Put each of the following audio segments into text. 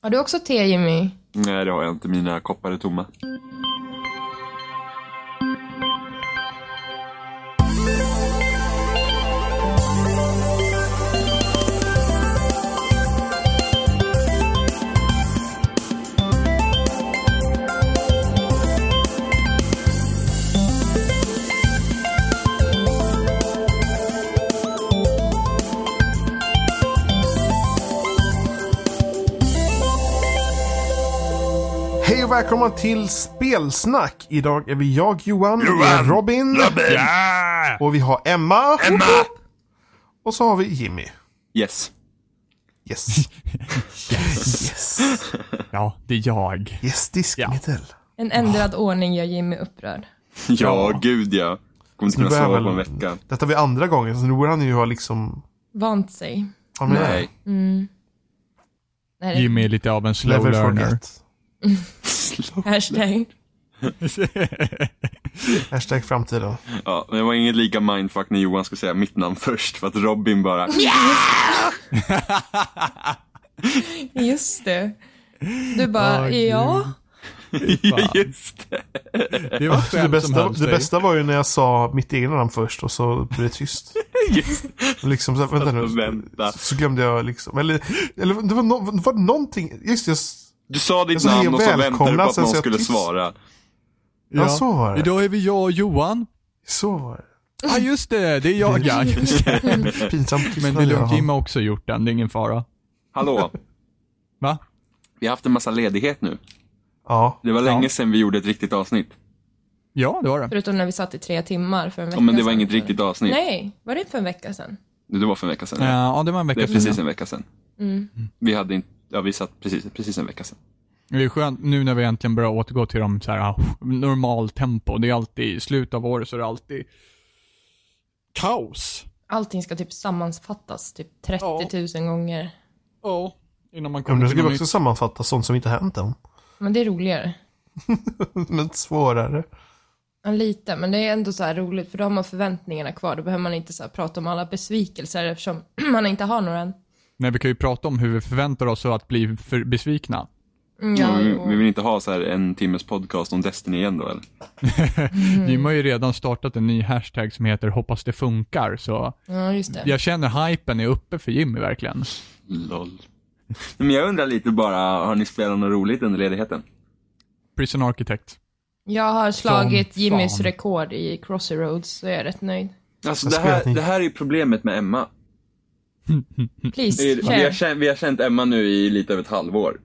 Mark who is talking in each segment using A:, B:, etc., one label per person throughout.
A: Har du också te, Jimmy?
B: Nej, det har jag inte. Mina koppar är tomma.
C: Hej och välkomna till Spelsnack! Idag är vi jag, Johan, vi är
B: Johan!
C: Robin,
B: Ja!
C: och vi har Emma,
B: Emma!
C: och så har vi Jimmy.
B: Yes.
C: Yes,
D: Yes.
C: yes,
D: Ja, det är jag.
C: yes diskmedel.
A: En ändrad ordning gör Jimmy upprörd.
B: Ja, gud ja. Kommer inte kunna
C: börjar
B: sova
C: väl-
B: på en vecka.
C: Detta var andra gången, så nu borde han ju ha liksom...
A: Vant sig.
C: Ja, men-
B: Nej.
A: Nej, det-
D: Jimmy är lite av en slow
C: Never
D: learner.
C: forget.
A: Hashtag.
C: Hashtag framtiden.
B: Ja, men det var inget lika mindfuck när Johan skulle säga mitt namn först för att Robin bara
A: Just det. Du bara,
D: Åh, Ah, gud.
A: ja.
B: Just det.
D: Det var ett
C: Det
D: skämt som
C: bästa,
D: höll
C: det
D: sig.
C: bästa var ju när jag sa mitt egna namn först och så blev det tyst.
B: Just
C: Och Liksom, så, här, vänta
B: och
C: nu.
B: vänta.
C: Så, så glömde jag liksom. Eller, eller det var, no, var det någonting. Just det, jag, s-
B: Du sa ditt
C: Jag säger
B: namn och så väntade du
C: välkomna,
B: på att
C: sen
B: någon
C: säger jag
B: skulle
C: tyst.
B: svara.
C: ja, så var det.
D: Idag är vi jag och Johan.
C: Så var det.
D: Ja, ah, just det. Det är jag. Ja, just det.
C: Pinsamt
D: Men
C: tystnad
D: det är
C: jag
D: lugnt.
C: har.
D: Jim har också gjort den. Det är ingen fara.
B: Hallå,
D: Va?
B: vi har haft en massa ledighet nu.
C: Ja.
B: Det var länge sedan vi gjorde ett riktigt avsnitt.
D: Ja, det var det.
A: Förutom när vi satt i tre timmar för en vecka
B: Ja, men det var
A: sedan.
B: inget riktigt avsnitt.
A: Nej, var det för en vecka sedan?
B: Det var för en vecka sedan. ja.
D: Ja, det var en
B: Det är
D: vecka
B: precis
D: sedan.
B: en vecka sedan.
A: Mm.
B: Vi hade inte, ja vi satt precis, precis en vecka sedan.
D: Det är skönt nu när vi äntligen börjar återgå till de så här, ah, normaltempo. Det är alltid, i slutet av året så är det alltid kaos.
A: Allting ska typ sammanfattas typ 30 000 gånger.
D: Ja.
C: Ja,
D: Innan man
C: men
D: kommer
C: nu
D: till
C: ska vi
D: något
C: också
D: nytt.
C: sammanfatta sånt som inte hänt än.
A: Men det är roligare.
C: Men svårare.
A: Ja, lite, men det är ändå så här roligt för då har man förväntningarna kvar. Då behöver man inte så här prata om alla besvikelser eftersom man inte har några än.
D: Nej, vi kan ju prata om hur vi förväntar oss att bli för besvikna.
A: Mm, Ja,
B: vi,
A: jo.
B: vi vill inte ha så här en timmes podcast om Destiny igen då eller?
A: Mm.
D: Jim har ju redan startat en ny hashtag som heter hoppas det funkar, så
A: ja just det.
D: jag känner hypen är uppe för Jimmy verkligen.
B: LOL. Mm. Men jag undrar lite bara, har ni spelat något roligt under ledigheten?
D: Prison Architect.
A: Jag har slagit
D: Som
A: Jimmys
D: fan.
A: rekord i Crossy Roads så jag är rätt nöjd.
B: Alltså
C: Vad
B: det
C: spelat
B: här,
C: ni?
B: det här är ju problemet med Emma. Mm.
A: Please,
B: Det är, vi, har
A: share.
B: känt, vi har känt Emma nu i lite över ett halvår.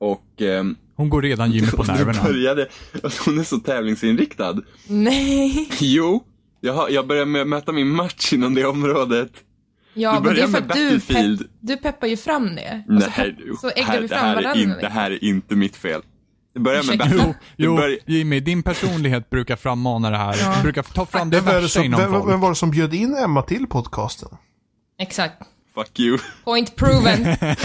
B: Och ehm,
D: Hon går redan Jimmy på
B: och det
D: nerverna.
B: började, alltså hon är så tävlingsinriktad.
A: Nej.
B: Jo, jag, har, jag börjar med att möta min match inom det området.
A: Ja,
B: Du
A: men det är
B: börjar
A: för
B: med
A: att du,
B: Battlefield.
A: pepp, du peppar ju fram det. Alltså, Och så,
B: Nej,
A: pepp,
B: du,
A: så äggar
B: här,
A: vi
B: det,
A: fram
B: här är in,
A: varandra.
B: det här är inte mitt fel. Det börjar med
A: Ursäkta?
B: battle.
D: Jo, jo,
B: Det börjar-
D: Jimmy, din personlighet brukar frammana det här.
A: Ja.
D: Brukar ta fram det
C: Vem var det,
D: värsta
C: som,
D: inom
C: vem, vem
D: folk.
C: var det som bjöd in Emma till podcasten?
A: Exakt.
B: Fuck you.
A: Point proven. Point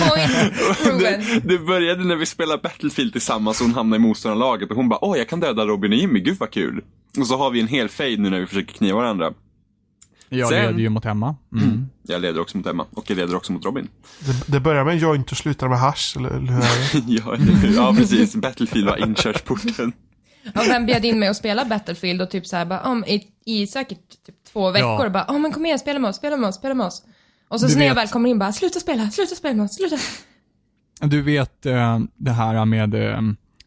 A: proven.
B: Det, det började när vi spelade Battlefield tillsammans och hon hamnade i motståndarlaget och hon bara åh jag kan döda Robin och Jimmy, gud vad kul. Och så har vi en hel fade nu när vi försöker kniva varandra.
D: Jag
B: Sen-
D: leder ju mot Emma. Mm.
B: Jag leder också mot Emma och jag leder också mot Robin.
C: Det, det börjar med en joint och slutar med hasch, eller, eller hur är det?
B: ja, eller hur? ja precis, Battlefield var inkörsporten.
A: Och vem bjöd in mig att spela Battlefield och typ så här bara, om, i, i säkert typ två veckor
D: Ja.
A: bara, oh, men kom igen, spela med oss, spela med oss, spela med oss. Och så,
D: Du
A: så när jag
D: vet.
A: väl kommer in bara, sluta spela, sluta spela med oss, sluta.
D: Du vet eh, det här med... Eh,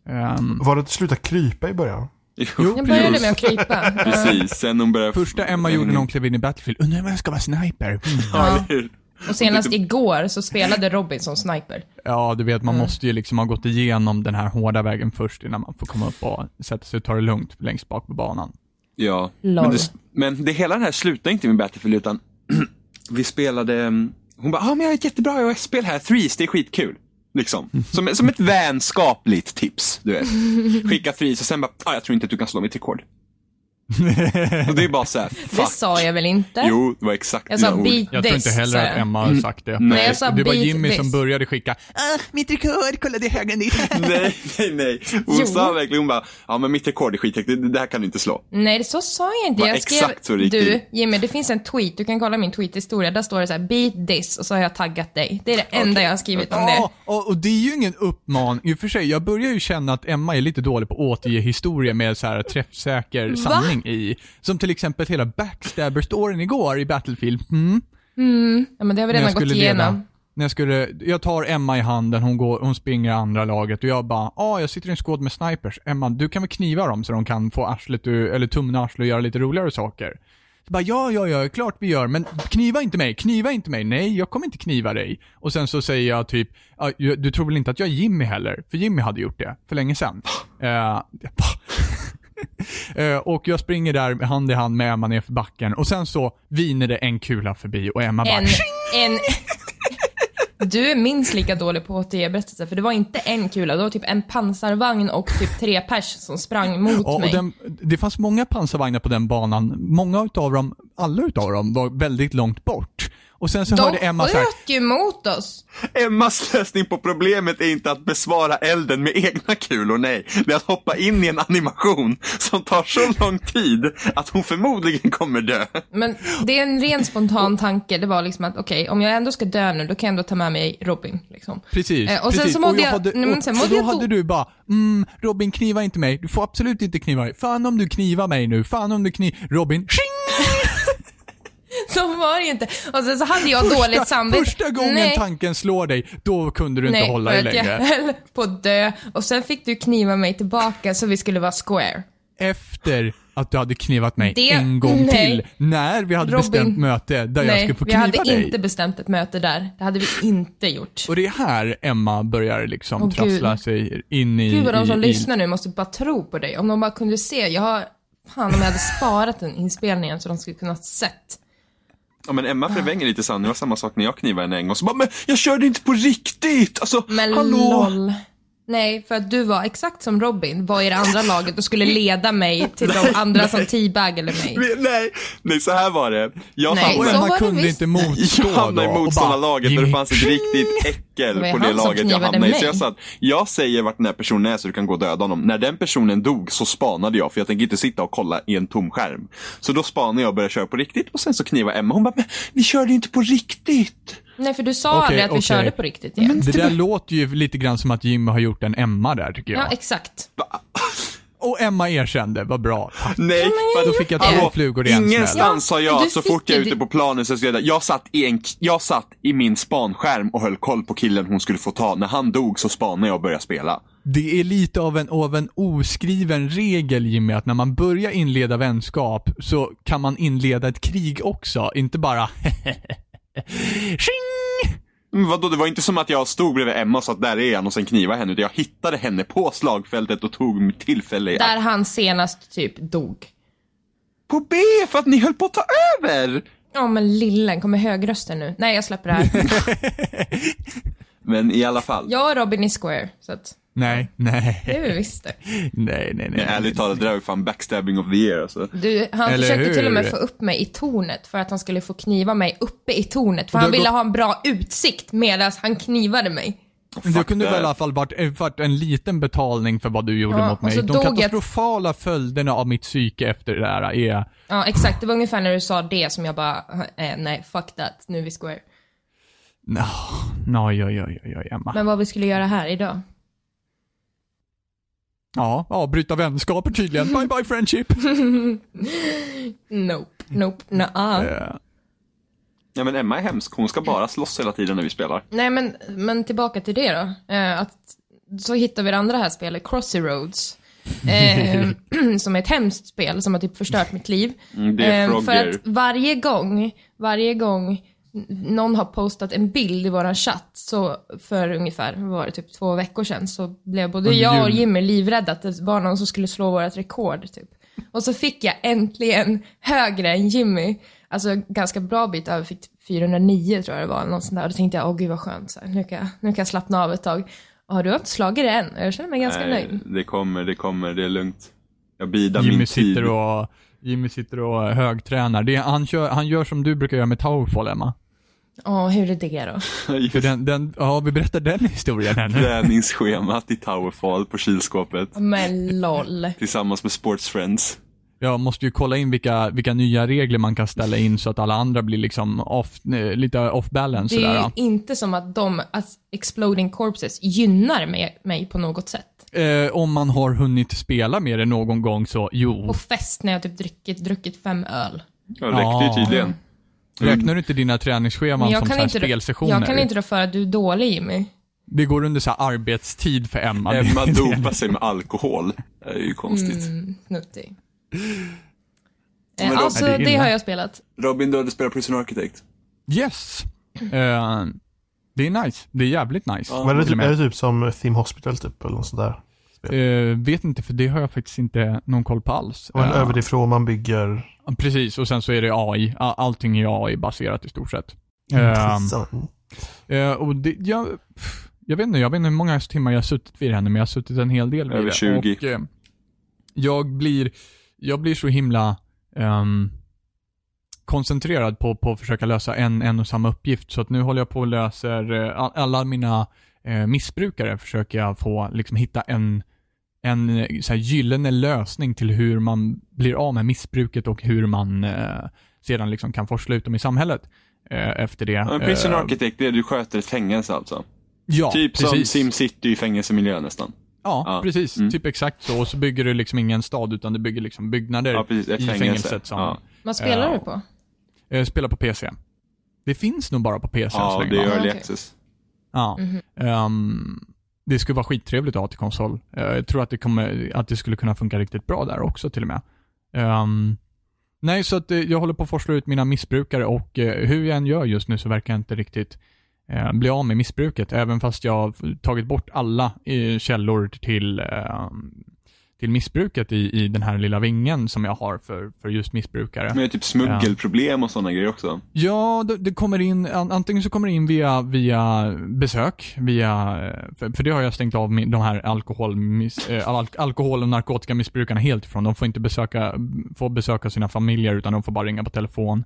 D: ehm,
C: Var det att sluta krypa i början?
B: Jo,
A: Jag började med att krypa.
B: precis. Sen hon började...
D: första Emma gjorde när hon klev in i Battlefield, undrar om jag ska vara sniper? Mm.
B: Ja, eller hur?
A: Och senast igår så spelade Robin som sniper.
D: Ja, du vet, man måste ju liksom ha gått igenom den här hårda vägen först innan man får komma upp och sätta sig och ta det lugnt längst bak på banan.
B: Ja.
A: Lol.
B: Men det, men det hela den här slutade inte med Battlefield utan vi spelade, mm, hon bara, ah, men jag har ett jättebra iOS-spel här, Threes, det är skitkul. Liksom. Som, som ett vänskapligt tips, du vet. Skicka Threes och sen bara, ah, jag tror inte att du kan slå mitt rekord. Och det är bara så här,
A: Det
B: fuck.
A: sa jag väl inte?
B: Jo, det var exakt
A: Jag sa
B: mina ord.
A: beat
D: Jag
A: this,
D: tror inte
A: sa
D: heller
A: jag. Alltså,
D: att Emma har sagt det.
A: Nej, jag sa
D: det var
A: beat
D: Jimmy
A: this.
D: som började skicka ah, mitt rekord, kolla det är högre än ditt.
B: Nej, nej, nej. Hon
A: Jo.
B: sa verkligen, hon bara, ja men mitt rekord är skithögt, det, det här kan du inte slå.
A: Nej, det- så sa jag inte.
B: Vad
A: Jag skrev,
B: exakt så det gick till.
A: du, Jimmy, det finns en tweet. Du kan kolla min tweet-historia. Där står det så här, beat this, och så har jag taggat dig. Det är det enda jag har skrivit om det.
D: Ja, och, och det är ju ingen uppmaning. I och för sig, jag börjar ju känna att Emma är lite dålig på att återge historia med så här träffsäker sanning i. Som till exempel hela backstabber-storyn igår i Battlefield. Mm.
A: Ja, men det har vi
D: när
A: redan
D: jag
A: gått
D: skulle leda.
A: igenom.
D: När jag, skulle, jag tar Emma i handen, hon, går, hon springer i andra laget och jag bara ah, jag sitter i en skåd med snipers. Emma, du kan väl kniva dem så de kan få arslet ur, eller tummen ur arslet och göra lite roligare saker. Så bara, ja, ja, ja, klart vi gör, men kniva inte mig, kniva inte mig, nej, jag kommer inte kniva dig. Och sen så säger jag typ, "Ja, ju- du tror väl inte att jag är Jimmy heller? För Jimmy hade gjort det, för länge sedan. Eh, Eh, och jag springer där hand i hand med Emma nerför backen och sen så viner det en kula förbi och Emma bara
A: En, en... Du är minst lika dålig på att återge berättelser, för det var inte en kula, det var typ en pansarvagn och typ tre pers som sprang mot
D: Ja, och
A: mig.
D: den, det fanns många pansarvagnar på den banan. Många utav dem, alla utav dem, var väldigt långt bort. Och sen så hörde
A: De
D: Emma så här,
A: sköt ju mot oss!
B: Emmas lösning på problemet är inte att besvara elden med egna kulor, nej. Det är att hoppa in i en animation som tar så lång tid att hon förmodligen kommer dö.
A: Men det är en ren spontan tanke, det var liksom att okej, om jag ändå ska dö nu, då kan jag ändå ta med mig Robin. Liksom.
D: Precis,
A: Eh, och sen
D: precis.
A: så mådde
D: jag
A: jag-
D: hade-
A: nej, men
D: och-
A: sen
D: och
A: mådde
D: då
A: jag
D: hade
A: då-
D: du bara, mm, Robin kniva inte mig, du får absolut inte kniva mig. Fan om du knivar mig nu, fan om du kniv... Robin, tjing!
A: Så var det ju inte. Och sen så hade jag dåligt samvete.
D: första gången
A: Nej.
D: tanken slår dig, då kunde du inte
A: Nej,
D: hålla
A: för
D: dig
A: att jag
D: längre.
A: höll på att dö. Och sen fick du kniva mig tillbaka så vi skulle vara square.
D: Efter att du hade knivat mig
A: Det-
D: en gång
A: nej.
D: till, när vi hade
A: Robin,
D: bestämt möte där jag skulle
A: Nej,
D: få
A: vi
D: kniva
A: hade
D: dig.
A: inte bestämt ett möte där. Det hade vi inte gjort.
D: Och det är här Emma börjar liksom
A: Åh,
D: trassla
A: Gud.
D: sig in i...
A: Gud vad de som
D: i,
A: lyssnar nu måste bara tro på dig. Om de bara kunde se. Jag har... Fan om jag hade sparat den inspelningen så de skulle kunna sett.
B: Ja men Emma förvänger lite sanning, det var samma sak när jag knivade henne en gång. Så bara, men jag körde inte på riktigt! Alltså,
A: Men
B: hallå!
A: LOL. Nej, för att du var exakt som Robin, var i det andra laget och skulle leda mig till de andra som teabag eller mig.
B: Vi- Nej, nej så här var det. Jag
A: Nej,
D: Och
B: hamnade,
A: så
D: Emma
A: var det
D: kunde
A: visst.
D: inte motstå
B: jag hamnade i
D: då och
B: motståndarlaget
D: bara,
B: där det
D: "Jimmy,
B: fanns ett riktigt äckel
A: Det var ju
B: på det
A: han som
B: laget jag
A: knivade
B: hamnade i. Så
A: mig.
B: jag sa att jag säger vart den här personen är så du kan gå och döda honom. När den personen dog så spanade jag för jag tänker inte sitta och kolla i en tom skärm. Så då spanade jag och började köra på riktigt och sen så knivade Emma. Hon bara, men vi körde ju inte på riktigt.
A: Nej, för du sa
D: Okej,
A: aldrig att vi
D: okej.
A: körde på riktigt igen.
D: Det där låter ju lite grann som att Jimmy har gjort en Emma där tycker jag.
A: typ- Ja, exakt.
D: och Emma erkände, vad bra. Tack.
B: Nej,
D: Då fick jag två
B: Hallå,
D: flugor i en smäll.
B: Ingenstans sa jag
A: Ja, du
B: så
A: fick
B: fort jag är
A: ju-
B: ute på planen så ska jag, jag, satt i en, jag satt i min spanskärm och höll koll på killen hon skulle få ta. När han dog så spanade jag och började spela.
D: Det är lite av en, av en oskriven regel Jimmy, att när man börjar inleda vänskap så kan man inleda ett krig också, inte bara Tjing!
B: Men Mm, vadå, det var inte som att jag stod bredvid Emma och sa att där är han och sen knivade henne. Utan jag hittade henne på slagfältet och tog mitt tillfälle i
A: Där
B: akt.
A: han senast typ dog.
B: På B för att ni höll på att ta över!
A: Ja, men lillen, kommer högrösten nu? Nej, jag släpper det här.
B: Men i alla fall.
A: Jag och Robin är square, så att
D: Nej, nej,
A: det är vi visst det.
D: nej, nej,
B: Nej,
D: nej.
B: ärligt talat, det där var ju fan backstabbing of the year alltså.
A: Du, han
D: Eller
A: försökte till och
D: hur?
A: med få upp mig i tornet för att han skulle få kniva mig uppe i tornet. För
D: Och
A: han
D: du har
A: ville
D: gått-
A: ha en bra utsikt medan han knivade mig.
D: Det
B: Fuck
D: kunde
B: that.
D: väl i alla fall varit, eh, varit en liten betalning för vad du gjorde
A: Ja, alltså
D: mot
A: och
D: mig.
A: så
D: De
A: dog jag-
D: katastrofala följderna av mitt psyke efter det där är...
A: Ja, exakt. Det var ungefär när du sa det som jag bara, eh, nej, fuck that, nu är vi square.
D: No, no, ja, ja, ja, ja, Emma.
A: Men vad vi skulle göra här idag?
D: Ja, avbryta vänskaper tydligen. Bye bye friendship.
A: Nope, nope, nah.
D: Eh,
B: Ja men Emma är hemsk, hon ska bara slåss hela tiden när vi spelar.
A: Nej, men, men tillbaka till det då. Eh, att, så hittar vi det andra här spelet, Crossy Roads. Eh, som är ett hemskt spel som har typ förstört mitt liv.
B: Mm, det är
A: Eh, för
B: Frogger.
A: att varje gång, varje gång n- någon har postat en bild i våran chatt, så för ungefär, vad var det, typ två veckor sedan, så blev både
D: Under
A: jag och
D: jul.
A: Jimmy livrädda att det var någon som skulle slå vårt rekord typ. Och så fick jag äntligen högre än Jimmy, alltså ganska bra bit över, fick 409 tror jag det var, eller något sånt där. Och då tänkte jag, åh gud vad skönt, så här, nu, kan jag, nu kan jag slappna av ett tag. Och du har inte slagit det än, och jag känner mig ganska
B: Nej,
A: nöjd.
B: det kommer, det kommer, det är lugnt. Jag bidar
D: Jimmy
B: min tid.
D: sitter och, Jimmy sitter och eh, högtränar. Det är, han, kör, han gör som du brukar göra med Towerfall, Emma.
A: Ja, hur är det då?
D: För den, den, ja, vi berättar den historien ännu.
B: Träningsschemat i Towerfall på kylskåpet.
A: Men LOL.
B: Tillsammans med Sports Friends.
D: Jag måste ju kolla in vilka, vilka nya regler man kan ställa in så att alla andra blir liksom off, eh, lite off-balance.
A: Det är
D: sådär,
A: ju
D: ja.
A: inte som att de, att Exploding Corpses gynnar mig, mig på något sätt.
D: Eh, om man har hunnit spela med det någon gång så, jo.
A: På fest när jag typ druckit, druckit fem öl.
B: Ja, det räckte
D: Ja.
B: ju tydligen.
D: Räknar du inte dina träningsscheman
A: Men jag
D: som
A: kan,
D: så här
A: inte, rå- jag
D: spelsessioner?
A: kan inte rå för att du är dålig Jimmy.
D: Det går under så här arbetstid för Emma. Det-
B: Mm. Emma
D: det-
B: dopar sig med alkohol. Det är ju konstigt.
A: Nuttig.
B: Men då-
A: Eh, alltså,
D: Nej, det är
A: det,
D: illa.
A: har jag spelat.
B: Robin, du hade spelat Prison Architect.
D: Yes! Eh, det är nice. Det är jävligt nice.
B: Ja.
C: Men är det, typ,
D: med.
C: är det typ som Theme Hospital typ, eller något sånt där?
D: Eh, vet inte, för det har jag faktiskt inte någon koll på alls.
C: Och en
D: Eh,
C: överifrån man bygger...
D: Precis, och sen så är det AI. A- Allting är AI-baserat i stort sett. Eh,
C: Intressant.
D: eh, och det, jag, pff, jag, vet inte, jag vet inte hur många timmar jag har suttit vid det här nu, men jag har suttit en hel del vid
B: Över
D: det.
B: 20.
D: Och, eh, jag, blir, jag blir så himla ehm, koncentrerad på, på att försöka lösa en, en och samma uppgift. Så att nu håller jag på och löser eh, all- alla mina eh, missbrukare försöker jag få liksom, hitta en, en eh, så här, gyllene lösning till hur man blir av med missbruket och hur man eh, sedan liksom, kan forsla ut dem i samhället. eh, Efter det.
B: Men Prison
D: Eh,
B: Architect, det är du sköter ett fängelse alltså.
D: ja,
B: typ som
D: precis.
B: SimCity i fängelsemiljö nästan.
D: Ja,
B: Ja. Mm.
D: precis. Typ exakt så. Och så bygger du liksom ingen stad, utan du bygger liksom byggnader
B: Ja, precis. Ett
D: i
B: fängelse.
D: fängelset som
B: Ja.
A: Vad spelar
D: Ja.
A: du på?
D: eh, spelar på PC. Det finns nog bara på PC än så
B: Ja,
D: länge,
B: det är
D: va?
A: Ja,
B: early
A: okej.
B: access.
D: Ja. Ehm, det skulle vara skittrevligt att ha till konsol. Eh, jag tror att det, kommer, att det skulle kunna funka riktigt bra där också till och med. Ehm, nej, så att eh, jag håller på att forsla ut mina missbrukare och eh, hur jag än gör just nu så verkar jag inte riktigt eh, bli av med missbruket, även fast jag har tagit bort alla eh, källor till, eh, till missbruket i, i den här lilla vingen som jag har för, för just missbrukare.
B: Men det är typ smuggelproblem och sådana grejer också.
D: Ja, det, det kommer in, an, antingen så kommer det in via, via besök, via, eh, för, för det har jag stängt av min- de här alkohol, miss, eh, al, alkohol och narkotikamissbrukarna helt ifrån. De får inte besöka, få besöka sina familjer utan de får bara ringa på telefon.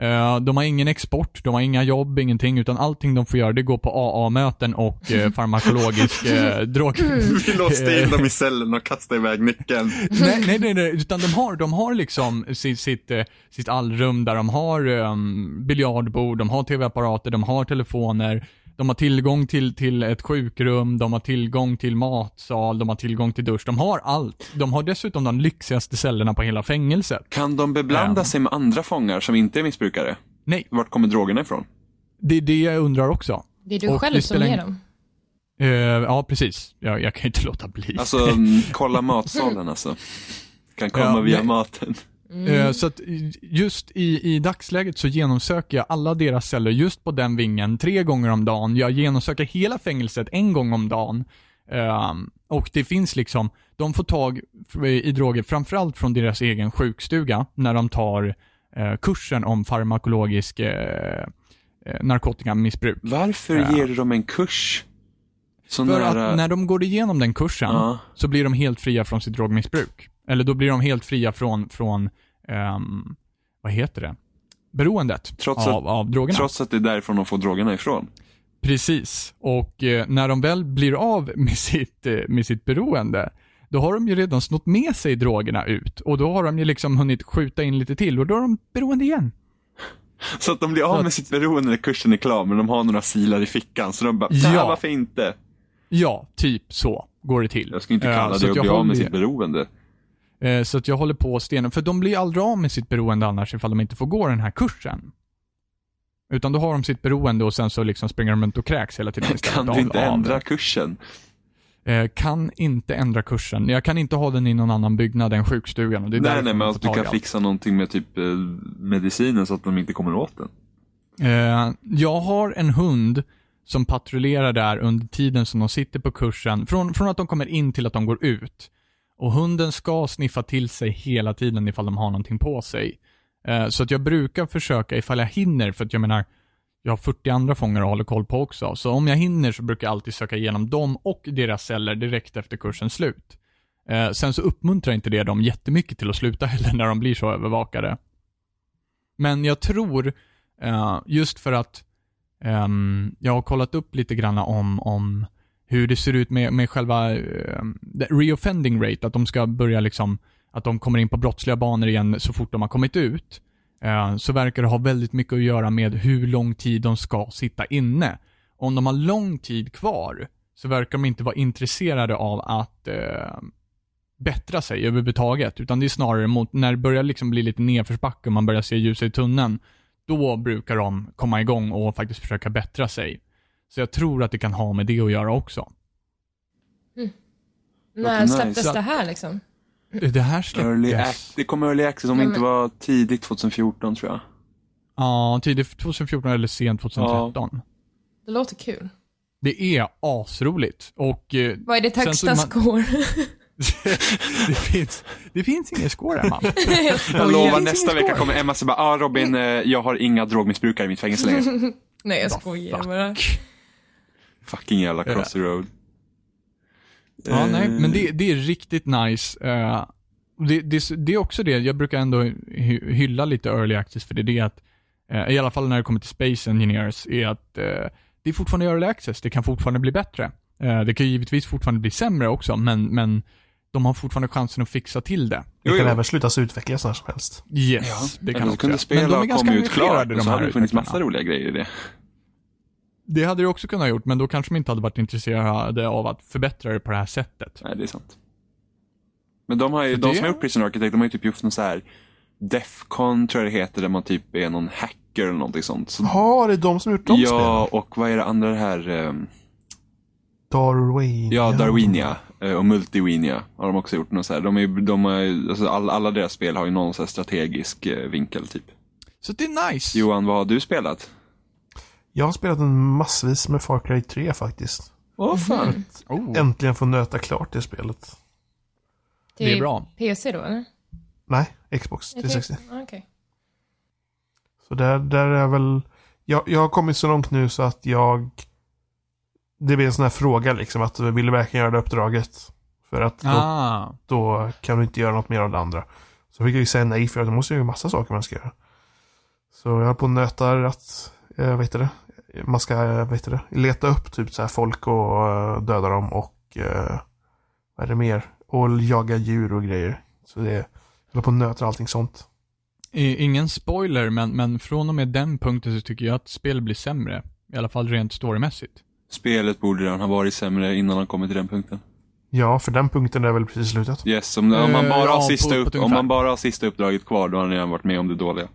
D: Eh, de har ingen export, de har inga jobb, ingenting, utan allting de får göra det går på AA-möten och uh, farmakologisk uh, drog...
B: Vi låste in dem i cellen och kastade iväg nyckeln.
D: nej, nej, nej, nej, utan de har, de har liksom sitt, sitt, eh, sitt allrum där de har um, biljardbord, de har tv-apparater, de har telefoner, de har tillgång till, till ett sjukrum, de har tillgång till matsal, de har tillgång till dusch, de har allt. De har dessutom de lyxigaste cellerna på hela fängelset.
B: Kan de beblanda
D: Ja.
B: sig med andra fångar som inte är missbrukare?
D: Nej,
B: Vart kommer drogerna ifrån?
D: det är det jag undrar också.
A: Det är du
D: Och
A: själv
D: det
A: som
D: spelar
A: ger
D: ingen-
A: dem.
D: Eh, ja, precis. Jag, jag kan ju inte låta bli.
B: Alltså, mm, kolla matsalen alltså. Kan komma
D: Ja,
B: via
D: nej.
B: maten.
D: Eh, Så att i- just i, i dagsläget så genomsöker jag alla deras celler just på den vingen tre gånger om dagen. Jag genomsöker hela fängelset en gång om dagen. Ehm, och det finns liksom, de får tag f- i droger framförallt från deras egen sjukstuga när de tar eh, kursen om farmakologisk eh, eh, narkotikamissbruk.
B: Varför ger du dem en kurs? Sån
D: För
B: där,
D: att
B: äh,
D: när de går igenom den kursen
B: Ja.
D: så blir de helt fria från sitt drogmissbruk. Eller då blir de helt fria från, från ehm, vad heter det? Beroendet
B: Trots
D: av, av drogerna.
B: Trots att det är därifrån de får drogerna ifrån.
D: Precis. Och eh, när de väl blir av med sitt, eh, med sitt beroende, då har de ju redan snott med sig drogerna ut. Och då har de ju liksom hunnit skjuta in lite till och då är de beroende igen.
B: Så att de blir av med sitt beroende när kursen är klar, men de har några silar i fickan. Så de bara,
D: Ja.
B: ja. varför inte?
D: Ja, typ så går det till.
B: Jag skulle inte
D: Eh,
B: kalla
D: så
B: det att
D: jag
B: bli av med
D: håller-
B: sitt beroende.
D: Eh, Så att jag håller på och stenar. För de blir aldrig av med sitt beroende annars ifall de inte får gå den här kursen. Utan då har de sitt beroende och sen så liksom springer de runt och kräks hela tiden istället
B: Kan
D: av-
B: du inte
D: av
B: ändra
D: det.
B: kursen?
D: Eh, Kan inte ändra kursen. Jag kan inte ha den i någon annan byggnad än sjukstugan. Och det är
B: Nej,
D: därför
B: nej,
D: de
B: men
D: får
B: att du
D: tag i
B: kan
D: allt.
B: fixa någonting med typ eh, medicinen så att de inte kommer åt den.
D: Eh, jag har en hund som patrullerar där under tiden som de sitter på kursen. Från, från att de kommer in till att de går ut. Och hunden ska sniffa till sig hela tiden ifall de har någonting på sig. Eh, så att jag brukar försöka ifall jag hinner, för att jag menar, jag har 40 andra fångar och håller koll på också. Så om jag hinner så brukar jag alltid söka igenom dem och deras celler direkt efter kursens slut. Eh, sen så uppmuntrar inte det dem jättemycket till att sluta heller när de blir så övervakade. Men jag tror, eh, just för att ehm, jag har kollat upp lite grann om, om hur det ser ut med, med själva eh, reoffending rate, att de ska börja liksom, att de kommer in på brottsliga banor igen så fort de har kommit ut. Eh, så verkar det ha väldigt mycket att göra med hur lång tid de ska sitta inne. Om de har lång tid kvar så verkar de inte vara intresserade av att eh, bättra sig överhuvudtaget, utan det är snarare mot, när det börjar liksom bli lite nedförsbacke och man börjar se ljuset i tunneln, då brukar de komma igång och faktiskt försöka bättra sig. Så jag tror att det kan ha med det att göra också.
A: När
B: nice.
A: släpptes
D: Så att-
A: det här liksom?
D: Det här
B: Early
D: släpptes...
B: act. Det kom early access om det
A: Nej,
B: inte
A: men-
B: var tidigt 2014 tror jag.
D: Ja, tidigt 2014 eller sent 2013.
A: Det låter kul.
D: Det är asroligt och eh,
A: Vad är ditt
D: Sen så
A: högsta
D: man-
A: score?
D: det, finns, det finns ingen score Emma.
A: jag
B: Jag
A: skojar.
B: lovar
A: Finns
B: nästa
A: ingen
B: vecka
A: score?
B: kommer Emma säga bara, ah, Robin, eh, jag har inga drogmissbrukare i mitt fängelse längre.
A: Nej, jag
D: Vad
A: skojar
D: fuck.
A: bara.
B: Fucking jävla cross the road.
D: Ja,
B: Eh,
D: nej, men det, det är riktigt nice. Eh, och det, det, det är också det, jag brukar ändå hy- hylla lite early access för det är det att, eh, i alla fall när det kommer till space engineers, är att eh, det är fortfarande early access, det kan fortfarande bli bättre. Eh, det kan ju givetvis fortfarande bli sämre också, men, men de har fortfarande chansen att fixa till det.
B: Jo,
C: Det kan
B: jo.
C: även slutas utvecklas när som helst.
D: Yes, det kan
B: Eller så
D: också.
B: kunde
D: men de är
B: spela
D: ganska
B: komma ut klart
D: engagerade
B: och
D: de
B: så hade
D: här
B: det funnits
D: utvecklarna.
B: massa roliga grejer i det.
D: Det hade det också kunnat gjort, men då kanske de inte hade varit intresserade av att förbättra det på det här sättet.
B: Nej, det är sant. Men de, har ju,
D: Så
B: de
D: det-
B: som har gjort Prison Architect, de har ju typ gjort någon så här Defcon tror jag det heter, där man typ är någon hacker eller någonting sånt. Så,
C: Jaha, det är de som gjort de spelen?
B: ja, och vad är det andra det här? ehm,
C: Darwin.
B: Ja, Darwinia eh, och Multiwinia har de också gjort. Något så här. De är, ju- de har, ju- alltså, all, alla deras spel har ju någon så här strategisk eh, vinkel typ.
D: Så det är nice.
B: Johan, vad har du spelat?
C: Jag har spelat en massvis med Far Cry 3 faktiskt.
B: Åh fan.
D: Oh.
C: Äntligen få nöta klart det spelet.
D: Det är bra.
A: PC då eller? Ah,
C: Nej, Xbox 360.
A: Okej.
C: Så där, där är jag väl... Jag, jag har kommit så långt nu så att jag... Det blir en sån här fråga liksom att vill du verkligen göra det uppdraget? För att då,
D: Ah.
C: då kan du inte göra något mer av det andra. Så fick jag ju säga nej för att då måste jag ju massa saker man ska göra. Så jag höll på och nötar att, eh, vad heter det? Man ska, eh, vad heter det? Leta upp typ så här folk och eh, döda dem och eh, vad är det mer? Och jaga djur och grejer. Så det, jag höll på och nötar allting sånt.
D: I- Eh, Ingen spoiler, men, men från och med den punkten så tycker jag att spel blir sämre. I alla fall rent storymässigt.
B: Spelet borde redan ha varit sämre innan han kommit till den punkten.
C: Ja, för den punkten är väl precis slutet.
B: Yes, om, om, man,
D: Eh,
B: bara har
D: ja,
B: sista
D: på- på
B: upp,
D: ett
B: om man
D: ungefär.
B: bara har sista uppdraget kvar, då har han redan varit med om det dåliga.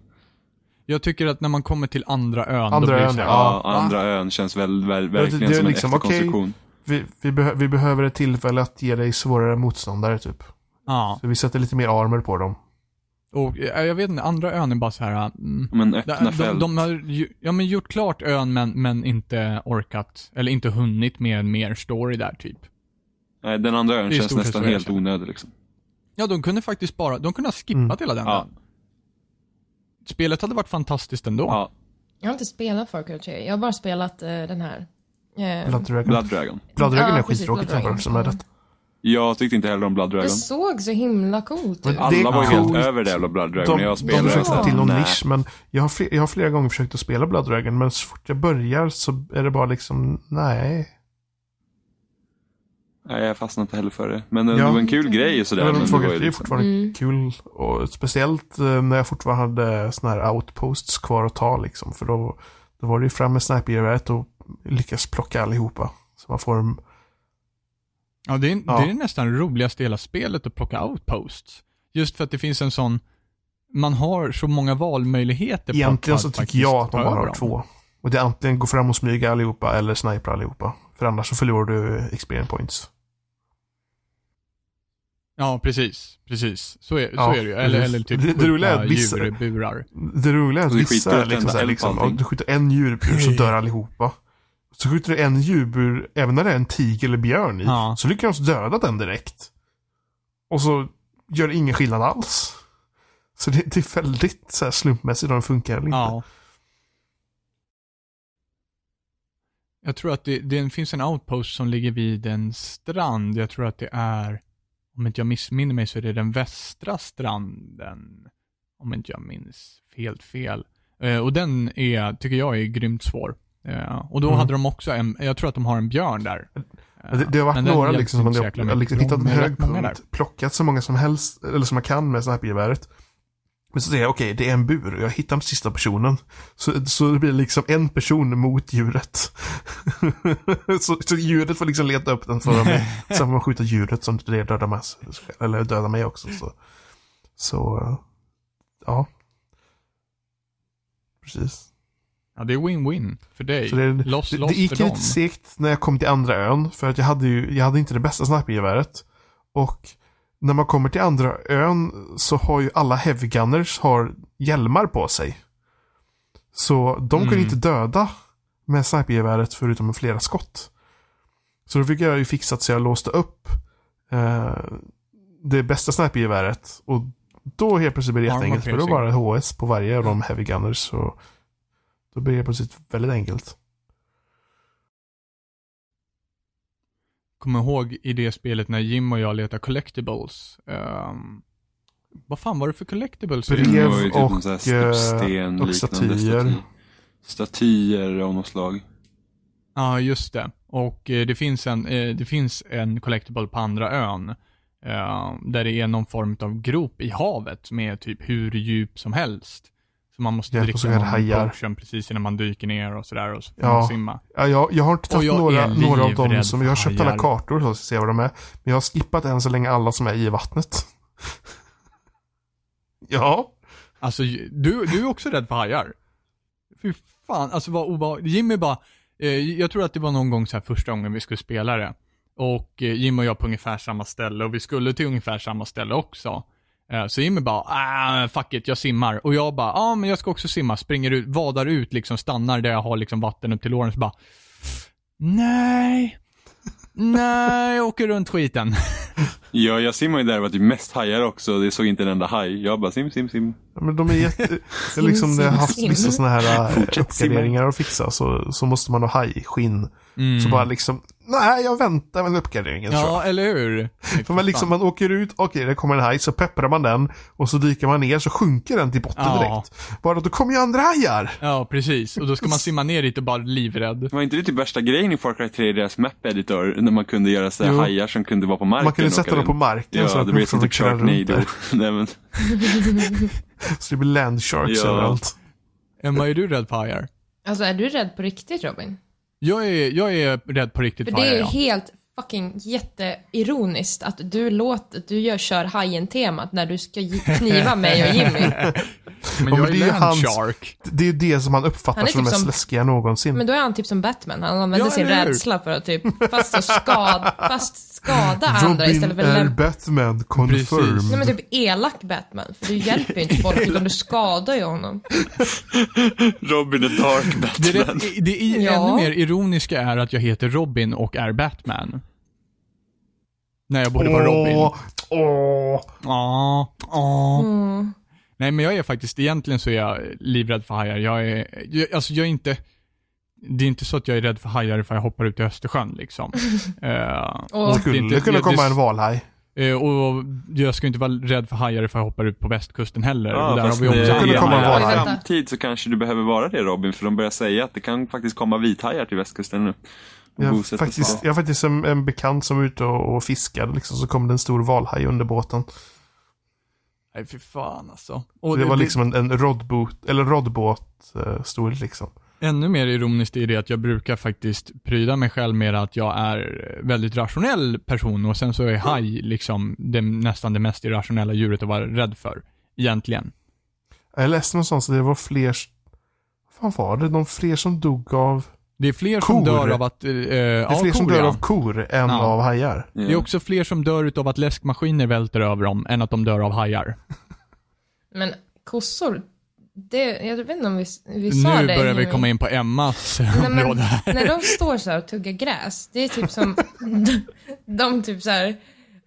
D: Jag tycker att när man kommer till andra ön,
C: Andra
D: då blir det
C: ön,
D: så här,
B: Ja,
C: Ja,
B: andra ön känns väl, väl, verkligen
C: det är
B: som en
C: liksom, okej.
B: efterkonstruktion.
C: Vi, vi, behö- vi behöver ett tillfälle att ge dig svårare motståndare typ.
D: ja.
C: Så vi sätter lite mer armor på dem.
D: Och eh, jag vet inte, andra ön är bara så här... Mm,
B: Men
D: de,
B: öppna
D: de,
B: fält.
D: de har ju, ja, men gjort klart ön, men, men inte orkat, eller inte hunnit med mer story där, typ.
B: Nej, den andra ön
D: Det är
B: känns
D: stort sett
B: nästan
D: så jag
B: helt
D: känner.
B: onödig. Liksom.
D: Ja, de kunde faktiskt bara, de kunde ha skippat
C: Mm.
D: hela den
B: Ja.
D: ön. Spelet hade varit fantastiskt ändå.
B: Ja,
A: Jag har inte spelat Far Cry 3. Jag har bara spelat eh, den här. Eh,
C: Blood Dragon.
B: Blood Dragon.
C: Blood Dragon
A: Ja,
C: är
A: precis,
C: skittråkigt
A: Blood Dragon.
C: för som är rätt.
B: Jag tyckte inte heller om Blood
A: det
B: Dragon.
A: såg så himla coolt ut.
C: Men-
B: Alla
C: Det är
B: var ju helt
C: coolt.
B: över det jävla Blood Dragon
C: De,
B: när jag
C: de
B: spelade.
C: försökte
B: Så här,
C: till någon
B: nej.
C: nisch, men jag har, fler, jag har flera gånger försökt att spela Blood Dragon, men så fort jag börjar så är det bara liksom, nej.
B: Nej, jag fastnade inte heller för det. Men eh,
C: Ja.
B: det var en kul grej och sådär.
C: Även
B: Men
C: om
B: det var
C: Fågel
B: ju
C: 3 är
B: liksom...
C: fortfarande
A: Mm.
C: kul. Och speciellt eh, när jag fortfarande hade sådana här outposts kvar att ta liksom. För då, då var det ju fram med snipergeväret och lyckas plocka allihopa. Så man får en
D: Ja, det är,
C: Ja.
D: det är nästan det roligaste i hela spelet att plocka outposts. Just för att det finns en sån, man har så många valmöjligheter. på
C: Egentligen
D: att
C: så tycker
D: faktiskt
C: jag att man bara
D: ta över
C: har
D: dem.
C: två. Och det är antingen gå fram och smyga allihopa eller sniper allihopa. För annars så förlorar du experience points.
D: Ja, precis. Precis. Så är,
C: Ja,
D: så är det ju. Eller,
C: precis.
D: eller typ
C: Det- det roliga är
D: skjuta
C: att vissa-
D: djur i burar.
C: Det roliga är att
B: Så du skiter i
C: vissa
B: att
C: liksom,
B: tända
C: så här,
B: eld på
C: liksom,
B: allting.
C: ja, du skjuter en djurpur så dör allihopa. Så skjuter du en djurpur, även när det är en tiger eller björn i,
D: Ja.
C: så lyckas du alltså döda den direkt. Och så gör det ingen skillnad alls. Så det, det är väldigt så här, slumpmässigt om det funkar eller inte.
D: Ja. Jag tror att det, det finns en outpost som ligger vid en strand. Jag tror att det är om inte jag missminner mig så är det den västra stranden. Om inte jag minns helt fel. Eh, och den är, tycker jag är grymt svår. Eh, och då
C: Mm.
D: hade de också en, jag tror att de har en björn där.
C: Men Det, det har varit
D: Men den
C: några
D: hjälpte
C: liksom som
D: inte så
C: man
D: jäkla
C: jag har liksom
D: mycket.
C: hittat en
D: De är
C: hög
D: rätt många
C: punkt, plockat så många som helst, eller som man kan med snappergeväret. Men så säger jag okej, det är en bur och jag hittar den sista personen. Så, så det blir liksom en person mot djuret. så, så djuret får liksom leta upp den för mig. Sen får man skjuta djuret som det dödar mig. Eller dödar mig också. Så, så ja. Precis.
D: Ja, det är win-win för dig.
C: Så det,
D: loss,
C: det,
D: loss
C: det gick
D: för dem.
C: lite segt när jag kom till andra ön. För att jag hade ju, jag hade inte det bästa snappergeväret. Och när man kommer till andra ön så har ju alla heavy gunners har hjälmar på sig. Så de kunde
D: Mm.
C: inte döda med snappergeväret förutom med flera skott. Så då fick jag ju fixat så jag låste upp eh, det bästa snappergeväret. Och då helt plötsligt blir det
D: Armor
C: jätteenkelt. För då
D: piercing.
C: var det HS på varje av de heavy gunners. Så då blir det plötsligt väldigt enkelt.
D: kommer ihåg i det spelet när Jim och jag letade collectibles. Ehm, vad fan var det för collectibles?
C: Brev.
B: Det var ju typ
C: och,
B: någon sån här
C: eh,
B: sten
C: och
B: liknande
C: statyer.
B: staty. Statyer av något slag.
D: Ja, just det. Och eh, det finns en, eh, det finns en collectible på andra ön. eh, där det är någon form av grop i havet som är typ hur djup som helst. Så man måste
C: Ja, och så
D: dricka
C: är det
D: någon
C: hajar.
D: potion precis innan man dyker ner och sådär och så får
C: Ja.
D: man simma.
C: Ja, jag, jag har inte
D: Och
C: tagit
D: jag
C: några,
D: är
C: några av dem
D: livrädd
C: som,
D: för
C: jag har köpt alla
D: hajar.
C: kartor så att se vad de är. Men jag har skippat än så länge alla som är i vattnet. ja.
D: Alltså, ju- du, du är också rädd för hajar. Fy fan, alltså vad obehagligt. Jimmy bara, eh, jag tror att det var någon gång så här första gången vi skulle spela det. Och eh, Jimmy och jag på ungefär samma ställe och vi skulle till ungefär samma ställe också. Eh, så Jimmy bara, ah, fuck it, jag simmar. Och jag bara, ja ah, men jag ska också simma. Springer ut, vadar ut liksom, stannar där jag har liksom vatten upp till låren. Så bara, nej, nej, jag åker runt skiten.
B: Ja, jag simmar ju där det var typ mest hajar också. Det såg inte en enda haj. Jag bara sim, sim, sim.
C: Ja, Men de är jätte... det är liksom, det har haft
A: sim,
C: vissa
A: sim.
C: sådana här äh,
B: Fortsätt simma.
C: uppgraderingar att fixa. Så, så måste man ha hajskinn.
D: Mm.
C: Så bara liksom, nej jag väntar med uppgraderingen. tror jag.
D: Ja, eller hur?
C: För man, liksom, man åker ut, okej det kommer en haj, så pepprar man den. Och så dyker man ner så sjunker den till botten
D: Ja.
C: direkt. Bara då kommer ju andra hajar.
D: Ja, precis. Och då ska man simma ner dit och bara livrädd.
B: Var inte det typ värsta grejen i Far Cry 3 i deras map-editor? När man kunde göra så här
C: Jo.
B: hajar som kunde vara på marken.
C: Man kunde
B: och
C: sätta
B: åka
C: dem på
B: runt.
C: marken så
B: Ja,
C: att
B: det blev
C: de
B: som
C: kunde
B: typ
C: köra runt
B: Sharknado.
C: där.
B: Nej, men,
C: Så det blir land sharks
B: Ja.
C: överallt.
D: Emma, är du rädd för hajar?
A: Alltså är du rädd på riktigt Robin?
D: Jag är, jag är rädd på riktigt
A: För
D: för
A: det är
D: hajar,
A: ju
D: ja.
A: helt fucking jätteironiskt att du låter, du gör kör hajen-temat när du ska gi- kniva mig och Jimmy.
D: Men
C: Ja,
D: jag
C: men
D: är
C: det är ju
D: land
C: hans-
D: shark.
C: Det är ju det som han uppfattar
A: Han är
C: som det
A: typ
C: mest
A: som-
C: läskiga någonsin.
A: Men då är han typ som Batman, han använder
D: Ja,
A: sin
D: eller hur?
A: rädsla för att typ fast, och skada, fast skada andra istället
C: Robin
A: för att
C: är
A: lämna...
C: Batman,
D: Precis.
A: Nej
C: confirm.
A: men typ elak Batman, för du hjälper ju inte folk utan du skadar ju honom.
B: Robin är dark
D: Det, är,
B: Batman.
D: rätt- det är
A: Ja.
D: ännu mer ironiska är att jag heter Robin och är Batman. Nej, jag borde vara Robin.
C: Åh, åh.
D: Ja, ja.
A: Mm.
D: Nej, men jag är faktiskt, egentligen så är jag livrädd för hajar. Jag är, jag, alltså jag är inte, det är inte så att jag är rädd för hajar för jag hoppar ut i Östersjön liksom. Eh,
A: Och-
C: Det
D: det är
C: skulle
D: inte-
C: kunde
D: jag- det-
C: komma en valhaj.
D: Eh, och jag ska inte vara rädd för hajar för jag hoppar ut på västkusten heller.
B: Ja,
D: där har
B: fast
D: vi
B: det-
D: också
C: Så kunde
B: i
C: komma
B: en
C: en valhaj.
B: nära framtid så kanske du behöver vara det Robin, för de börjar säga att det kan faktiskt komma vithajar till västkusten nu. Och
C: Jag har
B: bosätta sig där.
C: faktiskt, jag har faktiskt en, en bekant som var ute och, och fiskade liksom, så kom det en stor valhaj under båten.
D: Nej, fy fan alltså. Och
C: Och det var liksom en, en roddbåt, eller roddbåt eh, storlek liksom.
D: Ännu mer ironiskt är det att jag brukar faktiskt pryda mig själv med att jag är eh, väldigt rationell person och sen så är haj liksom det, nästan det mest irrationella djuret att vara rädd för. Egentligen.
C: Jag läste någonstans att det var fler, vad fan var det? De fler som dog av,
D: Det är fler som
C: Kor.
D: dör av att... Eh, det
C: det är fler som dör av kor än
D: Ja.
C: av hajar.
B: Ja.
D: Det är också fler som dör utav att läskmaskiner välter över dem än att de dör av hajar.
A: Men kossor, det, jag vet inte om vi, vi
D: Nu
A: sa det.
D: börjar vi
A: Jimmy.
D: komma in på Emmas
A: Nej, men,
D: område här.
A: När de står så här och tuggar gräs, det är typ som, de, de typ så här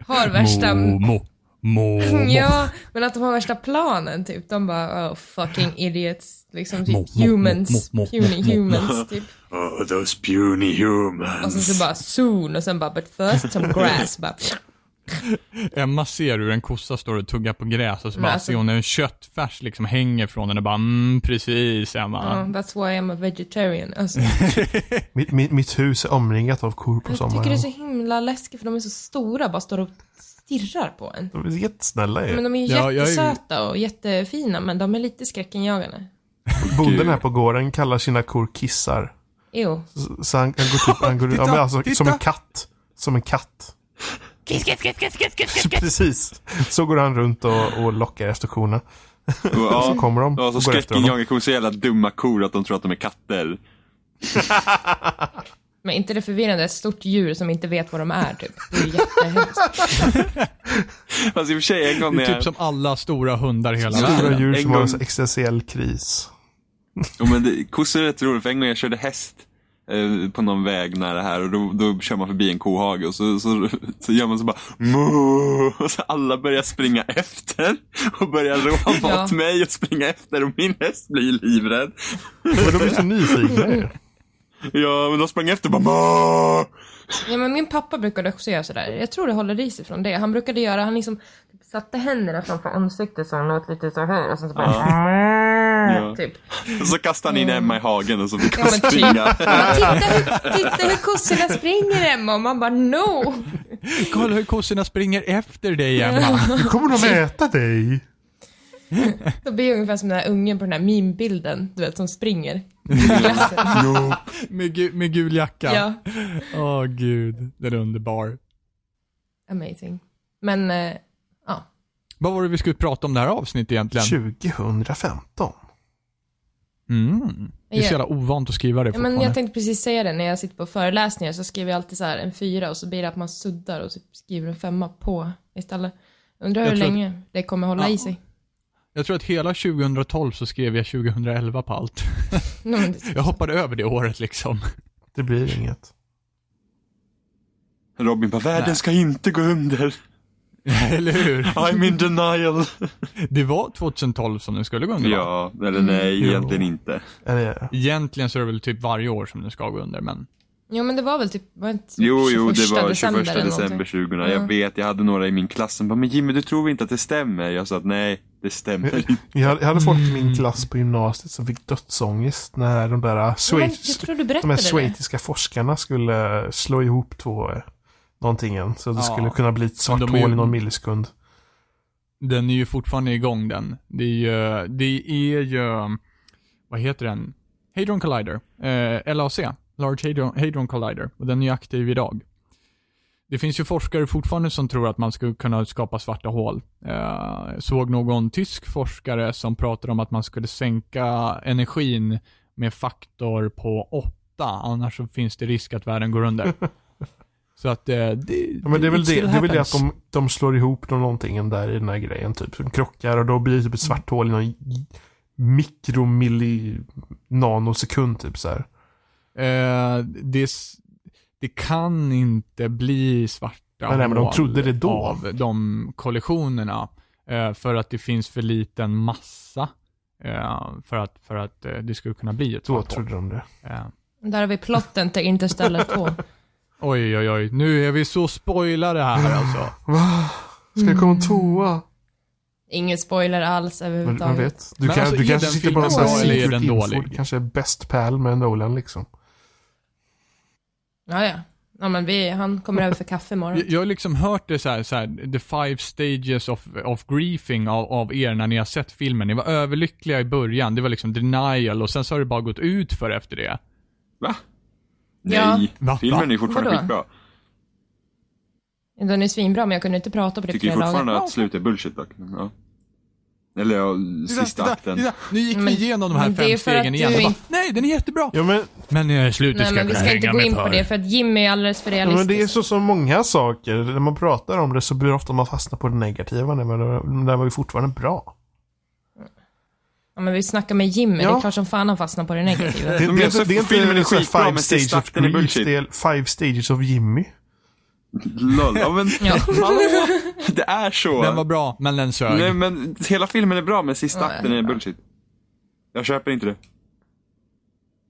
A: har värsta...
D: Momo. Momo.
A: Mm, Ja, men att de har värsta planen typ. De bara oh fucking idiots. Liksom
D: Mo,
A: typ
D: mo, mo,
A: humans,
D: mo, mo,
A: puny
D: mo, mo.
A: humans typ.
B: Oh, those puny
A: Och sen
B: humans.
A: så bara "Oh, soon och sen bara but first some grass. Bara,
D: Emma ser hur en kossa står och tuggar på gräs och så
A: Men
D: bara
A: alltså-
D: ser hon hur en köttfärs liksom hänger från henne och bara mm, precis Emma.
A: Ja, that's why I'm a vegetarian. Alltså,
C: Mitt, mitt, mitt hus är omringat av kor på
A: jag tycker det är
C: sommaren.
A: så himla läskigt för de är så stora, bara står och stirrar på en.
C: De är jättesnälla
A: Men
C: ju.
A: de är ju
D: Ja, jag är ju-
A: jättesöta och jättefina, men de är lite skräckinjagande.
C: Bonden här på gården kallar sina kor kissar.
A: Jo.
C: Så- Så han, han går typ, han går, ja, men alltså,
D: titta.
C: som en katt. Som en katt. Precis. Så går han runt och, och lockar efter korna.
B: Ja,
C: Så kommer de
B: ja,
C: och
B: så
C: går efter honom.
B: skräckinjagande kor, så jävla dumma kor att de tror att de är katter.
A: Men inte det förvirrande, ett stort djur som inte vet vad de är typ. Det är ju jättehemskt.
B: Fast i och för sig, en gång
D: Det
B: när
D: är typ
B: jag...
D: som alla stora hundar i hela världen.
C: Stora djur
B: En
C: som har en
B: gång-
C: sån existentiell kris.
B: Jo, men det, kossor är rätt roligt, för en gång jag körde häst eh, på någon väg nära här och då, då kör man förbi en kohage och så, så, så gör man så bara Moo! Och så alla börjar springa efter och börjar ropa
A: Ja.
B: åt mig och springa efter och min häst blir livrädd.
C: Men de är så nyfikna ju.
B: Ja, men de sprang efter och bara Moo!
A: Ja, men min pappa brukade också göra sådär. Jag tror det håller i sig från det. Han brukade göra, han liksom typ, satte händerna framför ansiktet så han låt lite så här och sen så bara...
B: Ja.
A: Typ.
B: Och så kastade han in Emma i hagen och så fick
A: Ja,
B: hon
A: men typ.
B: springa.
A: Men titta, hur, titta hur kossorna springer Emma och man bara no!
D: Kolla hur kossorna springer efter dig Emma.
C: Nu kommer de äta dig.
A: Då blir jag ungefär som den här ungen på den här meme-bilden, du vet som springer.
D: med, gu- med gul jacka.
A: Ja.
D: Åh gud, den är underbar.
A: Amazing. Men, eh, ja.
D: Vad var det vi skulle prata om det här avsnittet egentligen?
C: 2015.
D: Mm. Det är så jävla ovant att skriva det
A: Ja, men
D: fortfarande.
A: jag tänkte precis säga det, när jag sitter på föreläsningar så skriver jag alltid så här en fyra och så blir det att man suddar och så skriver en femma på istället. Undrar
D: Jag
A: hur
D: tror att-
A: länge det kommer hålla i sig.
D: jag tror att hela 2012 så skrev jag 2011 på allt.
A: Nej, men det-
D: Jag hoppade över det året liksom.
C: Det blir inget.
B: Robin bara, världen ska inte gå under.
D: Eller hur?
B: I'm in denial.
D: Det var 2012 som den skulle gå under va?
B: Ja, eller nej,
C: Jo.
B: egentligen inte.
C: Eller,
D: Egentligen så är det väl typ varje år som den ska gå under, men
A: Jo men det var väl typ, var det inte
B: Jo, jo, det var 21
A: eller
B: december
A: någonting?
B: 2000.
A: Ja.
B: Jag vet, jag hade några i min klass som bara, men Jimmy du tror inte att det stämmer? Jag sa att nej, det stämmer inte.
C: jag, jag hade folk i min klass på gymnasiet som fick dödsångest när de där eh,
A: Ja, Mm. men
C: Schweiz-
A: jag tror du
C: de här
A: berättade det.
C: schweiziska forskarna skulle eh, slå ihop två eh, någontingen. Så det
D: Ja.
C: skulle kunna bli ett
D: Men
C: svart
D: de är ju-
C: hål i någon millisekund.
D: den är ju fortfarande igång den. Det är ju, det är ju vad heter den? Hadron Collider. Eh, LHC. Large Hadron, Hadron Collider. Och den är ju aktiv idag. Det finns ju forskare fortfarande som tror att man skulle kunna skapa svarta hål. Eh, såg någon tysk forskare som pratade om att man skulle sänka energin med faktor på 8, annars så finns det risk att världen går under. Så att eh, det...
C: Ja, men det är väl
D: it
C: det,
D: still
C: det, är väl det att
D: happens.
C: de, de slår ihop de någontingen där i den här grejen. Typ. De krockar och då blir det typ ett svart
A: Mm.
C: hål i någon j- mikromilli nanosekund typ så här.
D: Eh, det, s- det kan inte bli svarta
C: Nej, nej, men de
D: hål
C: trodde det då.
D: av de kollisionerna. eh, För att det finns för liten massa eh, för att, för att eh, det skulle kunna bli ett
C: Då
D: svart hål.
C: trodde de det.
D: Eh,
A: Där har vi plotten till Interstellar 2.
D: Oj, oj, oj. Nu är vi så spoilade här alltså.
C: Va? Ska det
A: Mm.
C: komma en tvåa?
A: Ingen spoiler alls
C: Men, man
A: överhuvudtaget.
C: vet. Du,
D: Men
C: kan,
D: alltså,
C: du
D: är
C: kanske
D: den
C: sitter på någon
D: filmen
C: sån här
A: bra eller
D: är
C: secret
D: den
C: info.
D: dålig?
C: Kanske bäst pal med Nolan liksom.
A: Ja, ja. ja men vi, han kommer över för kaffe imorgon.
D: Jag jag har liksom hört det så här, så här the five stages of, of griefing av, av er när ni har sett filmen. Ni var överlyckliga i början, det var liksom denial och sen så har det bara gått ut för efter det.
B: Va?
A: Ja.
B: Nej,
D: Va?
B: filmen är ju fortfarande
A: Vadå?
B: skitbra.
A: Den är svinbra men jag kunde inte prata på det
B: Tycker
A: flera dagar.
B: fortfarande att slutet är bullshit dock. Ja. Eller ja, sista akten.
D: Nu gick vi
A: Men-
D: igenom de här
A: men det är
D: fem
A: för att
D: stegen
A: du
D: igen. Och Bara,
A: inte-
D: Nej, den är jättebra.
C: Ja men,
D: Men eh, slutet
A: Nej
D: ska
A: men
D: jag
A: vi
D: kunna
A: ska inte
D: hänga
A: gå
D: mig
A: in på
D: för.
A: det för att Jimmy är alldeles för
C: ja, men
A: realistisk.
C: det är så som många saker. När man pratar om det så blir det ofta man fastnar på det negativa. Men det- men det var ju fortfarande bra.
A: Ja, men vi snackar med Jimmy,
C: Ja.
A: det är klart som fan han fastnar på det negativa.
C: Det, det,
B: Men jag
C: det,
B: ser-
C: det är inte
B: filmen är
C: så här
B: skitbra,
C: five
B: men
C: stages
B: sista
C: of
B: akten är
C: grief,
B: bullshit.
C: det är five stages of Jimmy.
B: Lol. Ja, men,
A: Ja.
B: hallå? Det är så.
D: Den var bra, men den sög.
B: Nej men hela filmen är bra men sista
A: Ja,
B: akten
A: det
B: är
A: är bra.
B: bullshit. Jag köper inte det.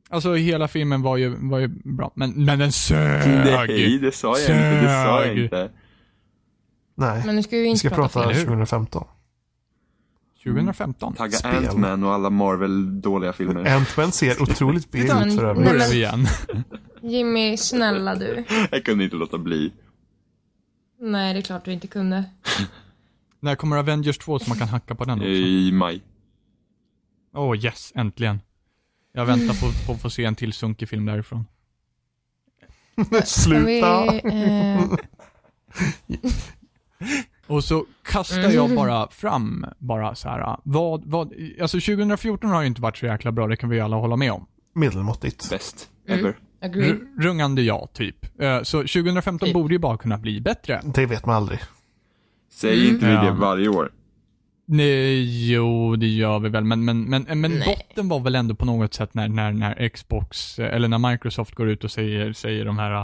D: Alltså hela filmen var ju, var ju bra, men, men den sög.
B: Nej, det sa jag inte. Det sa jag
D: Sög.
B: inte.
C: Nej,
A: Men nu ska vi ju
C: vi
A: inte
C: ska prata
A: film.
D: eller hur?
C: 2015.
D: 2015.
B: Tagga
C: Spel.
B: Ant-Man och alla Marvel-dåliga filmer.
C: Ant-Man ser otroligt B
A: Men-
C: ut för övrigt.
A: Nej,
D: börjar
A: men-
D: vi igen.
A: Jimmy, snälla du.
B: Jag kunde inte låta bli.
A: Nej, det är klart du inte kunde.
D: När kommer Avengers 2 så man kan hacka på den också?
B: Eh, I maj.
D: Åh oh, yes, äntligen. Jag väntar på, på att få se en till sunkig film därifrån.
A: Ska vi,
C: Sluta!
A: eh,
D: Och så kastar jag
A: Mm.
D: bara fram, bara så här, vad, vad, alltså 2014 har ju inte varit så jäkla bra, det kan vi ju alla hålla med om.
C: Medelmåttigt.
B: Bäst. Ever.
A: agree.
D: R- rungande ja, typ. Eh, Så 2015
A: Typ.
D: borde ju bara kunna bli bättre.
C: Det vet man aldrig.
B: Säg inte vi
D: Ja.
B: det varje år.
D: Nej, jo, det gör vi väl, men, men, men, men botten var väl ändå på något sätt när, när, när Xbox, eh, eller när Microsoft går ut och säger, säger de här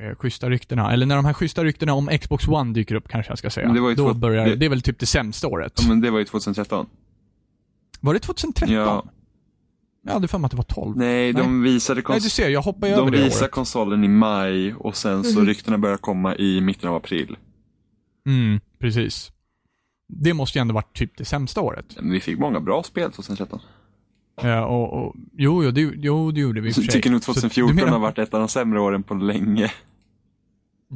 D: eh, schyssta ryktena, eller när de här schyssta ryktena om Xbox One dyker upp kanske jag ska säga.
B: Men det var ju
D: Då
B: två-
D: börjar, det...
B: det-
D: är väl typ det sämsta året.
B: Ja, men det var ju 2013.
D: Var det 2013?
B: Ja.
D: Jag hade för mig att det var 12.
B: Nej, de visade,
D: Nej,
B: kons-
D: du ser, jag hoppar ju över
B: de
D: det
B: visade
D: året.
B: konsolen i maj och sen så ryktena började komma i mitten av april.
D: Mm, precis. Det måste ju ändå varit typ det sämsta året.
B: Men vi fick många bra spel 2013.
D: Eh, och, och, jo, jo, det, jo, det gjorde vi i och för sig.
B: Tycker nog
D: Så du
B: 2014
D: menar-
B: har varit ett av de sämre åren på länge.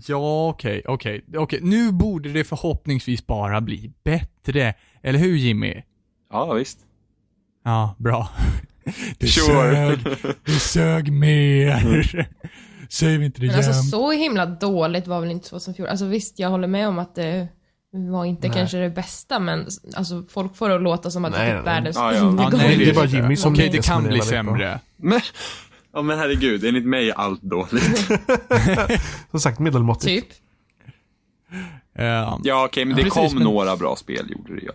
D: Ja, okej, okej, okej. Nu borde det förhoppningsvis bara bli bättre. Eller hur Jimmy?
B: Ja, visst.
D: Ja, bra. Det
B: Sure. Mm.
D: sög, det sög mer. Säg inte det
A: Men
C: Ehm.
A: alltså
D: jämt.
A: så himla dåligt var väl inte 2014. Alltså visst, jag håller med om att det var inte
C: Nej.
A: kanske det bästa, men alltså, folk får det att låta som att det
C: Nej,
A: är
C: nej,
A: typ
C: nej.
A: världens
B: Ja, ja.
D: Ja,
A: undergång.
D: nej,
C: Det är bara
D: inte.
C: Jimmy som
D: Okej,
C: ligger
D: det
C: som
D: kan
C: det
D: bli
C: är väldigt bra.
D: sämre.
B: Men, ja, men herregud, enligt mig är allt dåligt.
C: Som sagt, medelmåttigt.
A: Typ.
D: Ehm,
B: Ja, okej, men det
D: Ja, precis,
B: kom
D: men-
B: några bra spel, gjorde det ja.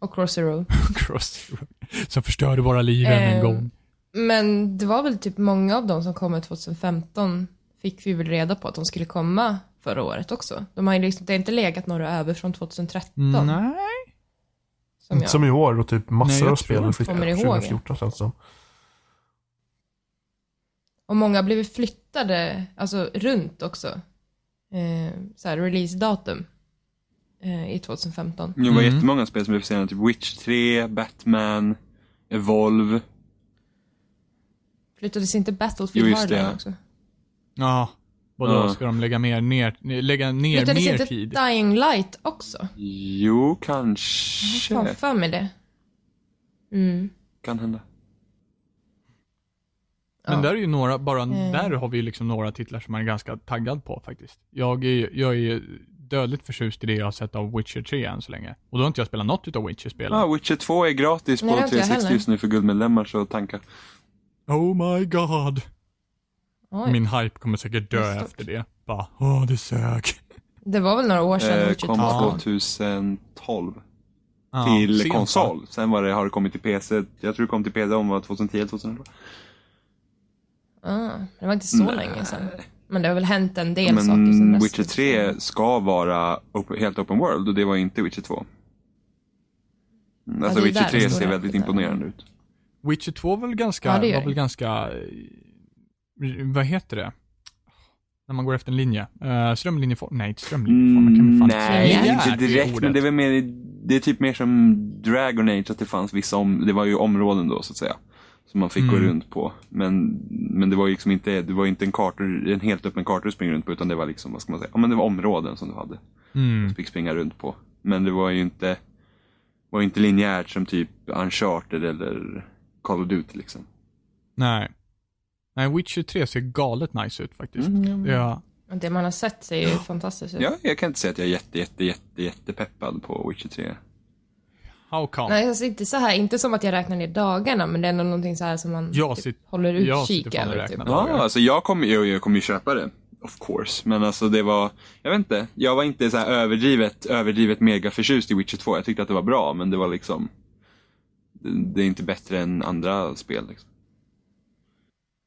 A: Och Cross the Road.
D: Cross the road. Som förstörde våra liv än en
C: Eh,
A: Ehm,
D: gång.
A: Men det var väl typ många av dem som kom 2015 fick vi väl reda på att de skulle komma förra året också. De har ju liksom, det har inte legat några över från 2013.
D: Mm. Nej.
A: Som jag.
C: Som i år och typ massor
D: Nej, jag
C: av
D: tror
C: spel
D: jag
C: har flyttat
A: kommer
C: till
A: ihåg.
C: 2014 känns det som.
A: Och många blev ju flyttade, alltså runt också. Eh, så här releasedatum eh, i 2015.
B: Det var
D: Mm.
B: jättemånga spel som blev försenade, typ Witch 3, Batman, Evolve.
A: Flyttades inte
B: Jo,
A: Battlefield
B: just
A: Hardline
B: det.
A: också?
D: Ja. Vadå,
B: Ja.
D: ska de lägga mer, ner, lägga ner
A: Flyttades
D: mer
A: inte
D: tid?
A: Dying Light också?
B: Jo, kanske.
A: Fan för mig det. Mm.
B: Kan hända.
D: Men
A: Ja.
D: där är ju några, bara
A: Eh.
D: där har vi ju liksom några titlar som man är ganska taggad på faktiskt. Jag är, ju- jag är ju dödligt förtjust i det jag har sett av Witcher 3 än så länge. Och då har inte jag spelat något utav Witcher-spelen.
B: ah, Witcher 2 är gratis
A: Nej, det har
B: på
A: inte jag
B: 360
A: heller.
B: just nu för guldmedlemmar, så tanka.
D: Oh my god.
A: Oj.
D: Min hype kommer säkert dö
A: Det är stort.
D: efter det. Bara, åh det sög.
A: Det var väl några år sedan
B: Eh,
A: Witcher
B: kom
A: 2.
B: 2012
D: Ja,
B: till
D: sent, va?
B: konsol. Sen var det, har det kommit till PC. Jag tror det kom till PC om var 2010, 2011.
A: Ah, det var inte så
B: Nej.
A: länge sedan. Men det har väl hänt en del saker sen
B: Men
A: dess.
B: Witcher 3 ska vara op- helt open world och det var inte Witcher 2. Mm, Alltså
A: det är
B: Witcher
A: där det
B: 3
A: stora
B: ser väldigt
A: där.
B: imponerande ut.
D: Witcher 2 var väl ganska,
A: Ja, det gör
D: var
A: det.
D: väl ganska, eh, vad heter det? När man går efter en linje. Uh, strömlinjeform, nej inte strömlinjeform, man kan väl fan
B: Mm, nej,
A: säga.
D: Linjär
B: inte direkt. Men
D: ordet.
B: det är, väl mer, det är typ mer som Dragon Age, att det fanns vissa om, det var ju områden då så att säga. Som man fick gå
D: Mm.
B: runt på. Men, men det var ju liksom inte, det var ju inte en, karta, en helt öppen karta du springer runt på, utan det var liksom, vad ska man säga, ja men det var områden som du hade.
D: Mm.
B: fick springa runt på. Men det var ju inte, var ju inte linjärt som typ Uncharted eller Call of Duty liksom.
D: Nej. Nej, Witcher 3 ser galet nice ut faktiskt. Ja.
A: Och Det man har sett ser ju fantastiskt ut.
B: Ja, jag kan inte säga att jag är jätte, jätte, jätte, jätte peppad på Witcher 3.
D: How come?
A: Nej, alltså inte så här, inte som att jag räknar ner dagarna, men det är ändå någonting så här som man
D: Jag
A: typ
D: sitter-
A: håller
D: jag
A: utkik
D: sitter fan och
A: över. Typ.
D: räknar.
B: Ja, alltså jag kommer ju jag kommer ju köpa det. Of course. Men alltså det var, jag vet inte. Jag var inte så här överdrivet, överdrivet mega förtjust i Witcher 2. Jag tyckte att det var bra, men det var liksom, det, det är inte bättre än andra spel liksom.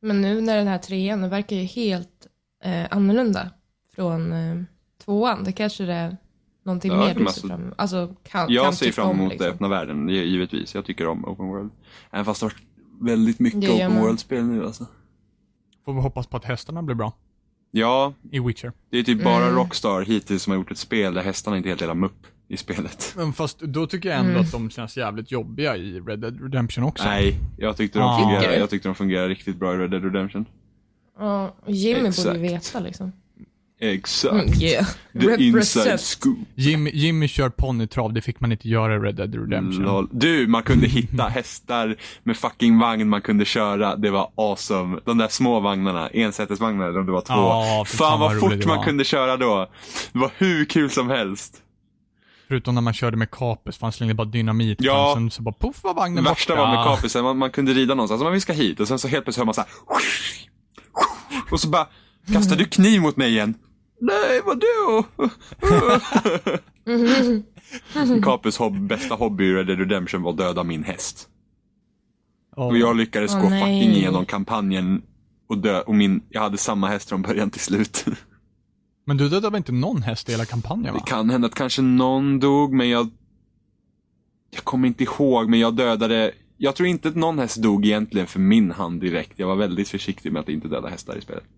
A: Men nu när den här trean, den verkar ju helt eh, annorlunda från eh, tvåan. Det kanske det är någonting
B: Ja,
A: mer du ser
B: men alltså,
A: fram emot. Alltså, kan, kan
B: Jag ser
A: tycka
B: fram
A: om,
B: emot
A: liksom.
B: det öppna världen, det är givetvis. Jag tycker om open world. Även fast det har varit väldigt mycket
A: Det gör
B: open
A: man.
B: world-spel nu alltså.
D: Får vi hoppas på att hästarna blir bra.
B: Ja,
D: i Witcher.
B: det är typ
A: Mm.
B: bara Rockstar hittills som har gjort ett spel där hästarna inte helt delar mupp i spelet.
D: Men fast då tycker jag ändå att de känns jävligt jobbiga i Red Dead Redemption också.
B: Nej, jag tyckte, de
D: Ah.
A: Tycker
B: fungerar,
A: du?
B: jag tyckte de fungerar riktigt bra i Red Dead Redemption.
A: Ja, Jimmy borde
B: Exakt.
A: ju veta liksom.
B: Exakt.
A: Mm, yeah.
B: The inside
A: Represent.
B: scoop.
D: Jimmy, Jimmy kör ponnytrav, det fick man inte göra i Red Dead Redemption.
B: Mm. Lol. Du, man kunde hitta hästar med fucking vagn man kunde köra. Det var awesome. De där små vagnarna, ensätesvagnar eller om det var två.
D: Ja, fy
B: fan, vad
D: roligt
B: fort
D: det
B: man
D: var.
B: kunde köra då. Det var hur kul som helst.
D: Förutom när man körde med kapes, för han slängde bara dynamit.
B: Ja.
D: Och sen så bara poff var
B: Det
D: vagnen
B: värsta
D: borta.
B: var med kapisen, man, man kunde rida någonstans. Man, vi ska hit och sen så helt plötsligt hör man så här. Och så bara, kastar du kniv mot mig igen? Nej, vadå? Kapus hob- bästa hobby i Red Dead Redemption var att döda min häst.
D: Ja.
B: Och jag lyckades
A: Åh,
B: gå
A: nej.
B: fucking igenom kampanjen och dö. Och min, jag hade samma häst från början till slut.
D: Men du dödade väl inte någon häst i hela kampanjen va?
B: Det kan hända att kanske någon dog, men jag... Jag kommer inte ihåg, men jag dödade... Jag tror inte att någon häst dog egentligen för min hand direkt. Jag var väldigt försiktig med att inte döda hästar i spelet.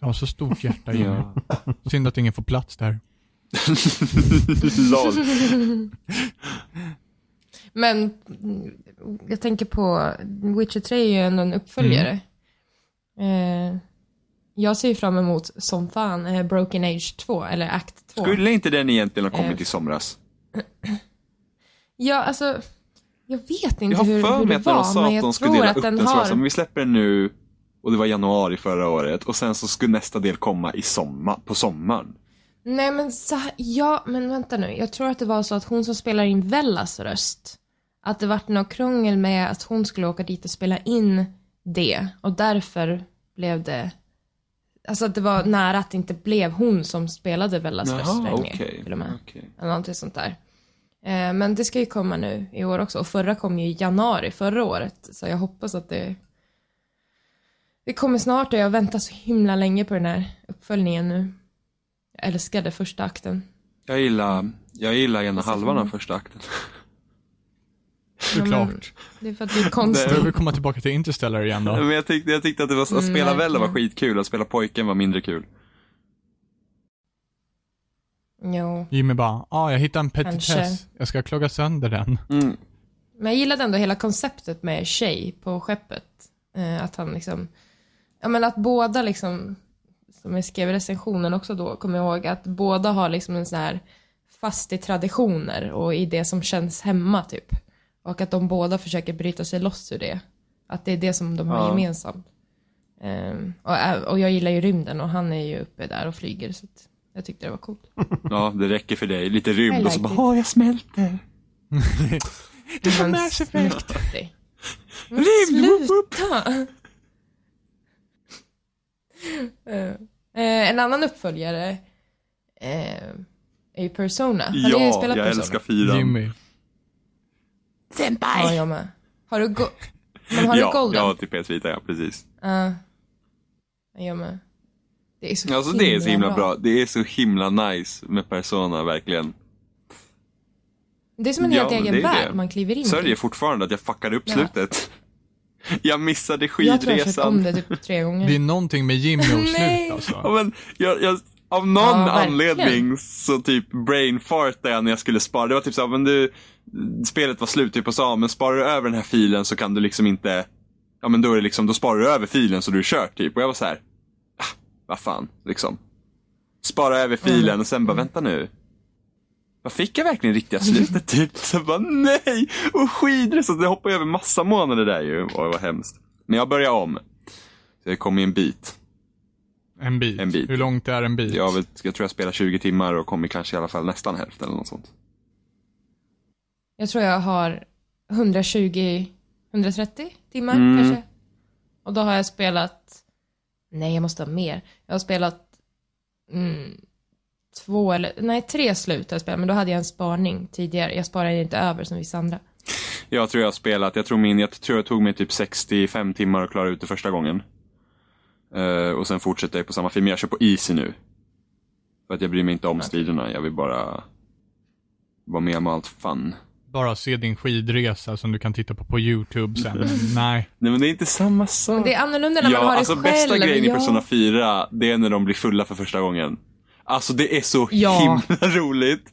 D: Jag har så stort hjärta Jimmy. Synd att ingen får plats där.
B: Lol.
A: Men mm, jag tänker på, Witcher 3 är ju ändå en uppföljare.
B: Mm.
A: Eh, jag ser ju fram emot som fan eh, Broken Age 2, eller Act 2.
B: Skulle inte den egentligen ha kommit
A: Eh.
B: i somras?
A: Ja, alltså, jag vet
B: Jag
A: inte
B: har
A: hur,
B: för
A: hur
B: mig
A: det
B: att de
A: var,
B: sa
A: men
B: att de
A: jag
B: skulle
A: tror
B: dela
A: att
B: upp den,
A: den
B: så var det så här, men
A: har...
B: vi släpper den nu och det var januari förra året och sen så skulle nästa del komma i sommar, på sommaren.
A: Nej men så, ja, men vänta nu. Jag tror att det var så att hon som spelar in Vellas röst, att det vart något krångel med att hon skulle åka dit och spela in det och därför blev det Alltså att det var nära att det inte blev hon som spelade Vellas röst
B: Jaha,
A: längre.
B: okej.
A: Till och med.
B: okej.
A: Eller någonting sånt där. Eh, men det ska ju komma nu i år också. Och förra kom ju i januari förra året. Så jag hoppas att det... Det kommer snart och jag väntar så himla länge på den här uppföljningen nu. Jag älskade första akten.
B: Jag gillar, jag gillar ena halvan av första akten.
A: Ja, men
D: Såklart.
A: Mm. det är för att det är
D: Jag behöver
A: konstigt.
D: komma tillbaka till Interstellar igen då.
B: Men jag tyckte, jag tyckte att det var, att
A: Mm,
B: spela Vella var
A: verkligen.
B: skitkul, att spela pojken var mindre kul.
A: Jo.
D: Jimmy bara, ah, jag hittade en petitess.
A: Kanske.
D: Jag ska klaga sönder den.
B: Mm.
A: Men jag gillade ändå hela konceptet med tjej på skeppet. Eh, att han liksom, ja men att båda liksom, som jag skrev i recensionen också då, kommer jag ihåg, att båda har liksom en sån här fast i traditioner och i det som känns hemma typ. Och att de båda försöker bryta sig loss ur det. Att det är det som de har
B: Ja.
A: gemensamt. Ehm, och, ä- och jag gillar ju rymden och han är ju uppe där och flyger så att jag tyckte det var coolt.
B: Ja, det räcker för dig. Lite rymd
A: I
B: och så
A: like
B: bara,
A: it.
B: åh, jag smälter.
A: Du får
D: Mass Effect.
B: Rymd! woop, woop.
A: Sluta! Eh, eh, en annan uppföljare eh, är ju Persona. Har du
B: Ja,
A: spelat
B: jag
A: Persona?
B: älskar fyran.
D: Jimmy.
B: Senpai!
A: Ja, jag med. Har du, go- Men har
B: ja,
A: du Golden?
B: jag har till PS Vita, ja precis.
A: Ja, jag med. Det är så,
B: Alltså
A: himla,
B: det är så himla bra. Det är så himla nice med Persona, verkligen.
A: Det är som en
B: Ja,
A: helt
B: men
A: egen
B: det är
A: värld
B: det.
A: man kliver in
B: Sörjer
A: i.
B: fortfarande att jag fuckade upp
A: Ja.
B: slutet. Jag missade
A: Jag tror jag kört om
B: skidresan.
A: det typ tre
D: Det är
A: gånger.
D: någonting med Jimmy och
A: Nej.
D: slut
B: Ja,
D: alltså.
B: men jag, jag, av någon
A: Ja, verkligen.
B: anledning så typ brainfartade jag när jag skulle spara. Det var typ såhär, men du, spelet var slut typ och sa, men sparar du över den här filen så kan du liksom inte, ja men då är det liksom, då sparar du över filen så du är kört typ. Och jag var så här, ah, vad fan, liksom. Spara
A: Mm.
B: över filen och sen bara, vänta nu. Vad fick jag verkligen riktiga slutet typ? Så jag bara, nej! Och skidresan, det hoppar ju över massa månader där ju. Oj, vad hemskt. Men jag börjar om. Så jag kom ju en bit.
D: En bit.
B: En bit.
D: Hur långt är en bit?
B: Jag, vet, jag tror jag spelar 20 timmar och kommer kanske i alla fall nästan hälften eller något sånt.
A: Jag tror jag har 120, 130 timmar
B: Mm.
A: kanske. Och då har jag spelat, nej jag måste ha mer. Jag har spelat mm, två eller, nej tre slut har jag spelat, men då hade jag en sparning tidigare. Jag sparade inte över som vissa andra.
B: Mm. Jag tror jag har spelat, jag tror, min, jag tror jag tog mig typ 65 timmar att klara ut det första gången. Eh, och sen fortsätter jag på samma film, men jag kör på easy nu. För att jag bryr mig inte om striderna, jag vill bara vara med om allt fun.
D: bara se din skidresa som du kan titta på på YouTube
B: Mm.
D: sen. Nej.
B: Nej men det är inte samma sak.
A: Det är annorlunda när man har
B: alltså
A: det själv.
B: bästa grejen i
A: ja.
B: Persona 4, det är när de blir fulla för första gången. Alltså det är så
A: Ja.
B: himla roligt.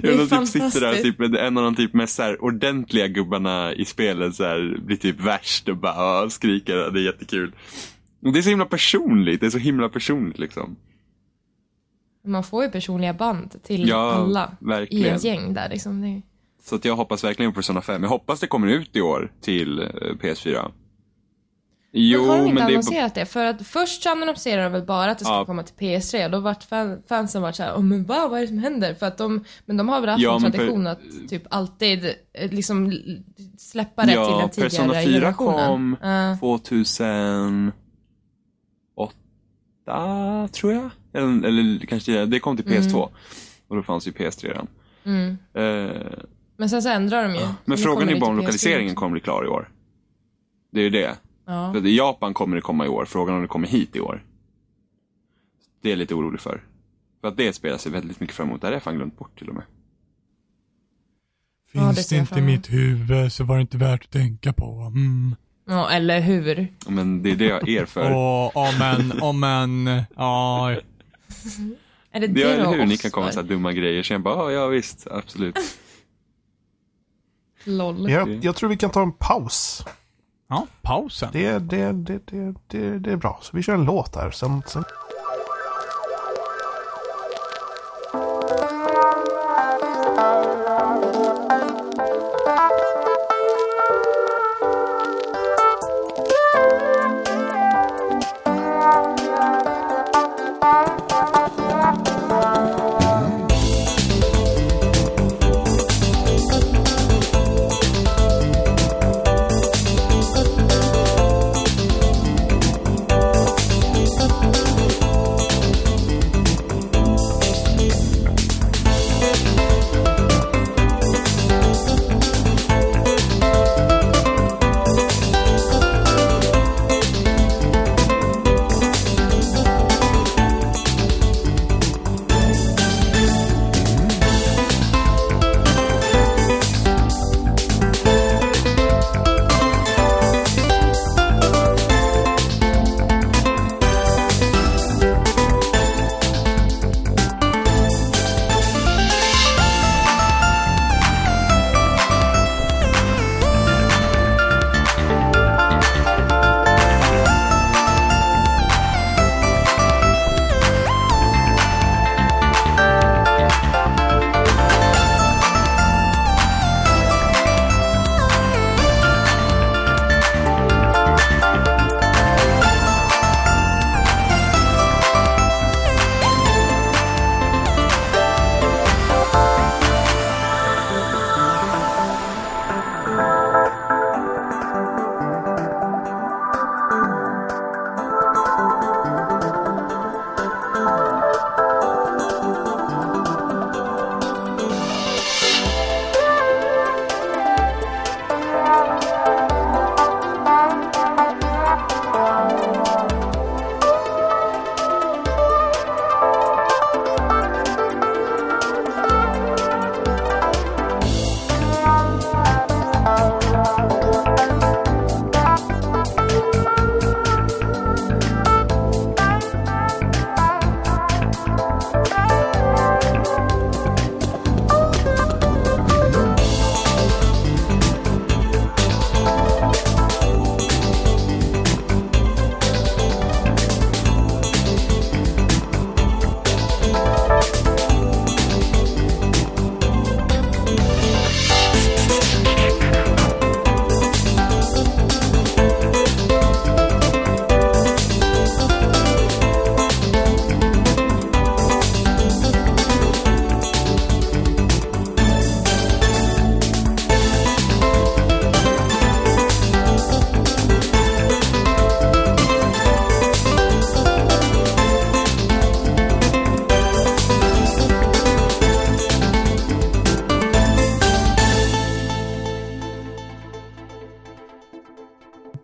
A: Det är
B: Jag vet att typ sitter där,
A: fantastiskt.
B: typ, en av de typ mest så här, ordentliga gubbarna i spelet så här, blir typ värst och bara "Ah", skriker. Det är jättekul. Det är så himla personligt. Det är så himla personligt liksom.
A: Man får ju personliga band till
B: Ja,
A: alla i
B: verkligen.
A: ett gäng där liksom. Det är...
B: Så att jag hoppas verkligen på Persona 5. Jag hoppas det kommer ut i år till eh, PS4. Jo,
A: men har de inte
B: men det är på...
A: annonserat det? För att först så annonserade de väl bara att det skulle
B: Ja.
A: komma till PS3 och då vart fan, fansen vart såhär, oh, men va, vad är det som händer? För att de, men de har väl haft
B: Ja,
A: en
B: men per-
A: tradition att typ alltid eh, liksom l- släppa det till
B: Ja,
A: den tidigare
B: Persona 4
A: generationen.
B: kom
A: Ja.
B: 2008, tror jag. Eller, eller kanske tidigare. det kom till PS2. Och då fanns ju PS3 redan.
A: mm.
B: Eh,
A: Men sen så ändrar de ju.
B: men
A: Nu
B: frågan
A: kommer
B: är
A: det
B: bara om
A: till PS4
B: lokaliseringen
A: också.
B: kommer bli klar i år. Det är ju det.
A: Ja.
B: För att I Japan kommer det komma i år. Frågan om det kommer hit i år. Det är jag lite orolig för. För att det spelar sig väldigt mycket fram emot. Det här har jag fan glömt bort till och med.
A: Ja, det
D: Finns
A: ser
D: det
A: jag
D: inte i
A: fram emot.
D: mitt huvud så var det inte värt att tänka på. Mm.
A: ja, eller hur?
B: Men det är det jag är er för.
D: Åh, oh, men, oh, men, ja.
A: Är det det,
B: Det är
A: då
B: eller hur ni
A: oss
B: kan komma med
A: för?
B: så här dumma grejer. Sen bara, "Ah, ja visst, absolut.
A: LOL.
C: Jag, jag tror vi kan ta en paus.
D: Ja, pausen.
C: Det, det, det, det, det, det är bra. Så vi kör en låt här. Sen, sen.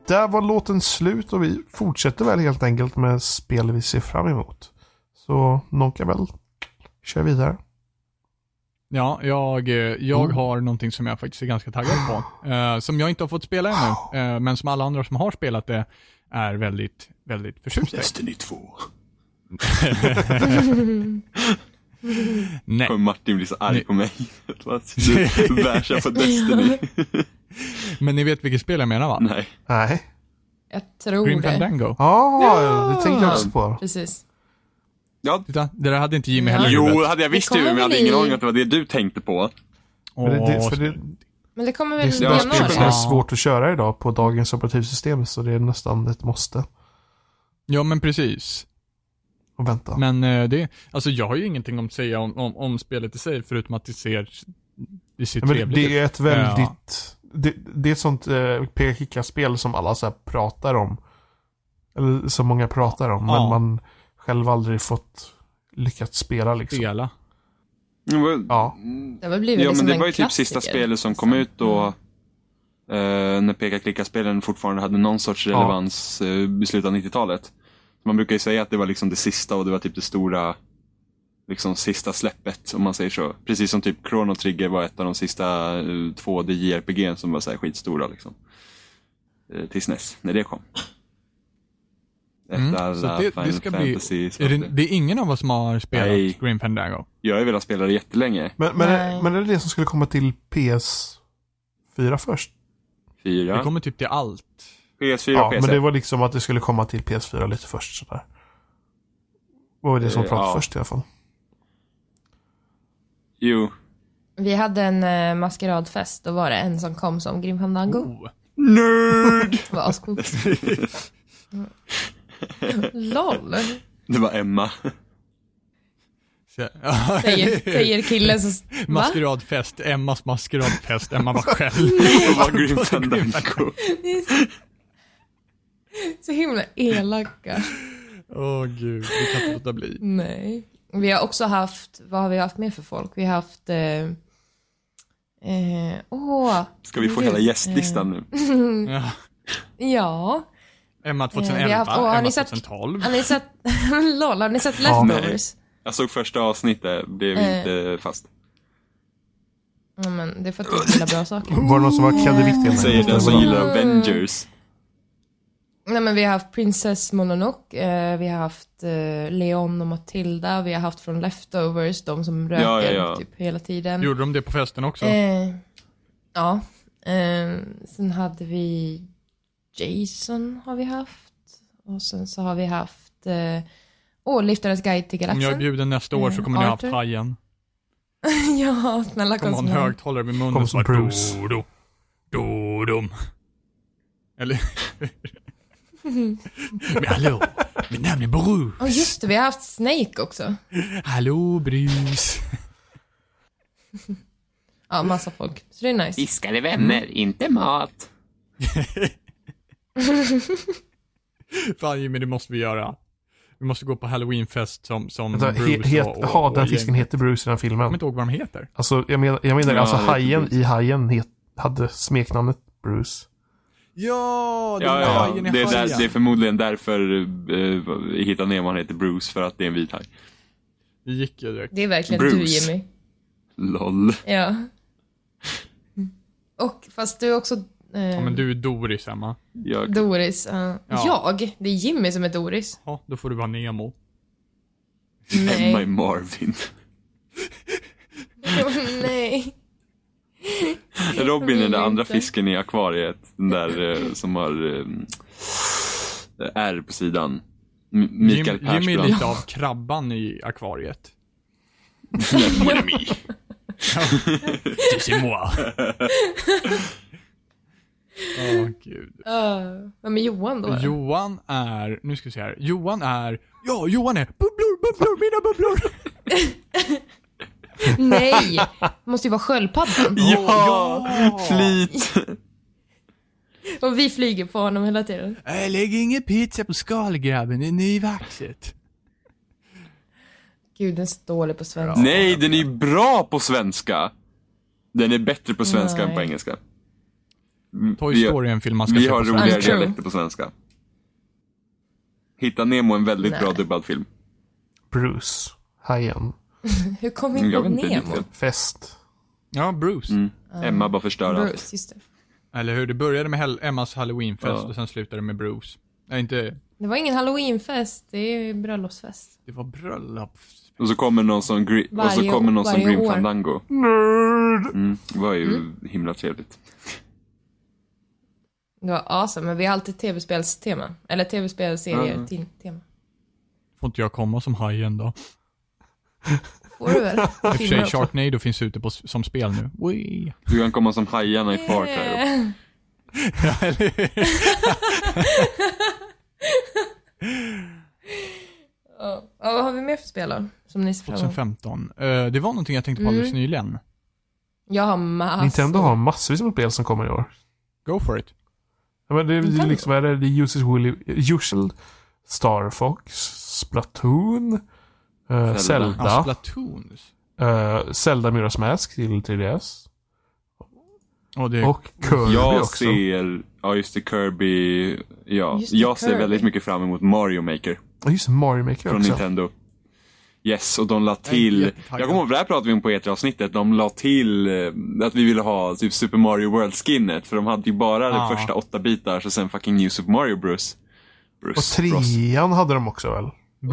C: Där var låten slut och vi fortsätter väl helt enkelt med spel vi ser fram emot. Så Nonka väl kör vidare.
D: Ja, jag, eh, jag
C: Mm.
D: har någonting som jag faktiskt är ganska taggad på. eh, som jag inte har fått spela ännu, eh, men som alla andra som har spelat det är väldigt, väldigt förtjusta i.
B: Destiny 2.
D: Nej.
B: Kommer Martin bli så arg på mig. du bär sig för Destiny.
D: Men ni vet vilket spel jag menar
C: Mm.
D: va?
B: Nej.
C: Nej.
A: Jag tror
C: Oh,
D: Grim
A: det.
D: Fandango.
C: Ah,
A: Ja.
C: det tänkte jag också på.
A: Precis.
B: Ja,
D: Titta, det där hade inte Jimmy
A: Ja.
D: heller i
B: jo,
D: huvudet.
B: hade jag visst
A: Det
B: det, men jag
A: kommer
B: hade ingen
A: bli-
B: aning om att det var det du tänkte på.
C: Men det, det,
D: Åh,
C: för det,
A: Men det kommer
C: det
A: väl
C: är
A: i
C: sådana
B: spelar-
A: januari?
C: spel som är
D: Ja.
C: svårt att köra idag på dagens operativsystem så det är nästan ett måste
D: Ja men precis.
C: att vänta.
D: Men eh, det, alltså jag har ju ingenting att säga om, om, om spelet i sig förutom att det ser, det ser
C: Ja, men
D: trevligt ut.
C: det är ett väldigt... Det, det är ett sånt eh, peka-klicka-spel som alla så här pratar om. Eller som många pratar om,
D: Ja.
C: men man själv aldrig fått lyckats spela liksom.
D: Spela.
C: Ja.
A: Det har väl blivit
B: Ja, men
A: liksom
B: det
A: en
B: var ju typ
A: klassiker. Mm.
B: sista spelet som kom ut då. eh, när peka-klicka-spelen fortfarande hade någon sorts
C: Ja.
B: relevans eh, i slutet av 90-talet. Man brukar ju säga att det var liksom det sista och det var typ det stora, liksom sista släppet om man säger så. Precis som typ Chrono Trigger var ett av de sista eh, 2D JRPG som var så här skitstora liksom. Eh, tills NES, när det kom. Efter
D: Mm. Så
B: alla
D: det,
B: Final
D: det ska bli,
B: Fantasy.
D: är det, det är ingen av oss som har spelat
B: Nej.
D: Grim Fandango.
B: Jag har ju velat spela det jättelänge.
C: Men, men,
A: Nej.
C: är, men är det det som skulle komma till PS4 först?
B: Fyra.
D: Det kommer typ till allt.
B: PS4
C: Ja,
B: och PS1.
C: men det var liksom att det skulle komma till PS4 lite först sådär. Vad var det som
B: Eh,
C: pratades
B: ja.
C: först i alla fall?
B: Jo.
A: Vi hade en eh, maskeradfest, då var det en som kom som Grim Fandango.
D: Oh.
B: Nerd!
A: Det var ascoolt. LOL,
B: Det var Emma.
D: Så-
A: säger, säger killen som... Va?
D: Maskeradfest, Emmas maskeradfest, Emma var själv.
B: Det var Grim Fandango.
A: Så himla elaka.
D: Åh gud, vi kan inte låta bli.
A: Nej. Vi har också haft, vad har vi haft mer för folk? Vi har haft... eh, Eh, åh,
B: Ska vi få
A: Gud.
B: hela gästlistan nu?
D: Ja.
A: Eh, ja.
D: Emma
A: Eh, Mm. vi
D: 2011,
A: har haft- åh, har
D: Emma
A: ni sett- Alltså-
D: 2012.
A: Har ni sett, LOL, har ni sett
C: Ja.
A: Leftovers?
B: Jag såg första avsnittet, blev
A: Eh.
B: inte fast.
A: Ja, men det är för att du gillar bra saker.
C: Var det någon som var Kaddevikten?
B: Säger den som gillar Avengers.
A: Nej men vi har haft Princess Mononoke, eh, vi har haft eh, Leon och Matilda, vi har haft från Leftovers, de som röker
B: Ja, ja, ja.
A: typ hela tiden.
D: Gjorde de det på festen också?
A: Eh, ja. Eh, sen hade vi Jason har vi haft. Och sen så har vi haft eh, Åh, Liftarens guide till
D: Om Mm, jag är
A: galaxen.
D: bjuden nästa år så
A: Eh,
D: kommer ni ha haft
A: Arthur.
D: hajen.
A: ja, snälla
D: Kommer
A: kom som
D: ha en
A: han.
D: högtalare vid munnen
C: Kom
D: och
C: som
D: bara,
C: Bruce.
D: "Dodo, Dodom. Eller... Men hallå, mitt namn är Bruce.
A: Ja, just det, vi har haft Snake också.
D: Hallå Bruce.
A: Ja, massa folk. Så det är nice.
B: Fiskade vänner, inte mat.
D: Fan Jimmy, det måste vi göra. Vi måste gå på halloweenfest som, som
C: Vänta,
D: Bruce
C: Alltså, he, het,
D: och, och,
C: ha, den
D: och
C: fisken
D: gänget.
C: heter Bruce i den
D: Jag kommer
C: filmen.
D: inte ihåg vad de heter.
C: Alltså, jag menar, jag menar
B: Ja,
C: alltså
B: det heter
C: hajen
B: Bruce.
C: i hajen het, hade smeknamnet Bruce.
D: Ja, det
B: Ja,
D: var
B: ja, ja.
D: hajen i
B: Det, är där,
D: hajen.
B: det är förmodligen därför uh, Hitta Nemo heter Bruce, för att det är en vit haj.
D: Det gick ju direkt.
A: Det är verkligen du
B: Bruce.
A: Jimmy.
B: LOL.
A: Ja. Och fast du är också eh,
D: Ja, men du är Doris Emma.
B: Jag,
A: Doris. ja.
D: Ja.
A: Jag? Det är Jimmy som är Doris.
D: Ja, då får du vara Nemo.
A: Nej.
B: Emma är Marvin.
A: Åh, Nej.
B: Robin
A: vill
B: är den
A: jag
B: andra
A: inte.
B: fisken i akvariet. Den där eh, som har uh, R på sidan. M- Mikael
D: Jim, Jimmy är
B: Persbrandt.
D: lite av krabban i akvariet.
B: Mon ami.
D: C'est moi. Åh gud.
A: Uh, vem är Johan då?
D: Johan är, nu ska vi se här. Johan är, ja Johan är bubblor, bubblor, mina bubblor.
A: Nej! Det måste ju vara sköldpaddan.
B: Ja! Flit!
A: Och vi flyger på honom hela tiden.
D: Äh, Lägg ingen pizza på skalgrabben, det är nyvaxet.
A: Gud, den är så dålig på svenska.
B: Nej, den är ju bra på svenska! Den är bättre på svenska än på
A: Nej.
B: engelska.
D: Mm. Toy
B: Vi-
D: Story är en film man ska
B: Vi
D: se på
B: har
D: svenska.
B: roligare
A: True.
B: dialekter på svenska. Hitta Nemo är en väldigt
A: Nej.
B: bra dubbad film.
C: Bruce. Hajen.
A: Hur kom vi in
B: Mm, Jag
A: på
B: vet inte
A: Nemo?
B: riktigt.
C: Fest.
D: Ja, Bruce.
B: Emma bara förstör allt.
A: Bruce, just det.
D: Eller hur? Det började med Hel- Emmas halloweenfest
B: Ja.
D: och sen slutade det med Bruce. Nej, inte...
A: Det var ingen halloweenfest, det är ju bröllopsfest.
D: Det var bröllop.
B: Och så kommer någon som, gri- och så
A: Varje-
B: kommer någon som
A: varje
B: Grim
A: år.
B: Fandango.
C: Nerd!
B: Mm, det var ju himla trevligt.
A: Det var awesome, men vi har alltid tv-spelstema. Eller tv-spelserier,
B: Mm.
A: till tema.
D: Får inte jag komma som hajen då?
A: Får du väl?
D: I och för sig, Sharknado finns ute på, s- som spel nu. Wee.
B: Du kan komma som hajarna i Far Cry.
A: Eh.
D: Ja, eller hur?
A: Ja, Ja, vad har vi mer för spel då? Som ni ser fram emot?
D: 2015. Eh, det var någonting jag tänkte på alldeles nyligen.
A: Jag har massor.
C: Nintendo har massvis med spel som kommer i år.
D: Go for it.
C: Ja, men det är ju
A: Nintendo?
C: liksom, vad är det? Det är Uses Willy, Usual, Star Fox, Splatoon, eh,
B: Zelda.
C: Zelda,
D: Ja, Alltså, Splatoons.
C: eh, Zelda Miras Mask till 3DS.
D: Och det,
C: Och Kirby
B: Jag
C: också.
B: ser, ja just det, Kirby. Ja,
A: Just det,
B: jag ser
A: Kirby.
B: väldigt mycket fram emot Mario Maker
C: Ja, just det, Mario Maker
B: från
C: också.
B: Nintendo. Yes, och de la
D: är
B: till,
D: jättetaggad.
B: jag kommer ihåg, det här pratade vi om på E3-avsnittet, de la till eh, att vi ville ha typ Super Mario World-skinnet, för de hade ju bara
D: Ah.
B: det första åtta bitar, så sen fucking New Super Mario Bros. Bruce.
C: Och
B: Bros.
C: trean hade de också väl?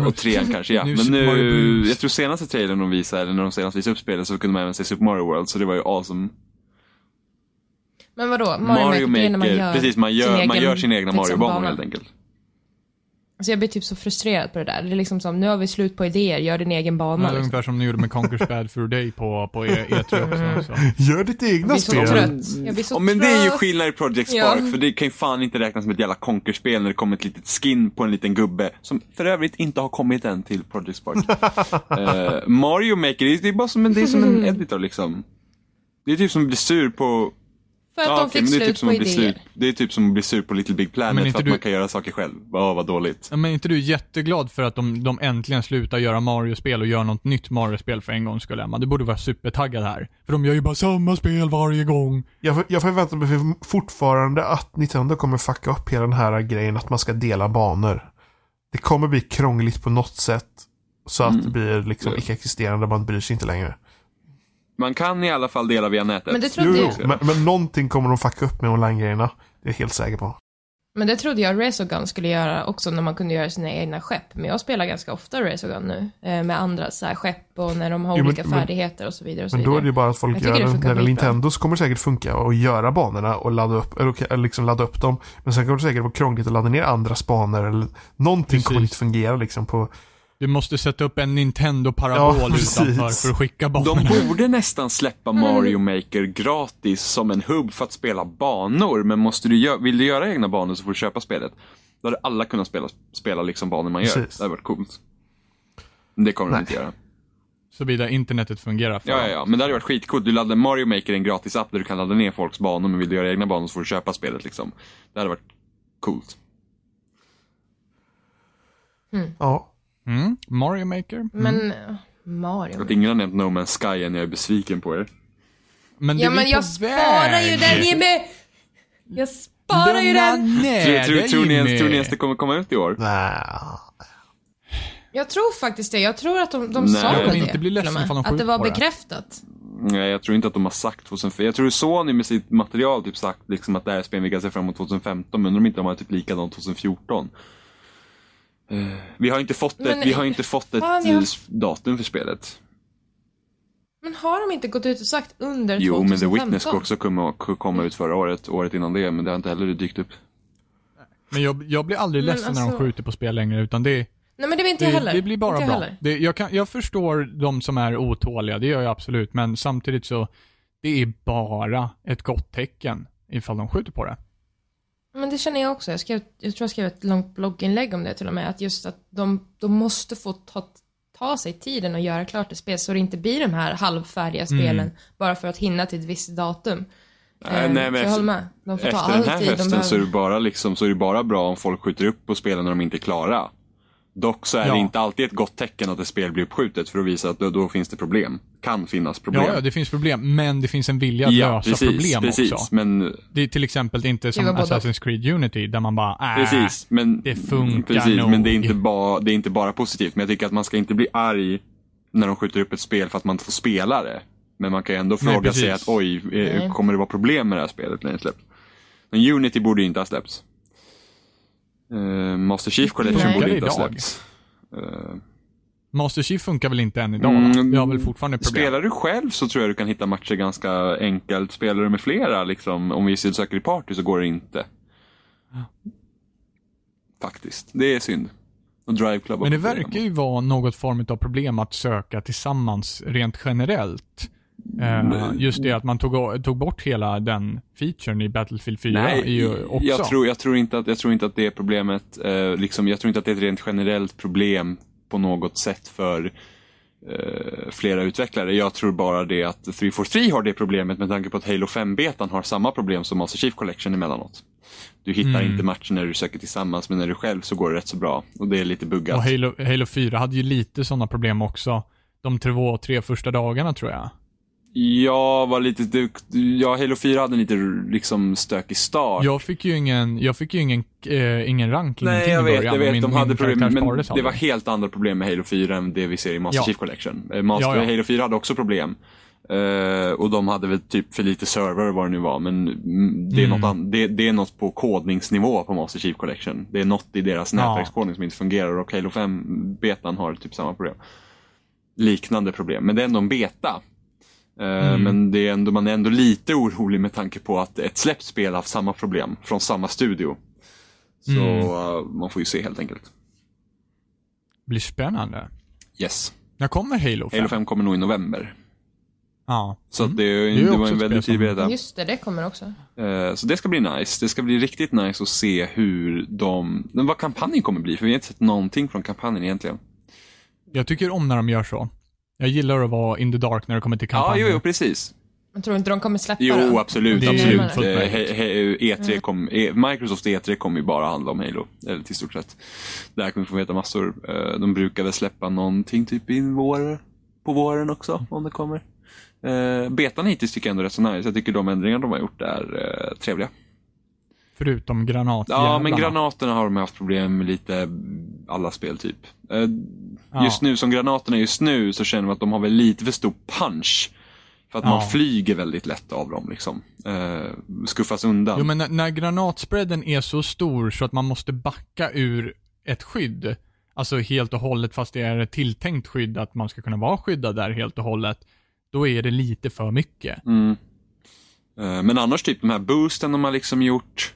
B: Och trean kanske ja.
D: Nu
B: Men
D: Super Mario
B: nu,
D: Bros.
B: jag tror senaste trailern de visade, eller när de senast visade upp spelet, så kunde man även se Super Mario World, så det var ju awesome.
A: Men vadå? Mario,
B: Mario
A: det är när man
B: Maker,
A: gör
B: precis man gör,
A: sin
B: man
A: egen,
B: gör sina egna
A: liksom,
B: Mario-banor
A: bana.
B: helt enkelt.
A: Alltså jag blir typ så frustrerad på det där. Det är liksom som, nu har vi slut på idéer, gör din egen bana.
D: Ja,
A: liksom.
D: Eh, ungefär som ni gjorde med Conquer's Bad Fur Day på, på E-
A: Mm.
D: E3 också. Så.
C: Gör ditt
A: Jag
C: egna
A: blir så
C: spel.
A: trött. Jag blir så
B: Ja, men det
A: trött.
B: är ju skillnad i Project Spark,
A: Ja.
B: för det kan ju fan inte räknas som ett jävla konkerspel när det kommer ett litet skin på en liten gubbe, som för övrigt inte har kommit än till Project Spark. Eh, Mario Maker, det är- det är bara som en, det är som
A: Mm.
B: en editor liksom. Det är typ som att bli sur på...
A: För att de
B: okej,
A: fick
B: men det, är
A: slut
B: typ som
A: på
B: att bli sur,
A: idéer.
B: det är typ som att bli sur på Little Big
D: Men
B: Planet
D: inte
B: för att
D: du-
B: man kan göra saker själv. Ja, vad dåligt.
D: Ja, Men är inte du jätteglad för att de, de äntligen slutar göra Mario-spel och gör något nytt Mario-spel för en gång skulle Emma? Du borde vara supertaggad här. För de gör ju bara samma spel varje gång.
C: Jag, för, jag förväntar mig fortfarande att Nintendo kommer fucka upp hela den här grejen att man ska dela banor. Det kommer bli krångligt på något sätt. Så
A: Mm.
C: att det blir liksom
B: Ja.
C: icke-existerande, man bryr sig inte längre.
B: Man kan i alla fall dela via nätet.
A: Men det trodde jag.
C: Men, men någonting kommer de fucka upp med online-grejerna. Det är jag helt säker på.
A: Men det trodde jag Resogun skulle göra också när man kunde göra sina egna skepp. Men jag spelar ganska ofta Resogun nu. eh, Med andra så här skepp och när de har
C: Jo, men-
A: olika
C: men-
A: färdigheter och så vidare. Och så
C: Men då är
A: vidare.
C: det ju bara att folk
A: Jag
C: gör
A: tycker det
C: det.
A: funkar
C: När det är
A: skitbra.
C: Nintendo så kommer det säkert funka och göra banorna och ladda upp, eller, okej, eller liksom ladda upp dem. Men sen kommer det säkert vara krångligt att ladda ner andras banor. Eller någonting
D: Precis.
C: kommer inte fungera liksom på...
D: Du måste sätta upp en Nintendo-parabol
C: Ja, precis.
D: utanför för att skicka
B: De
D: banorna.
B: borde nästan släppa Mario Maker gratis som en hubb för att spela banor. Men måste du gö- vill du göra egna banor så får du köpa spelet. Då hade alla kunnat spela, spela liksom banor man gör.
C: Precis.
B: Det hade varit coolt. Men Det kommer de inte göra.
D: Såvida internetet fungerar för
B: Ja, ja,
D: dem.
B: ja. Men det hade varit skitcoolt. Du laddar Mario Maker är en gratis app där du kan ladda ner folks banor. Men vill du göra egna banor så får du köpa spelet liksom. Det hade varit coolt.
C: Ja.
D: Mm? Mario Maker?
A: Men eh, Mario.
B: Att ingen har nämnt No Man's Sky än, jag är besviken på er.
D: Men
A: Ja
D: det är
A: men
D: ju
A: jag
D: på
A: sparar ju
D: väg.
A: den Jimmy! Jag sparar ju
D: Lugna
A: den!
D: ner
B: Tror, tror,
D: dig,
B: tror, ni ens, tror ni
D: Jimmy.
B: ens det kommer komma ut i år?
C: Nä.
A: Jag tror faktiskt det. Jag tror att de, de
B: Nej.
A: sa
B: Jag
A: väl
B: kommer
A: det.
D: inte bli ledsen
A: till och med.
D: ifall de
A: Att det
D: skjuter
A: var
D: på det.
A: bekräftat.
B: Nej, jag tror inte att de har sagt 2005. Jag tror Sony med sitt material typ sagt liksom att det här är spel vi kan se fram emot 2015, men undrar om inte de har typ likadant 2014. Eh, Vi har inte fått
A: Men-
B: ett, vi har inte fått ett
A: Fan, jag-
B: eh, datum för spelet.
A: Men har de inte gått ut och sagt under
B: Jo,
A: 2015?
B: men The Witness ska också komma, komma ut förra året, året innan det, men det har inte heller dykt upp.
D: Men jag, jag blir aldrig
A: Men
D: ledsen när de
A: alltså-
D: skjuter på spel längre, utan det är
A: Nej men det blir inte jag
D: Det,
A: heller.
D: det blir bara
A: inte jag
D: bra.
A: Heller.
D: Det, jag, kan, jag förstår de som är otåliga, det gör jag absolut, men samtidigt så, det är bara ett gott tecken ifall de skjuter på det.
A: Men det känner jag också. Jag, skrev, jag tror jag skrev ett långt blogginlägg om det till och med. Att just att de, de måste få ta, ta sig tiden och göra klart ett spel så det inte blir de här halvfärdiga
B: Mm.
A: spelen bara för att hinna till ett visst datum.
B: Nej,
A: Eh,
B: nej,
A: så
B: men
A: jag
B: efter-
A: håller med. De får ta
B: Efter
A: all
B: den här
A: tid de
B: hösten så är, det
A: behöver.
B: bara liksom, så är det bara bra om folk skjuter upp på spelen när de inte är klara. Dock så är
D: Ja.
B: det inte alltid ett gott tecken att ett spel blir uppskjutet för att visa att då, då finns det problem. Kan finnas problem.
D: Ja, ja, det finns problem, men det finns en vilja att lösa problem
B: precis,
D: också. Äh,
B: Men,
D: Det är till exempel inte som
A: var både-
D: Assassin's Creed Unity, där man bara äh,
B: precis, men,
D: det funkar
B: precis,
D: nog.
B: Men det är, inte ba, det är inte bara positivt. Men jag tycker att man ska inte bli arg när de skjuter upp ett spel för att man inte får spela det. Men man kan ju ändå
D: Nej,
B: fråga sig att
D: precis.
B: oj, eh,
A: Nej.
B: kommer det vara problem med det här spelet när det släpps? Men Unity borde ju inte ha släppts. Eh, Master Chief Collection
A: Nej.
B: borde inte
D: Funkar
B: ha
D: det idag?
B: släppts. Eh,
D: Master Chief funkar väl inte än idag?
B: Mm,
D: Mm, jag har väl fortfarande problem.
B: Spelar du själv så tror jag du kan hitta matcher ganska enkelt. Spelar du med flera, liksom, om vi söker i party så går det inte. Faktiskt. Det är synd. Och Drive Club har
D: Men det
B: problem.
D: verkar ju vara något form av problem att söka tillsammans rent generellt. Eh,
B: Mm.
D: just det att man tog, tog bort hela den featuren i Battlefield 4 är ju också.
B: Jag tror, jag, tror inte att, jag tror inte att det är problemet. Eh, liksom, jag tror inte att det är ett rent generellt problem på något sätt för eh, flera utvecklare. Jag tror bara det att 343 har det problemet med tanke på att Halo 5-betan har samma problem som Master Chief Collection emellanåt. Du hittar
D: Mm.
B: inte matcher när du söker tillsammans, men när du är själv så går det rätt så bra. Och det är lite buggat.
D: Och Halo, Halo 4 hade ju lite sådana problem också. De två, tre första dagarna tror jag.
B: Jag var lite... dukt- Ja, Halo 4 hade en lite liksom, stökig start.
D: Jag fick ju ingen, jag fick ju ingen, eh, ingen rank,
B: Nej,
D: ingenting
B: jag
D: i
B: vet.
D: början.
B: Jag vet
D: Min-
B: de
D: min
B: hade problem,
D: karaktär
B: men
D: sparades
B: det
D: aldrig.
B: var helt andra problem med Halo 4 än det vi ser i Master
D: Ja.
B: Chief Collection. Eh, Master,
D: Ja, ja.
B: Halo 4 hade också problem. Eh, och de hade väl typ för lite server vad det nu var. Men mm, det är, något, an- det, det är något på kodningsnivå på Master Chief Collection. Det är något i deras
D: Ja.
B: nätverkskodning som inte fungerar och Halo 5-betan har typ samma problem. Liknande problem, men det är ändå en beta. Eh,
D: Mm.
B: Men det är ändå, man är ändå lite orolig med tanke på att ett släppt spel har haft samma problem från samma studio. Så
D: Mm.
B: eh, man får ju se helt enkelt.
D: blir spännande.
B: Yes.
D: När kommer Halo 5?
B: Halo 5 kommer nog i november.
D: Ja.
B: Så att det, är ju-
D: Mm. Det är ju
B: det var
D: också
B: en
D: ett
B: väldigt
D: spel
B: tydlig
D: som-
B: beta.
A: Just det, det kommer också.
B: Eh, Så det ska bli nice. Det ska bli riktigt nice att se hur de... men Vad kampanjen kommer bli, för vi har inte sett någonting från kampanjen egentligen.
D: Jag tycker om när de gör så. Jag gillar att vara in the dark när det kommer till
B: Ja,
D: kampanjen.
B: jo, jo, precis.
A: Jag tror inte de kommer släppa den.
B: Jo, absolut.
D: Det är Mm. ju
B: absolut.
D: fullt
B: Eh,
D: möjligt.
B: he- he- E3 kom, e, Microsoft E3 kommer ju bara handla om Halo, eller till stort sett. Där kommer vi få veta massor. Eh, De brukar väl släppa någonting typ i vår, på våren också, om det kommer. Eh, Betan hittills tycker jag ändå är rätt så nice. Jag tycker de ändringar de har gjort är eh, trevliga.
D: Förutom granatjävlarna.
B: Ja, men granaterna har de haft problem med lite alla spel typ. Eh,
D: Ja.
B: Just nu, som granaterna är just nu, så känner man att de har väl lite för stor punch. För att
D: Ja.
B: man flyger väldigt lätt av dem liksom. Eh, Skuffas undan.
D: Jo, men när, när granatspreaden är så stor så att man måste backa ur ett skydd, alltså helt och hållet fast det är ett tilltänkt skydd, att man ska kunna vara skyddad där helt och hållet, då är det lite för mycket.
B: Mm. Eh, Men annars typ de här boosten de har liksom gjort.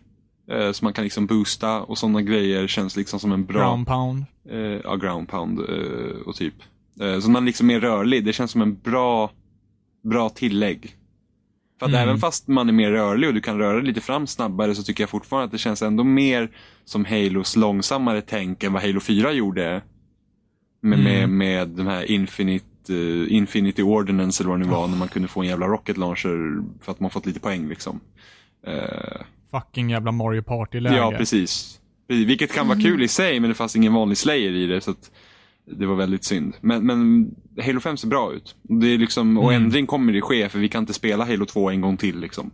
B: eh, Så man kan liksom boosta och sådana grejer känns liksom som en bra...
D: Ground pound.
B: eh, ja, ground pound eh, och typ. Eh, så man liksom är rörlig. Det känns som en bra, bra tillägg. För att
D: Mm.
B: även fast man är mer rörlig och du kan röra dig lite fram snabbare så tycker jag fortfarande att det känns ändå mer som Halos långsammare tänk än vad Halo 4 gjorde. Med, med, med de här Infinite, eh, Infinity Ordinance eller vad det nu var när man kunde få en jävla rocket launcher för att man fått lite poäng liksom. Eh,
D: Fucking jävla Mario Party-läge.
B: Ja, precis. Vilket kan vara kul i sig, men det fanns ingen vanlig slayer i det. Så att det var väldigt synd. Men, men Halo 5 ser bra ut. Det är liksom, och ändring kommer det ske, för vi kan inte spela Halo 2 en gång till. Liksom.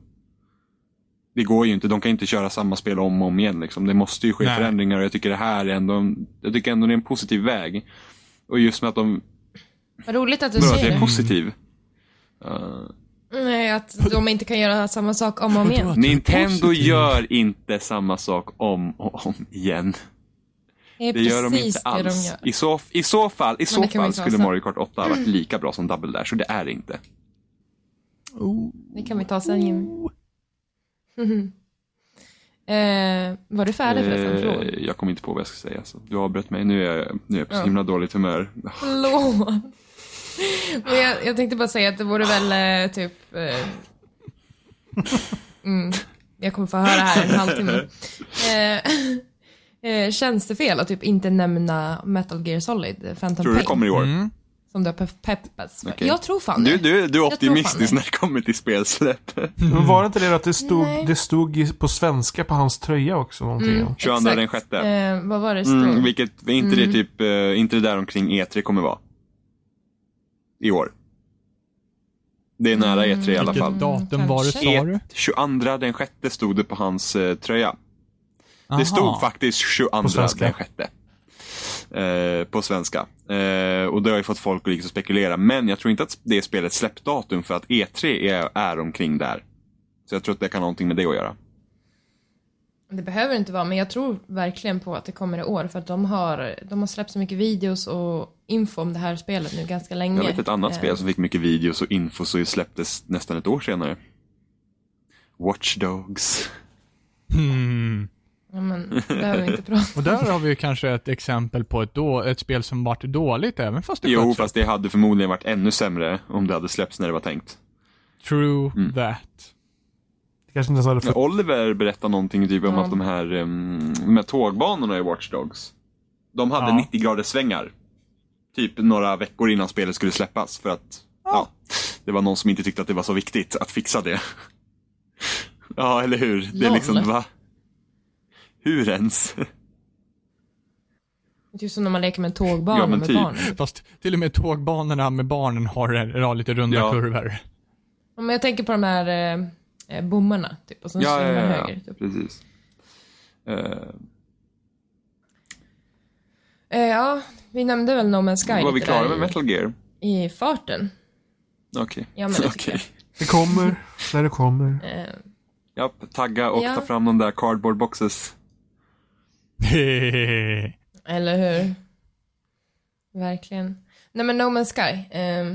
B: Det går ju inte. De kan inte köra samma spel om och om igen. Liksom. Det måste ju ske
D: Nej.
B: förändringar och jag tycker det här är ändå, en- jag tycker ändå det är en positiv väg. Och just med att de,
A: Vad roligt att du
B: bara att jag
A: säger
B: är
A: det.
B: positiv. Uh,
A: Nej, att de inte kan göra samma sak om och om igen.
B: Nintendo
D: positiv.
B: gör inte samma sak om och om igen.
A: Det är
B: Det gör de
A: precis
B: inte
A: det de
B: alls.
A: gör.
B: I, så, I så fall, i så
A: det kan vi
B: fall
A: inte
B: skulle
A: ha
B: Mario Kart 8 ha varit lika bra som Double Dash och det är det inte.
A: Det kan vi ta sen Jimmy. eh, var du färdig förresten? Förlåt.
B: Eh, jag kommer inte på vad jag ska säga. Så du avbröt mig. Nu är jag, nu är jag på så himla dåligt humör.
A: Förlåt. Men jag, jag tänkte bara säga att det vore väl eh, typ... Eh, mm, jag kommer få höra här en halvtimme. Eh, eh, känns det fel att typ inte nämna Metal Gear Solid, Phantom
B: Tror du det
A: Pain,
B: kommer i år?
D: Mm.
A: som du har pe- peppats för?
B: Okej.
A: Jag tror fan det.
B: Du, du, du är
A: Jag tror
B: optimistisk
A: fan
B: när det kommer till spelsläpp.
C: Men
B: Mm.
C: var det inte det att det
A: Nej. Mm.
C: stod, det stod i- på svenska på hans tröja också någonting?
B: 22
A: Exakt.
B: den sjätte.
A: Eh, vad var det stod?
B: Mm, vilket, är inte det typ, eh, inte det där omkring E3 kommer vara? I år. Det är nära E3 i alla
D: Mm. Vilket
B: fall.
D: datum var det,
A: kanske.
D: sa du?
B: E- 22 den sjätte stod det på hans eh, tröja.
D: Aha.
B: Det stod faktiskt 22
C: svenska.
B: den sjätte. Eh, på svenska. Eh, och det har ju fått folk att liksom spekulera. Men jag tror inte att det är spelet släppdatum för att E3 är, är omkring där. Så jag tror att det kan ha någonting med det att göra.
A: Det behöver inte vara, men jag tror verkligen på att det kommer i år för att de har, de har släppt så mycket videos och info om det här spelet nu ganska länge.
B: Jag vet ett annat
A: Eh,
B: spel som fick mycket videos och info så släpptes nästan ett år senare. Watch Dogs.
D: Hmm.
A: Ja, men det behöver vi inte prata
D: Och där har vi ju kanske ett exempel på ett, då, ett spel som varit dåligt även fast det
B: Jo,
D: sköts
B: fast det hade förmodligen varit ännu sämre om det hade släppts när det var tänkt.
D: True
B: Mm.
D: that.
C: Det kanske inte ens hade
B: Men
C: för...
B: Oliver berättade någonting typ om
A: Ja.
B: att de här, um, de här tågbanorna i Watch Dogs. De hade
D: Ja.
B: 90 graders svängar. Typ några veckor innan spelet skulle släppas för att ja, det var någon som inte tyckte att det var så viktigt att fixa det. ja, eller hur? Det är
A: Lol.
B: liksom, va? Hur ens?
A: om. Typ som när man leker med en tågbana
B: Ja, men
A: med
B: typ.
A: barnen.
D: Fast till och med tågbanorna med barnen har, har lite runda
B: Ja.
D: kurvor.
A: Ja, men jag tänker på de här eh, eh, bommarna typ och sen
B: Ja, ja,
A: svänger man
B: ja, ja.
A: höger. Typ.
B: precis. Eh,
A: Eh, ja, vi nämnde väl No Man's Sky
B: var vi
A: lite
B: klara
A: där
B: med
A: i-
B: Metal Gear?
A: i farten.
B: Okej.
A: Ja, men det tycker
B: Okej.
C: Det kommer när det kommer.
A: Eh,
B: Japp, tagga och
A: Ja.
B: ta fram de där cardboard boxes.
A: eller hur? Verkligen. Nej men No Man's Sky. Eh,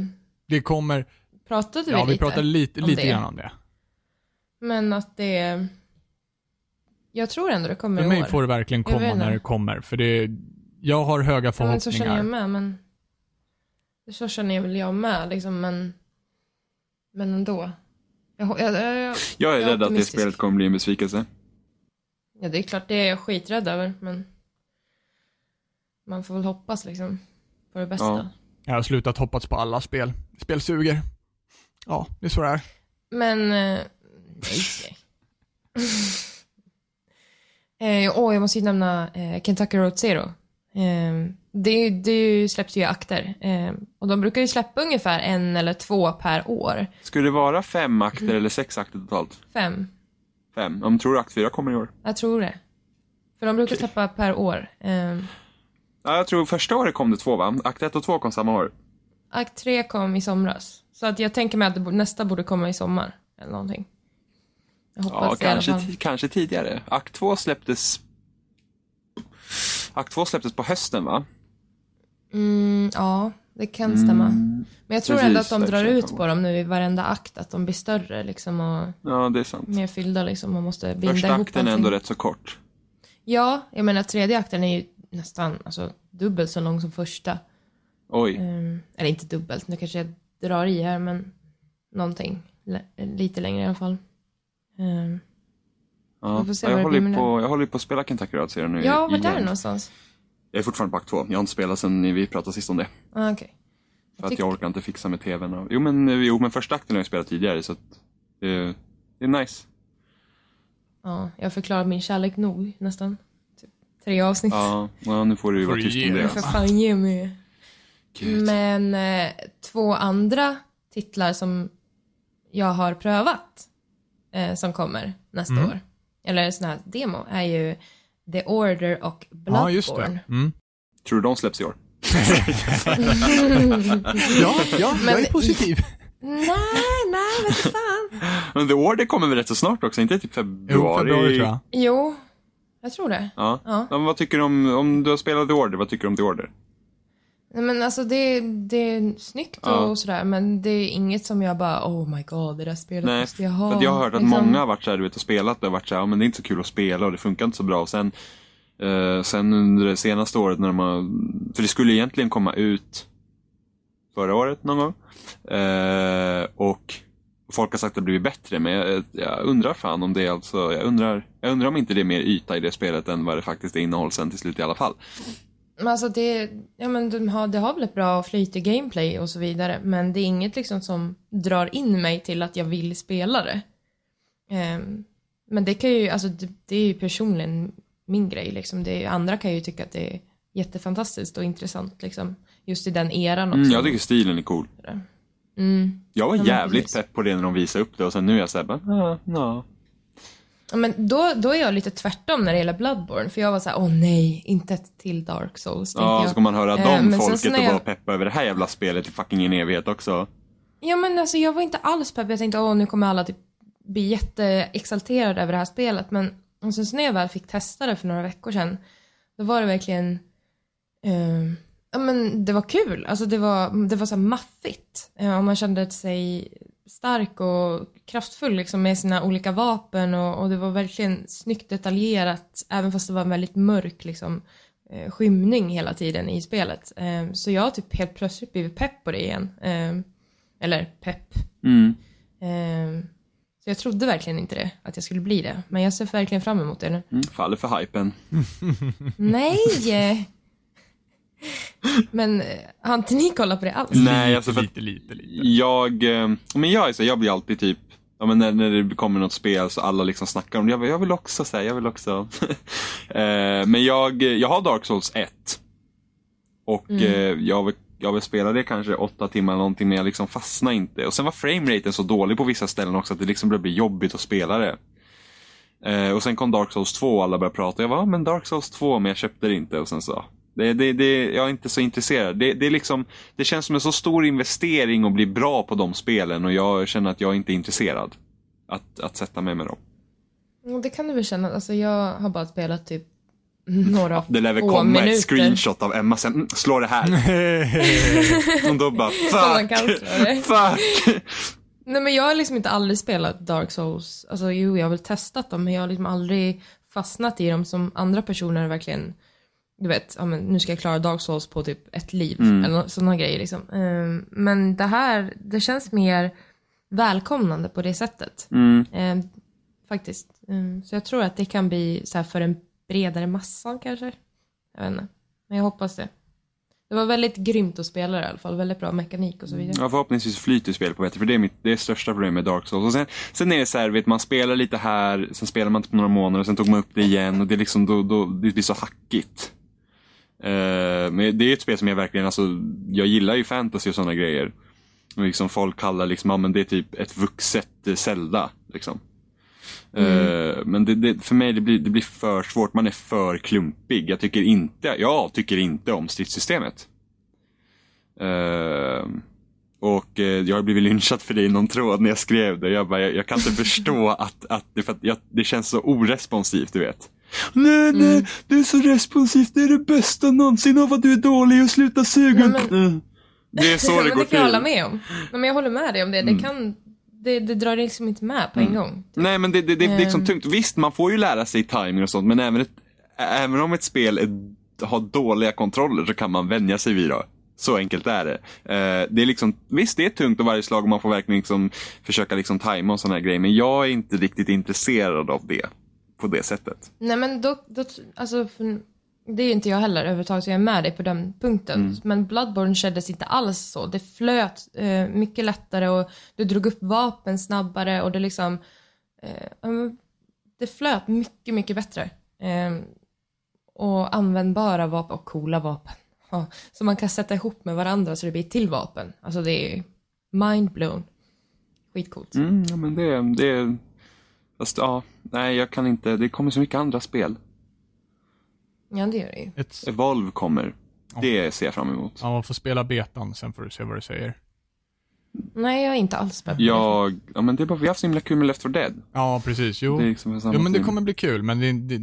D: det kommer,
A: pratade vi
D: ja
A: lite?
D: vi pratade lite,
A: om
D: lite
A: det.
D: grann om det.
A: Men att det... Jag tror ändå det kommer
D: För
A: i
D: mig
A: år.
D: får det verkligen
A: Jag vet
D: komma
A: inte.
D: när det kommer. För det, jag har höga
A: ja, men så känner jag
D: förhoppningar.
A: med, men... Så känner jag väl jag med, liksom, men... Men ändå. Jag, ho- jag, jag, jag,
B: Jag är
A: Jag är
B: rädd att det
A: optimistisk.
B: spelet kommer bli en besvikelse.
A: ja, det är klart, det är jag skiträdd över, men... Man får väl hoppas liksom. På det bästa.
B: Ja.
D: Jag har slutat hoppas på alla spel. Spel suger. Ja, det är så det är.
A: Men... eh, Nej. nej. eh, åh, jag måste ju nämna eh, Kentucky Road Zero. Eh, det, det släpps ju i akter. Eh, och de brukar ju släppa ungefär en eller två per år.
B: Skulle det vara fem akter
A: Mm.
B: eller sex akter totalt?
A: Fem.
B: Fem. Om tror du akt fyra kommer i år?
A: Jag tror det. För de brukar släppa per år. Eh,
B: Ja, jag tror första året kom det två va? Akt ett och två kom samma år.
A: akt 3 kom i somras. Så att jag tänker mig att det bo- nästa borde komma i sommar. Eller någonting. Jag hoppas
B: Ja,
A: det i alla
B: kanske,
A: fall.
B: ti- kanske tidigare. Akt två släpptes... Akt två släpptes på hösten va?
A: Mm, ja, det kan stämma.
B: Mm.
A: Men jag tror
B: Precis,
A: ändå att de
B: där
A: drar
B: känner jag
A: ut på dem nu i varenda akt, att de blir större liksom och
B: Ja, det är sant.
A: mer fyllda liksom. Man måste binda
B: Första
A: ihop
B: akten är
A: allting.
B: ändå rätt så kort.
A: Ja, jag menar tredje akten är ju nästan alltså, dubbelt så lång som första.
B: Oj.
A: Ehm, eller inte dubbelt, nu kanske jag drar i här men någonting. L- lite längre i alla fall.
B: Mm,
A: Ehm,
B: Ja.
A: vi får se
B: Ja,
A: vad
B: Jag
A: det
B: håller
A: blir
B: ju
A: med
B: på, jag håller ju på att spela Kentucky Road Zero nu
A: ja, var
B: igen.
A: där någonstans?
B: Jag är fortfarande på akt två. Jag har inte spelat sen vi pratade sist om det.
A: Ah, okej.
B: För att
A: tyckte-
B: jag orkar inte fixa med tvn. Och... Jo, men, eh, jo, men första akten har jag spelat tidigare så att, eh, det är nice.
A: Ja, jag förklarar min kärlek nog nästan. Typ tre avsnitt.
B: Ja, ja nu får du ju
D: Får
B: vara
D: du
B: tyst
D: ge
B: om det.
D: dig
A: För
B: Alltså.
A: fan ge mig.
B: Gud.
A: Men eh, två andra titlar som jag har prövat eh, som kommer nästa
B: Mm.
A: år, eller sån här demo, är ju The Order och
D: Ja, just
A: Bloodborne.
D: det. Mm.
B: Tror du de släpps i år?
D: Ja, ja jag
A: Men-
D: är positiv.
A: nej, nej, vet du fan.
B: Men The Order kommer väl rätt så snart också? Inte typ
D: Jo,
B: februari?
D: februari tror jag.
A: Jo, jag tror det.
B: Ja.
A: Ja.
B: Ja, men vad tycker du om, om du har spelat The Order, vad tycker du om The Order?
A: Nej, men alltså det, det är snyggt och
B: Ja.
A: sådär, men det är inget som jag bara, oh my god, det där spelet
B: Nej,
A: måste jag
B: för
A: ha.
B: att jag har hört att
A: Liksom.
B: många har varit så här, du vet, och spelat och varit så här, ja men det är inte så kul att spela och det funkar inte så bra. Och sen, eh, sen under det senaste året när de har, för det skulle egentligen komma ut förra året någon gång. Eh, och folk har sagt att det blivit bättre, men jag, jag undrar fan om det är alltså, jag undrar, jag undrar om inte det är mer yta i det spelet än vad det faktiskt är innehåll sen till slut i alla fall.
A: Men alltså det, ja men de har, det har väl ett bra flyt i gameplay och så vidare, men det är inget liksom som drar in mig till att jag vill spela det. Ehm, men det kan ju, alltså det, det är ju personligen min grej liksom. Det, andra kan ju tycka att det är jättefantastiskt och intressant liksom. Just i den eran också.
B: Mm, jag tycker stilen är cool.
A: Mm.
B: Jag var
A: Ja, men
B: jävligt
A: precis.
B: "Ah, pepp på det när de visade upp det och sen nu är jag såhär, ja, ja.
A: Ja, Men då, då är jag lite tvärtom när det gäller Bloodborne. För jag var så här, åh nej, inte ett till Dark Souls. tänkte
B: Ja,
A: jag.
B: så kommer man höra
A: Eh,
B: de
A: men sen så
B: folket
A: när
B: och
A: jag-
B: vara peppa över det här jävla spelet i fucking en evighet också.
A: Ja men alltså jag var inte alls pepp. Jag tänkte åh nu kommer alla typ bli jätteexalterade över det här spelet. Men och sen så när jag väl fick testa det för några veckor sedan. Då var det verkligen, eh, ja men det var kul. Alltså det var, det var så här maffigt. Eh, och man kände sig stark och kraftfull liksom med sina olika vapen. Och, och det var verkligen snyggt detaljerat. Även fast det var en väldigt mörk liksom eh, skymning hela tiden i spelet. Eh, så jag har typ helt plötsligt blivit pepp på det igen. Eh, eller pepp.
B: Mm.
A: Ehm, Så jag trodde verkligen inte det, att jag skulle bli det. Men jag ser verkligen fram emot det nu.
B: Mm. Faller för hypen.
A: Nej! Men eh, har inte ni kollat på det alls?
B: Nej, alltså för att
D: Lite, lite, lite.
B: jag, eh, men jag, är så, jag blir alltid typ, ja, men när, när det kommer något spel så alla liksom snackar om det. Jag, bara, jag vill också säga, jag vill också. eh, men jag, jag har Dark Souls 1. Och eh, jag, vill- jag vill spela det kanske åtta timmar eller någonting, men jag liksom fastnar inte. Och sen var frameraten så dålig på vissa ställen också att det liksom började bli jobbigt att spela det. Eh, och sen kom Dark Souls 2 och alla började prata. Jag var ah, men Dark Souls 2, men jag köpte det inte. Och sen så, det, det, det, jag är inte så intresserad. Det, det, är liksom, det känns som en så stor investering att bli bra på de spelen och jag känner att jag inte är intresserad. Att, att sätta mig med dem.
A: Och Det kan du väl känna, alltså jag har bara spelat typ några
B: Det lär väl
A: få
B: komma
A: minuter.
B: ett screenshot av Emma sen. Mm, slå det här. Och då bara
A: man
B: fuck.
A: kan slå det.
B: fuck.
A: Nej men jag har liksom inte aldrig spelat Dark Souls. Alltså jo, jag har väl testat dem men jag har liksom aldrig fastnat i dem som andra personer verkligen, du vet, ja, men nu ska jag klara Dark Souls på typ ett liv eller sådana grejer liksom. Ehm, men det här, det känns mer välkomnande på det sättet.
B: Mm.
A: Ehm, faktiskt. Ehm, så jag tror att det kan bli så här för en bredare massa kanske. Jag vet inte. Men jag hoppas det. Det var väldigt grymt att spela det i alla fall, väldigt bra mekanik och så vidare.
B: Ja, förhoppningsvis flyter spelet på bättre, för det är mitt det är största problemet med Dark Souls. Och sen, sen är det så här, vet, man spelar lite här, sen spelar man inte på några månader, och sen tog man upp det igen och det, är liksom, då, då, det blir så hackigt. Eh, men det är ett spel som jag verkligen, alltså, jag gillar ju fantasy och sådana grejer. Och liksom folk kallar liksom, ja, men det är typ ett vuxet eh, Zelda. Liksom. Eh, men det, det, för mig det blir det blir för svårt, man är för klumpig. Jag tycker inte, jag tycker inte om stridssystemet. Eh, och eh, jag har blivit lynchad för det i någon tråd när jag skrev det. Jag, bara, jag, jag kan inte förstå att, att, det, för att jag, det känns så oresponsivt, du vet. Mm. Nej, nej, du är så responsivt. Det är det bästa någonsin av att du är dålig och sluta suga.
A: Nej,
B: Mm. Det är så
A: Ja,
B: det
A: men
B: går
A: det kan jag hålla
B: till. Mm.
A: med om. Nej, men jag håller med dig om det. Det, kan, det, det drar liksom inte med på en gång.
B: Nej, men det, det, det, det är liksom
A: Ehm.
B: tungt. Visst, man får ju lära sig timing och sånt, men även, ett, även om ett spel är, har dåliga kontroller så kan man vänja sig vid det. Så enkelt är det. Eh, det är liksom, visst, det är tungt och varje slag och man får verkligen liksom försöka liksom tajma och sådana grejer, men jag är inte riktigt intresserad av det på det sättet.
A: Nej men då, då alltså, för, det är ju inte jag heller överhuvudtaget, så jag är med dig på den punkten.
B: Mm.
A: Men Bloodborne kändes inte alls så. Det flöt eh, mycket lättare och du drog upp vapen snabbare och det liksom, eh, ja, men det flöt mycket, mycket bättre. Eh, och användbara vapen och coola vapen. Ja, som man kan sätta ihop med varandra så det blir ett till vapen. Alltså det är mind-blown. Skitcoolt.
B: Mm, ja, men det, det fast, ja, nej, jag kan inte. Det kommer så mycket andra spel.
A: Ja, det gör det ju.
D: Ett,
B: Evolve kommer. Det ser jag fram emot.
D: ja, man får spela betan, sen får du se vad du säger.
A: Nej, jag är inte alls pepp.
B: Jag, ja, men det är bara, vi har haft så himla kul med Left 4 Dead.
D: Ja, precis. Jo,
B: Det är liksom samma
D: jo men det
B: tema.
D: kommer bli kul, men det, det,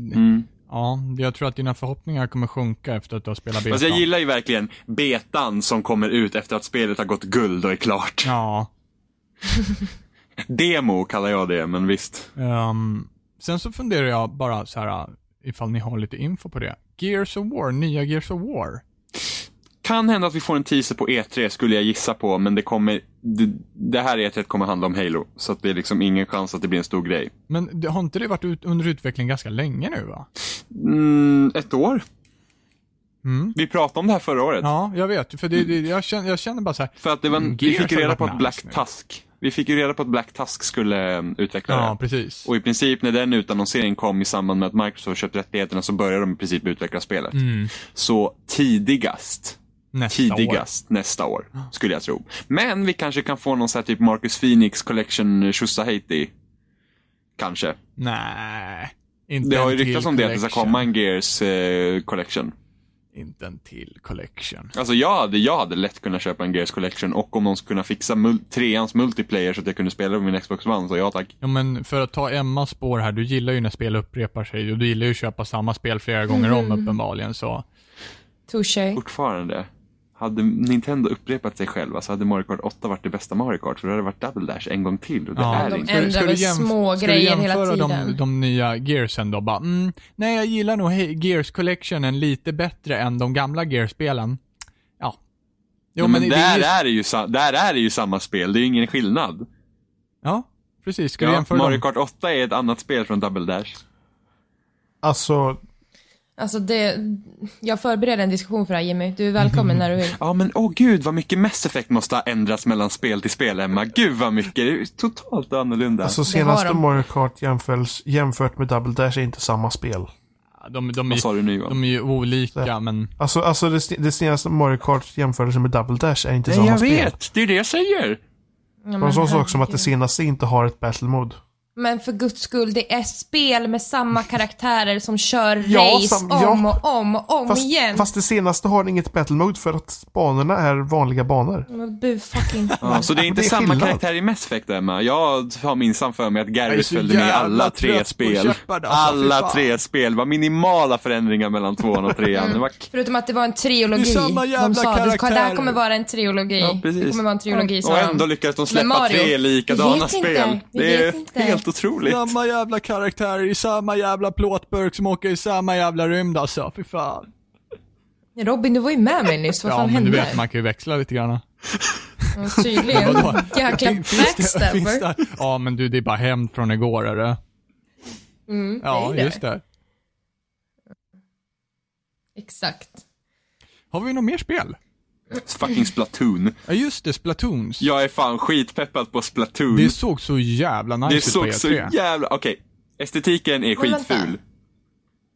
B: Mm.
D: ja, jag tror att dina förhoppningar kommer sjunka efter att du har spelat betan.
B: Alltså jag gillar ju verkligen betan som kommer ut efter att spelet har gått guld och är klart.
D: Ja.
B: Demo kallar jag det, men visst.
D: ehm, sen så funderar jag bara så här ifall ni har lite info på det. Gears of War, nya Gears of War.
B: Kan hända att vi får en teaser på E3 skulle jag gissa på, men det kommer... Det, det här E3 kommer handla om Halo, så att det är liksom ingen chans att det blir en stor grej.
D: Men det, har inte det varit ut, under utveckling ganska länge nu va?
B: Mm, ett år?
D: Mm.
B: Vi pratade om det här förra året.
D: Ja, jag vet. För det, det, jag, känner, jag känner bara så här.
B: För att det var,
D: Mm,
B: vi
D: Gears
B: fick ju
D: har
B: reda
D: varit
B: på att
D: nice
B: Black
D: nu.
B: Task... Vi fick ju reda på att Black Task skulle eh, utveckla det.
D: Ja, precis.
B: Och i princip när den utannonseringen kom i samband med att Microsoft köpte rättigheterna så började de i princip utveckla spelet.
D: Mm.
B: Så tidigast
D: Nästa år.
B: tidigast nästa år, skulle jag tro. Men vi kanske kan få någon så här typ Marcus Phoenix Collection Shusaheiti. eh, Kanske.
D: Nej. Inte
B: Det har
D: en
B: ju
D: till
B: ryktats om det att det ska
D: collection.
B: komma en Gears eh, Collection.
D: Inte en till collection.
B: Alltså jag hade, jag hade lätt kunnat köpa en Gears Collection och om någon skulle kunna fixa mul- treans multiplayer så att jag kunde spela på min Xbox One så ja tack.
D: Ja, men för att ta Emmas spår här, du gillar ju när spel upprepar sig och du gillar ju att köpa samma spel flera gånger om
A: Mhm.
D: uppenbarligen. Så
A: Touché.
B: Fortfarande. Hade Nintendo upprepat sig själva så hade Mario Kart 8 varit det bästa Mario Kart för då hade det varit Double Dash en gång till och det
D: Ja.
B: är
D: De
B: inte.
A: ändrar väl
D: jämf-
A: små
D: ska
A: grejer hela
D: jämföra De,
A: tiden.
D: de nya Gearsen då? Bara, mm, nej, jag gillar nog He- Gears Collectionen lite bättre än de gamla Gears-spelen. Ja. Jo,
B: Jo, men där,
D: ju-
B: är det ju, sa- där är det ju samma spel, det är ju ingen skillnad.
D: Ja, precis. Ska du
B: Ja,
D: jämföra
B: Mario
D: dem?
B: Kart 8 är ett annat spel från Double Dash.
C: Alltså,
A: Alltså det, jag förbereder en diskussion för det här Jimmy. Du är välkommen när du vill.
B: Ja men åh gud vad mycket Mass Effect måste ha ändrats mellan spel till spel Emma. Gud vad mycket, det är ju totalt annorlunda.
C: alltså
A: Det har
C: senaste
A: de.
C: Mario Kart jämförs, jämfört med Double Dash är inte samma spel.
D: Ja, De, de, är,
B: vad sa du nu Johan?
D: de är ju olika, men...
C: Alltså, alltså det, s- det senaste Mario Kart jämförelsen med Double Dash är inte samma spel.
B: det är det jag säger.
A: Ja,
C: Det var en sån sak
A: herregud.
C: som att det senaste inte har ett battle mode.
A: Men för guds skull, det är spel med samma karaktärer som kör
C: Ja,
A: race
C: sam- ja.
A: om och om och om
C: Fast,
A: igen.
C: fast det senaste har inget battle mode för att banorna är vanliga banor.
A: Men bu fucking...
B: Ja, så Alltså, det är inte
C: Det är
B: samma
C: skillnad.
B: karaktär i Mass Effect Emma. Jag har minsann för mig att
D: Jag är
B: Garrus
D: så
B: följde med i
D: jävla
B: alla
D: trött
B: tre
D: på
B: spel.
D: köpare, alltså, fy
B: alla
D: fan.
B: tre spel var minimala förändringar mellan tvåan och trean. Det var
A: Förutom att det var en trilogi.
D: Det är samma jävla
A: de sa
D: karaktärer.
A: det, det här kommer vara en trilogi.
B: Ja, precis.
A: det kommer vara en trilogi, sa
B: Och
A: de.
B: ändå lyckades de
A: Mm. Men
B: släppa
A: Mario, vi
B: tre likadana
A: vet
B: spel.
A: Inte, vi
B: det är
A: vet inte.
B: helt otroligt.
D: Samma jävla karaktärer i samma jävla plåtburk som åker i samma jävla rymd alltså. Fy fan.
A: Robin, du var ju med mig nyss. Vad
D: Ja,
A: fan
D: men
A: hände?
D: du vet, man kan ju växla lite grann.
A: Mm, Tydligen. Jäkla
D: finns
A: backstabber.
D: det, Ja, men du, det är bara hämnd från igår, är det?
A: Mm,
D: Ja,
A: är det.
D: just det.
A: Exakt.
D: Har vi något mer spel?
B: Fucking Splatoon.
D: Ja, just det, Splatoons.
B: Jag är fan skitpeppad på Splatoon.
D: Det såg så jävla nice
B: Det
D: ut på E
B: såg
D: E3.
B: så jävla... Okej. Estetiken är
A: Men vänta.
B: skitful.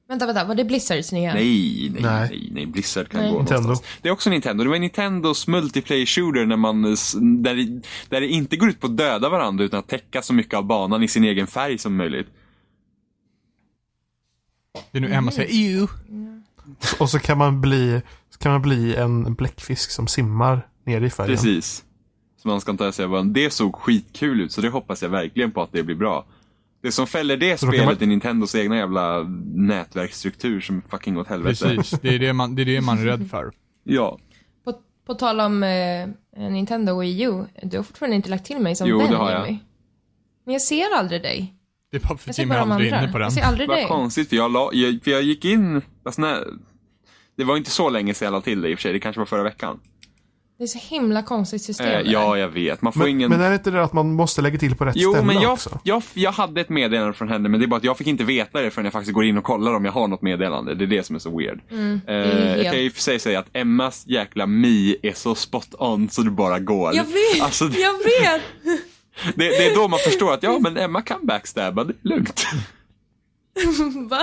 A: Vänta, vänta, var det Blizzards nya?
B: Nej, nej,
C: Nej.
B: nej, nej. Blizzard kan
A: Nej.
B: gå
C: Nintendo.
B: någonstans. Det är också Nintendo. Det var Nintendos multiplayer shooter när man, s- där, det- där det inte går ut på att döda varandra utan att täcka så mycket av banan i sin egen färg som möjligt.
D: Det är nu Emma säger EU.
B: Mm.
C: Och så kan man bli, så kan man bli en bläckfisk som simmar ner i färgen.
B: Precis. Så man ska inte ens säga vad Det såg skitkul ut så det hoppas jag verkligen på att det blir bra. Det som fäller det
C: då kan
B: spelet
C: man-
B: är Nintendos egna jävla nätverksstruktur som fucking åt helvete.
D: Precis, det är det man, det är, det man är rädd för.
B: Ja.
A: På, på tal om eh, Nintendo och EU, du har fortfarande inte lagt till mig som
B: Jo,
A: vän
B: det har jag.
A: Jimmy. Men jag ser aldrig dig.
D: Det är bara för
A: Jag
D: att
A: ser
D: Jimmy
A: bara de
D: aldrig är
A: andra.
D: inne på den.
A: Jag ser aldrig
B: Vad
A: dig.
B: konstigt, för jag, la, jag, för jag gick in... Alltså, när, det var inte så länge sedan jag la till det i och för sig, det kanske var förra veckan.
A: Det är så himla konstigt system.
B: Eh,
A: det där.
B: ja, jag vet. Man får
C: Men,
B: ingen...
C: men är det inte det att man måste lägga till på rätt
B: Jo,
C: ställe
B: men jag,
C: också?
B: jag, jag hade ett meddelande från henne, men det är bara att jag fick inte veta det förrän jag faktiskt går in och kollar om jag har något meddelande. Det är det som är så weird. Eh,
A: Mm, är
B: jag kan ju i och för sig säga att Emmas jäkla Mi är så spot on så det bara går.
A: Jag vet,
B: Alltså, det,
A: jag vet!
B: det, det är då man förstår att ja, men Emma kan backstabba, det är lugnt.
A: Va?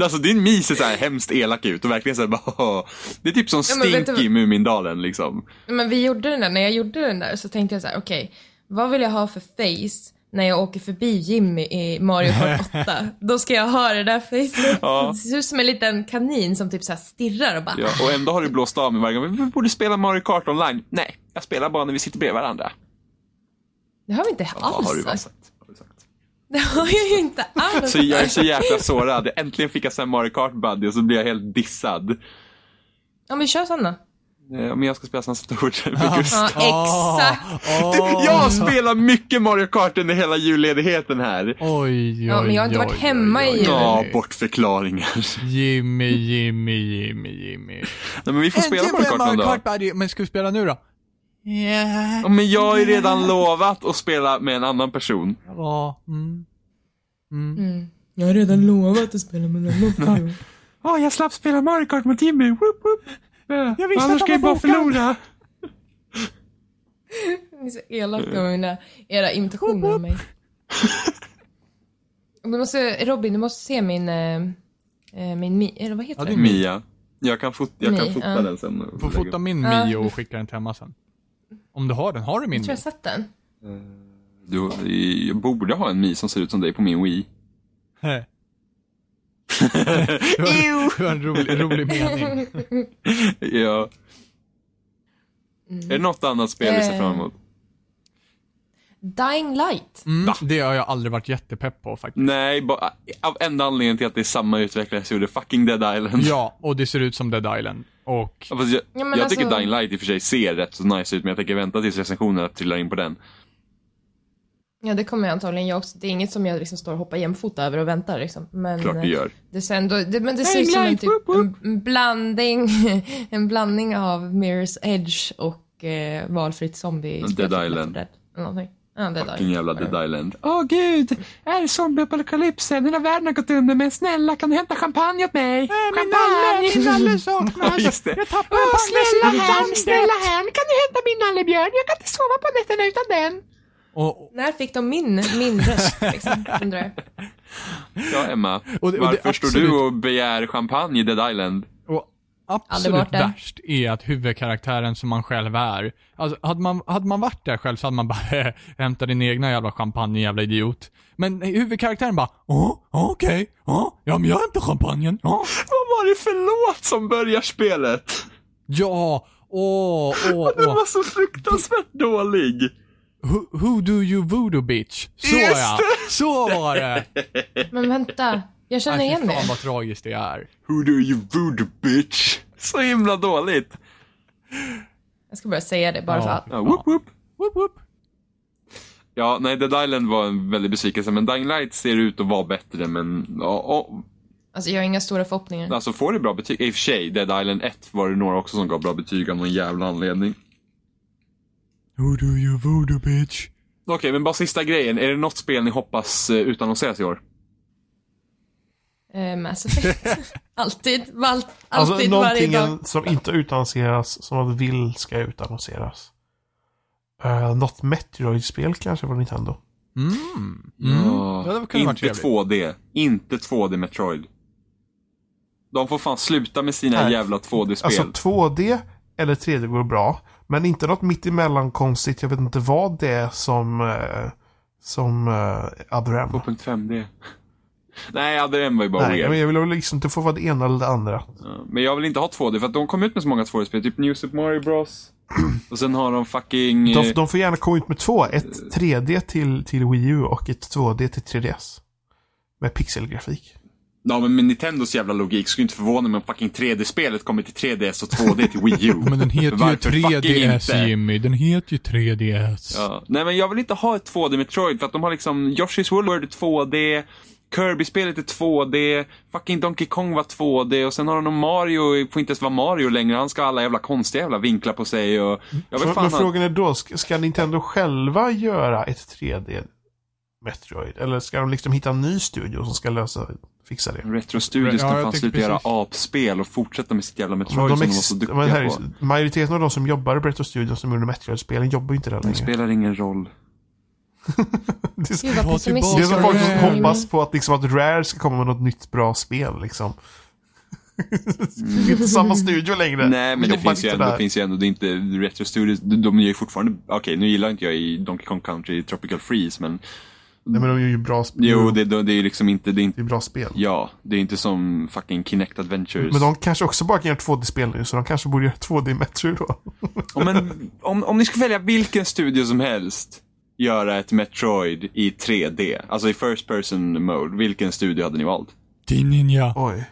B: Alltså din Mi ser så här hemskt elak ut och verkligen såhär bara Det är typ som
A: men vet
B: Stinky
A: du-
B: i Mumindalen liksom.
A: Men vi gjorde den där, när jag gjorde den där så tänkte jag så här: okej, vad vill jag ha för face när jag åker förbi Jimmy i Mario Kart 8? Då ska jag ha det där facet.
B: Ja.
A: Det ser ut som en liten kanin som typ så här stirrar och bara
B: Ja, och ändå har du blåst av mig varje gång. Vi borde spela Mario Kart online. Nej, jag spelar bara när vi sitter bredvid varandra.
A: Det har vi inte
B: Vad
A: alls
B: har du väl
A: sagt.
B: sagt? Har du sagt?
A: Det har jag ju inte alls
B: Så jag är
A: sagt.
B: så jäkla sårad. Äntligen fick jag sen Mario Kart Buddy och så blir jag helt dissad. Eh,
A: Ja men kör sådana.
B: Men jag ska spela Sons of Torture med Gustav.
A: Ja exakt.
B: Du, Jag spelar mycket Mario Kart under hela julledigheten här.
D: Oj, oj,
A: Ja, men jag har inte
D: oj,
A: varit
D: oj,
A: hemma
D: oj,
A: i
D: oj.
A: jul.
B: Ja, bortförklaringar.
D: Jimmy, Jimmy, Jimmy, Jimmy.
B: Nej, men vi får spela Mario Kart någon dag.
D: Buddy. Men ska vi spela nu då?
B: Ja, Men jag har ju redan lovat att spela med en annan person.
D: Ja. Mm.
A: Jag har redan lovat att spela med någon
B: Ja, jag slapp spela Mario Kart mot Jimmy. Woop, woop.
D: Jag visste att han var bokad.
B: förlora.
A: Ni är så elaka med mina, era imitationer av mig. Du måste, Robin, du måste se min, eh, eh, min, mi- eller vad heter
D: Ja,
A: det?
D: din Mi.
B: Mia. Jag kan, fot- jag kan
A: Mi,
B: fota
A: ja.
B: den sen. och
D: Du får
B: lägga upp.
D: fota min
A: Ja.
D: Mio och skicka den till Emma sen. Om du har den, har du min
A: Jag tror
D: Mio?
A: jag har sett den.
B: Du, jag borde ha en Mi som ser ut som dig på min Wii.
D: det var, det var en rolig, rolig mening.
B: Ja.
A: Mm.
B: Är det något annat spel du ser fram
A: Eh.
B: emot?
A: Dying Light.
D: Mm, det har jag aldrig varit jättepepp på faktiskt.
B: Nej, bara, av enda anledningen till att det är samma utvecklare som gjorde fucking Dead Island.
E: Mm.
D: Ja, och det ser ut som Dead Island. Och
B: Ja, fast jag
A: Ja, men
B: jag tycker
A: alltså-
B: Dying Light i och för sig ser rätt så nice ut, men jag tänker vänta tills recensionerna trillar in på den.
A: Ja, det kommer jag antagligen jag också. Det är inget som jag liksom står och hoppar jämfota över och väntar liksom. Men,
B: Klart det gör.
A: Det, ser ändå, det, men det ser ut som en,
B: light,
A: typ,
B: woop, woop.
A: en blandning, en blandning av Mirror's Edge och eh, valfritt zombie.
B: Dead Island.
A: Dead, eller någonting. Ja, Dead
B: Fucking
A: Island.
B: jävla Dead Island.
E: Åh gud, är det zombieapokalypsen? Hela världen har gått under, men snälla kan du hämta champagne åt mig? champagne!
D: Eh, min nalle saknas!
B: Just det.
E: Åh, snälla herrn, snälla herrn, kan du hämta min nallebjörn? Jag kan inte sova på nätterna utan den.
D: Och,
A: När fick de min, min röst liksom, undrar jag.
B: Ja, Emma.
D: och det
B: Varför står
D: absolut-
B: du och begär champagne i Dead Island?
D: och
A: Aldrig
D: absolut
A: varit där.
D: värst är att huvudkaraktären som man själv är, alltså hade man, hade man varit där själv så hade man bara hämta din egna jävla champagne jävla idiot. Men huvudkaraktären bara, åh, okej, åh, ja men jag hämtar champagnen, åh.
B: Vad var det för låt som börjar spelet?
D: Ja, åh, åh,
B: Den
D: åh.
B: var så fruktansvärt dålig.
D: Who, who do you voodoo bitch? Så
B: Just
D: ja, så var det!
A: Men vänta, jag känner
D: Nej,
A: igen
D: fy fan
A: det.
D: vad tragiskt det är.
B: Who do you voodoo bitch? Så himla dåligt.
A: Jag ska bara säga det bara
D: Ja.
A: för att.
B: Ja, whoop, whoop.
D: Whoop, whoop.
B: Ja, nej, Dead Island var en väldig besvikelse, men Dying Light ser ut att vara bättre, men ja, och,
A: Alltså jag har inga stora förhoppningar.
B: alltså får det bra betyg? I och för sig, Dead Island 1 var det några också som gav bra betyg av någon jävla anledning.
D: Who do you voodoo bitch?
B: Okej, men bara sista grejen. Är det något spel ni hoppas eh, utannonseras i år?
A: Eh, Mass Effect. alltid, val,
C: Alltså
A: alltid varje
C: någonting
A: dag.
C: som inte utannonseras, som man vill ska utannonseras. Uh, något Metroid-spel kanske från Nintendo.
D: Mm. mm. Ja, det kunde varit
B: inte
D: trevligt.
B: 2D. Inte 2D Metroid. De får fan sluta med sina
C: Nej.
B: jävla 2D-spel.
C: Alltså 2D eller 3D går bra. Men inte något mittemellan konstigt. Jag vet inte vad det är som... eh, som uh, Adrem.
B: 2.5D. Nej, Adrem var ju bara
C: Nej,
B: weird.
C: men jag vill väl liksom inte få vara det ena eller det andra.
B: Ja, Men jag vill inte ha 2D, för att de kom ut med så många 2D-spel. Typ New Super Mario Bros. Och sen har de fucking...
C: De,
B: eh,
C: de får gärna komma ut med två. Ett 3D till, till Wii U och ett 2D till 3DS. Med pixelgrafik.
B: Ja, men med Nintendos jävla logik skulle inte förvåna mig om fucking 3D-spelet kommer till 3DS och 2D till Wii U.
D: Men den heter ju
B: Varför fucking
D: 3DS
B: inte?
D: Jimmy, den heter ju 3DS.
B: Ja. Nej men jag vill inte ha ett 2D Metroid för att de har liksom Yoshi's World är 2D, Kirby-spelet är 2D, fucking Donkey Kong var 2D och sen har de någon Mario, får inte ens vara Mario längre, han ska ha alla jävla konstiga jävla vinklar på sig och... Jag vet
C: Men,
B: fan
C: men
B: han...
C: frågan är då, ska, ska Nintendo själva göra ett 3D Metroid? Eller ska de liksom hitta en ny studio som ska lösa, fixa det?
B: Retro Studios kan
D: Ja, jag
B: fan
D: tänkte
B: sluta
D: precis.
B: göra apspel och fortsätta med sitt jävla
C: Men
B: Metroid
C: de
B: som de var
C: ex-
B: så duktiga
C: men här,
B: på.
C: majoriteten av de som jobbar i Bretto Studios som gjorde Metroid-spelen jobbar ju inte där
B: Det
C: längre.
B: spelar ingen roll.
C: Det är, så-
A: Gud vad
D: Ta
C: det är
A: pessimistiskt.
D: tillbaka
C: som folk som
D: Rare.
C: hoppas på att, liksom, att Rare ska komma med något nytt bra spel liksom. det är inte samma studio längre.
B: Mm. Nej, men
C: De
B: det
C: jobbar
B: finns, ju
C: inte
B: ändå,
C: där.
B: det finns ju ändå, det är inte Retro Studios, de, de är ju fortfarande, okej nu gillar inte jag i Donkey Kong Country Tropical Freeze men,
C: Nej, men de gör ju bra spel.
B: jo det, det, det är ju liksom inte, det är inte
C: Det är bra spel.
B: Ja, det är inte som fucking Kinect Adventures.
C: Men de kanske också bara kan göra 2D-spel nu, så de kanske borde göra 2D-Metroid då.
B: om, en, om, om ni skulle välja vilken studio som helst göra ett Metroid i 3D, alltså i First Person Mode, vilken studio hade ni valt?
D: Din ninja.
C: Oj.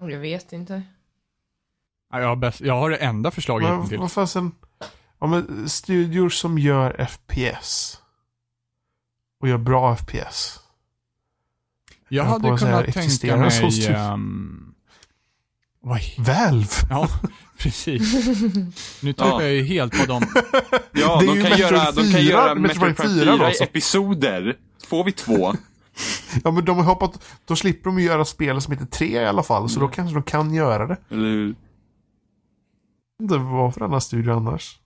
A: Jag vet inte.
D: Ja, jag, har bäst, jag har det enda förslaget
C: Men
D: till.
C: vad fasen. Ja, men studior som gör FPS. Och gör bra FPS. jag
D: Jag
C: på
D: hade
C: att säga typ.
D: kunnat tänka
C: existerar som
D: mig...
C: studio.
D: ehm, Vad he-
C: Valve!
D: Ja, precis. Nu tappar
B: Ja.
D: jag ju helt på dem.
B: Ja,
C: Det är
B: de
C: ju
B: kan,
C: Metroid
B: göra, de kan
C: 4,
B: göra
C: Metroid
B: Metroid 4,
C: 4 då, så.
B: episoder. Får vi två?
C: Ja men de har hoppat, då slipper de ju göra spel som heter 3 i alla fall, så då kanske de kan göra det.
B: Eller hur?
C: Det var för annan studio annars.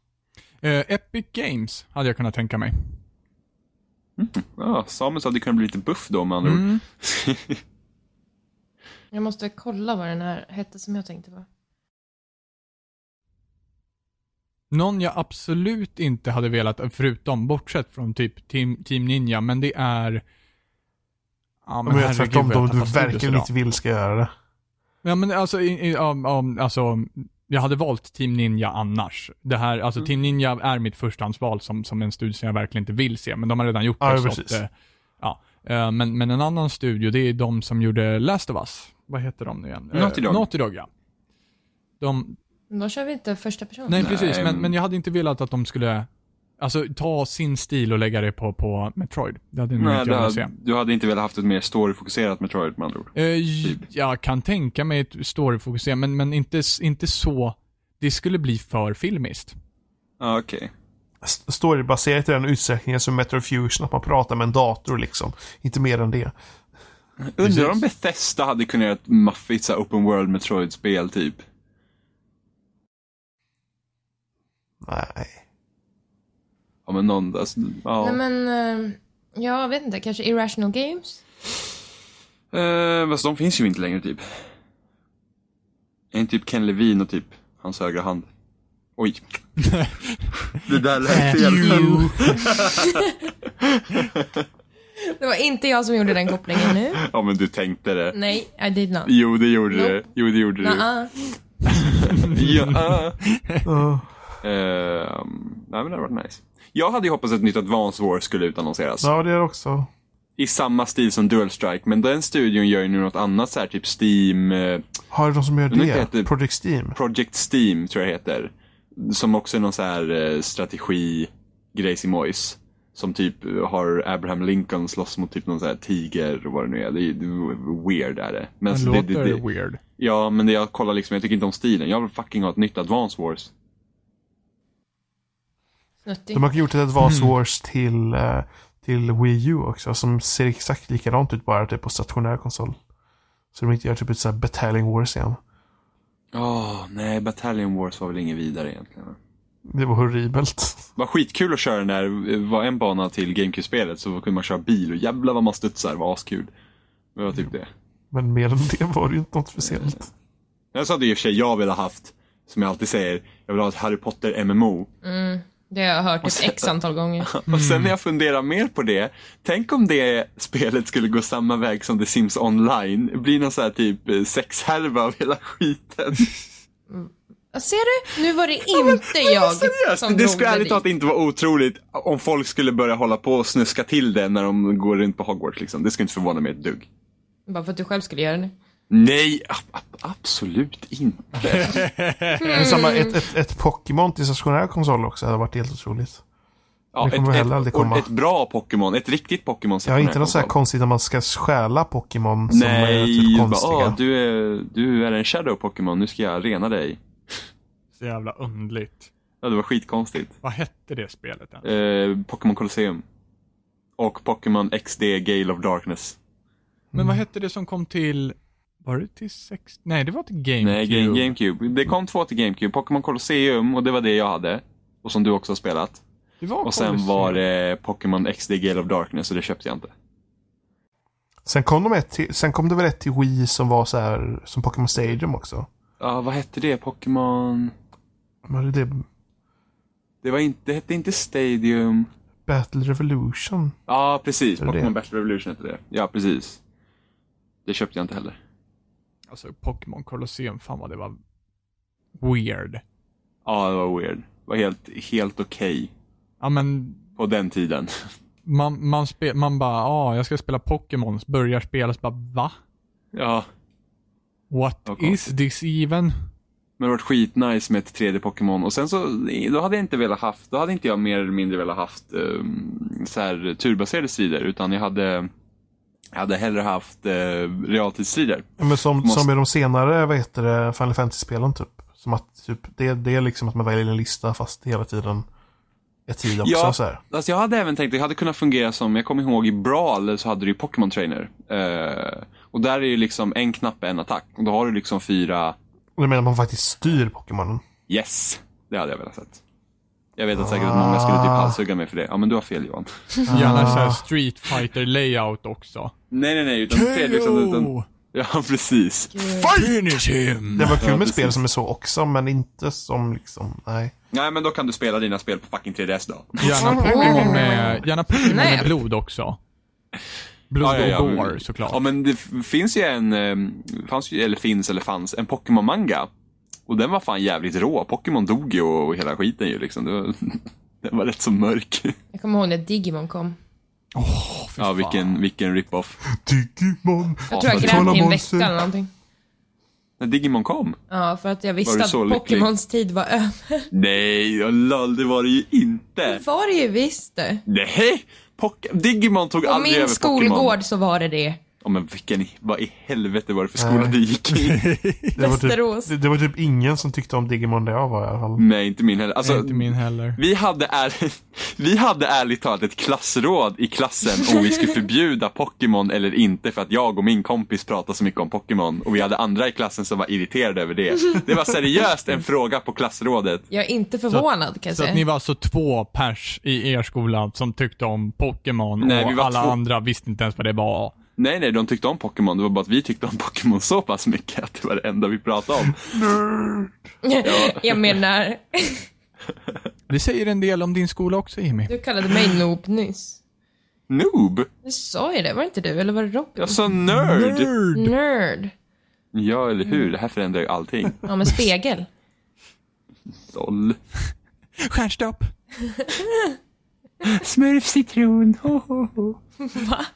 D: Eh, Epic Games hade jag kunnat tänka mig.
B: Ja, Samus hade kunnat bli lite buff då med andra ord.
D: Mm.
A: Jag måste kolla vad den här hette som jag tänkte på.
D: Någon jag absolut inte hade velat, förutom, bortsett från typ Team, team Ninja, men det är... Ja
C: Men, jag tvärtom,
D: vad jag
C: de du
D: tappar studios
C: verkligen
D: idag.
C: inte vill ska göra det.
D: Ja men alltså, i, i, um, um, alltså, jag hade valt Team Ninja annars. Det här, alltså Team Ninja är mitt förstahandsval som, som en studio som jag verkligen inte vill se, men de har redan gjort
C: Ja,
D: det.
C: ja,
D: så
C: precis.
D: eh, ja. Eh, men, men en annan studio, det är de som gjorde Last of Us. Vad heter de nu igen? Eh,
B: Naughty Dog.
D: Naughty Dog, ja. De,
A: Men Då kör vi inte första person.
D: nej, precis, men,
B: men-
D: men jag hade inte velat att de skulle Alltså ta sin stil och lägga det på, på Metroid. Det hade nog
B: Nej,
D: inte jag velat
B: det,
D: se.
B: du hade inte velat haft ett mer storyfokuserat Metroid med andra ord.
D: Eh, jag kan tänka mig ett storyfokuserat, men, men inte, s- inte så... Det skulle bli för filmiskt.
B: Ja, Ah, Okej.
C: S- Storybaserat i den utsträckningen som Metro Fusion, att man pratar med en dator liksom. Inte mer än det.
B: Undrar om Bethesda hade kunnat göra ett maffigt så här, open world Metroid-spel typ.
C: Nej.
B: Ja men någon, alltså, ja.
A: Nej men, eh, jag vet inte, kanske Irrational Games?
B: Eh, fast de finns ju inte längre typ. Är inte typ Ken Levine och typ hans högra hand? Oj. det där
D: Eh,
B: lät fel.
A: Det var inte jag som gjorde den kopplingen nu.
B: Ja men du tänkte det.
A: Nej, I did not. ah.
B: Jo det gjorde du.
A: Nope.
B: Jo det gjorde du.
A: Nå-ah.
B: Ja.
D: Mm.
C: Uh,
B: Eh, nej men det hade varit nice. Jag hade ju hoppats att ett nytt Advance War skulle utannonseras.
C: ja, det är det också.
B: I samma stil som Dual Strike. Men den studion gör ju nu något annat så här typ Steam. eh,
C: Har du någon som gör
B: Men det
C: det?
B: heter-
C: Project Steam?
B: Project Steam tror jag det heter. Som också är någon så här eh, strategi Gracie Moyes. Som typ eh, har Abraham Lincoln slåss mot typ någon så här tiger och vad det nu är. Det är, det är weird är det. Men
D: Det
B: alltså, det,
D: låter
B: det, det,
D: weird.
B: ja, men det jag kollar liksom, jag tycker inte om stilen. Jag vill fucking ha ett nytt Advance Wars.
A: Snuttig.
C: De har gjort ett
B: Mm.
C: Advance Wars till, eh, till Wii U också, som ser exakt likadant ut bara typ på stationär konsol. Så de inte gör typ ett sånt här Battalion Wars igen.
B: Åh, nej, Battalion Wars var väl inget vidare egentligen.
C: Det var horribelt.
B: var skitkul att köra den där, var en bana till GameCube-spelet så kunde man köra bil och jävlar vad man studsar, var askul. Det var typ det.
C: Men mer än det var det ju inte något speciellt.
B: Jag sa det i och för sig jag ville ha haft, som jag alltid säger, jag vill ha ett Harry Potter MMO.
A: Det har jag hört ett x antal gånger.
B: Och sen när jag funderar mer på det, tänk om det spelet skulle gå samma väg som The Sims Online, bli någon sån här typ eh, sexhärva av hela skiten.
A: Ja, Ser du? Nu var det inte jag som
B: Seriöst, det
A: drog
B: skulle
A: det
B: ärligt
A: dit.
B: talat inte vara otroligt om folk skulle börja hålla på och snuska till det när de går runt på Hogwarts liksom. Det skulle inte förvåna mig ett dugg.
A: Bara för att du själv skulle göra det.
B: Nej, ab- ab- absolut inte.
C: Men samma, ett, ett, ett Pokémon till stationär konsol också hade varit helt otroligt.
B: Ja,
C: Det kommer
B: ett,
C: heller aldrig
B: ett, och
C: komma.
B: Ett bra Pokémon, ett riktigt Pokémon.
C: Jag har inte något så här konstigt att man ska stjäla Pokémon som är
B: Nej,
C: typ
B: bara,
C: konstiga.
B: "Ah, du, är, du är en shadow Pokémon, nu ska jag rena dig.
D: Så jävla undligt.
B: Ja, det var skitkonstigt.
D: Vad hette det spelet ens?
B: Eh, Pokémon Colosseum. Och Pokémon XD Gale of Darkness.
D: Men vad hette det som kom till... Var det till 6? Nej, det var till GameCube.
B: Nej, Game, GameCube. Det kom två till GameCube. Pokémon Colosseum och det var det jag hade. Och som du också har spelat.
D: Det var
B: Och sen
D: Colosseum.
B: var det Pokémon XD Gale of Darkness och det köpte jag inte.
C: Sen, kom de ett till, sen kom det väl ett till Wii som var så här, som Pokémon Stadium också.
B: Ja, vad hette det? Pokémon...
C: Men det är
B: Det, var inte, det hette inte Stadium.
C: Battle Revolution.
B: Ja, precis.
C: Är det
B: Pokémon
C: det?
B: Battle Revolution heter det. Ja, precis. Det köpte jag inte heller.
D: Alltså Pokémon Colosseum, fan vad det var weird.
B: Ja, det var weird. Det var helt, helt okej
D: Ja men,
B: på den tiden.
D: man, man, spe, man bara, ja ah, jag ska spela Pokémon, börjar spela, så bara va?
B: Ja.
D: What
B: Vad
D: is
B: konstigt.
D: this even?
B: Men det var skitnice med ett 3D Pokémon. Och sen så, då hade jag inte velat haft, då hade inte jag mer eller mindre velat haft um, så här turbaserade strider. Utan jag hade, jag hade hellre haft uh, realtidsstrider.
C: Ja, Men som,
B: Måste-
C: som i de senare, vad heter det, Final Fantasy-spelen typ. Som att typ, det, det är liksom att man väljer en lista fast hela tiden är tid också.
B: Ja.
C: Så här.
B: Alltså jag hade även tänkt, det hade kunnat fungera som, jag kommer ihåg i Brawl så hade du ju Pokémon Trainer. Eh, och där är ju liksom en knapp, en attack. Och då har du liksom fyra
C: Och jag menar att man faktiskt styr Pokémonen.
B: Yes! Det hade jag velat sett. Jag vet att säkert att många skulle typ halshugga mig för det. Ja, men du har fel Johan.
D: Gärna såhär Street Fighter layout också.
B: Nej, nej, nej. Utan Fredrik som liksom, utan... Ja, precis.
D: Finish him!
C: Det var kul med
B: Mm. precis.
C: spel som är så också, men inte som liksom, nej.
B: Nej, men då kan du spela dina spel på fucking 3DS då.
D: Gärna Pokémon med, gärna Pokémon med blod också. Blod
B: Ja, ja, ja,
D: och
B: men-
D: gore såklart.
B: Ja, men det f- finns ju en, ehm, fanns ju, eller finns eller fanns, en Pokémon-manga. Och den var fan jävligt rå. Pokémon dog ju och hela skiten ju liksom. Det var, den var rätt så mörk.
A: Jag kommer ihåg när Digimon kom.
B: Ja, vilken, vilken rip-off.
C: Digimon!
A: Jag tror jag
B: för
A: grät i en vecka
C: Tålamonsen.
A: eller någonting.
B: När Digimon kom?
A: Ja, för att jag
B: Var du
A: visste att
B: så lycklig?
A: Pokémons tid var över.
B: Nej, jag lall, det var det ju
A: Det
B: inte.
A: var det ju visst det.
B: Nej! Pok- Digimon tog
A: På
B: aldrig
A: min
B: över Pokémon.
A: skolgård så var det det.
B: Ja, men vilken, i- vad i helvete var det för skola
C: Nej.
B: du gick i?
C: Det var,
A: Västerås.
C: typ, det, det var typ ingen som tyckte om Digimon där jag var i alla fall.
B: Nej, inte min heller. Alltså,
D: Nej, inte min heller.
B: Vi hade, är, vi hade ärligt talat ett klassråd i klassen om vi skulle förbjuda Pokémon eller inte för att jag och min kompis pratade så mycket om Pokémon och vi hade andra i klassen som var irriterade över det. Det var seriöst en fråga på klassrådet.
A: Jag är inte förvånad kan jag
D: Så att
A: säga.
D: ni var alltså två pers i er skola som tyckte om Pokémon
B: Nej,
D: och
B: vi var
D: alla
B: två.
D: andra visste inte ens vad det var.
B: Nej, nej, de tyckte om Pokémon. Det var bara att vi tyckte om Pokémon så pass mycket att det var det enda vi pratade om.
A: jag menar,
D: Det säger en del om din skola också Jimmy.
A: du kallade mig noob nyss.
B: Noob!
A: Du sa ju det, var det inte du? Eller var det Robin?
B: Jag sa nörd!
A: Nerd.
B: Ja, eller hur? Det här förändrar ju allting.
A: Ja, men spegel.
B: Lol.
D: Stjärnstopp!
E: Smurf citron. Ho, ho, ho.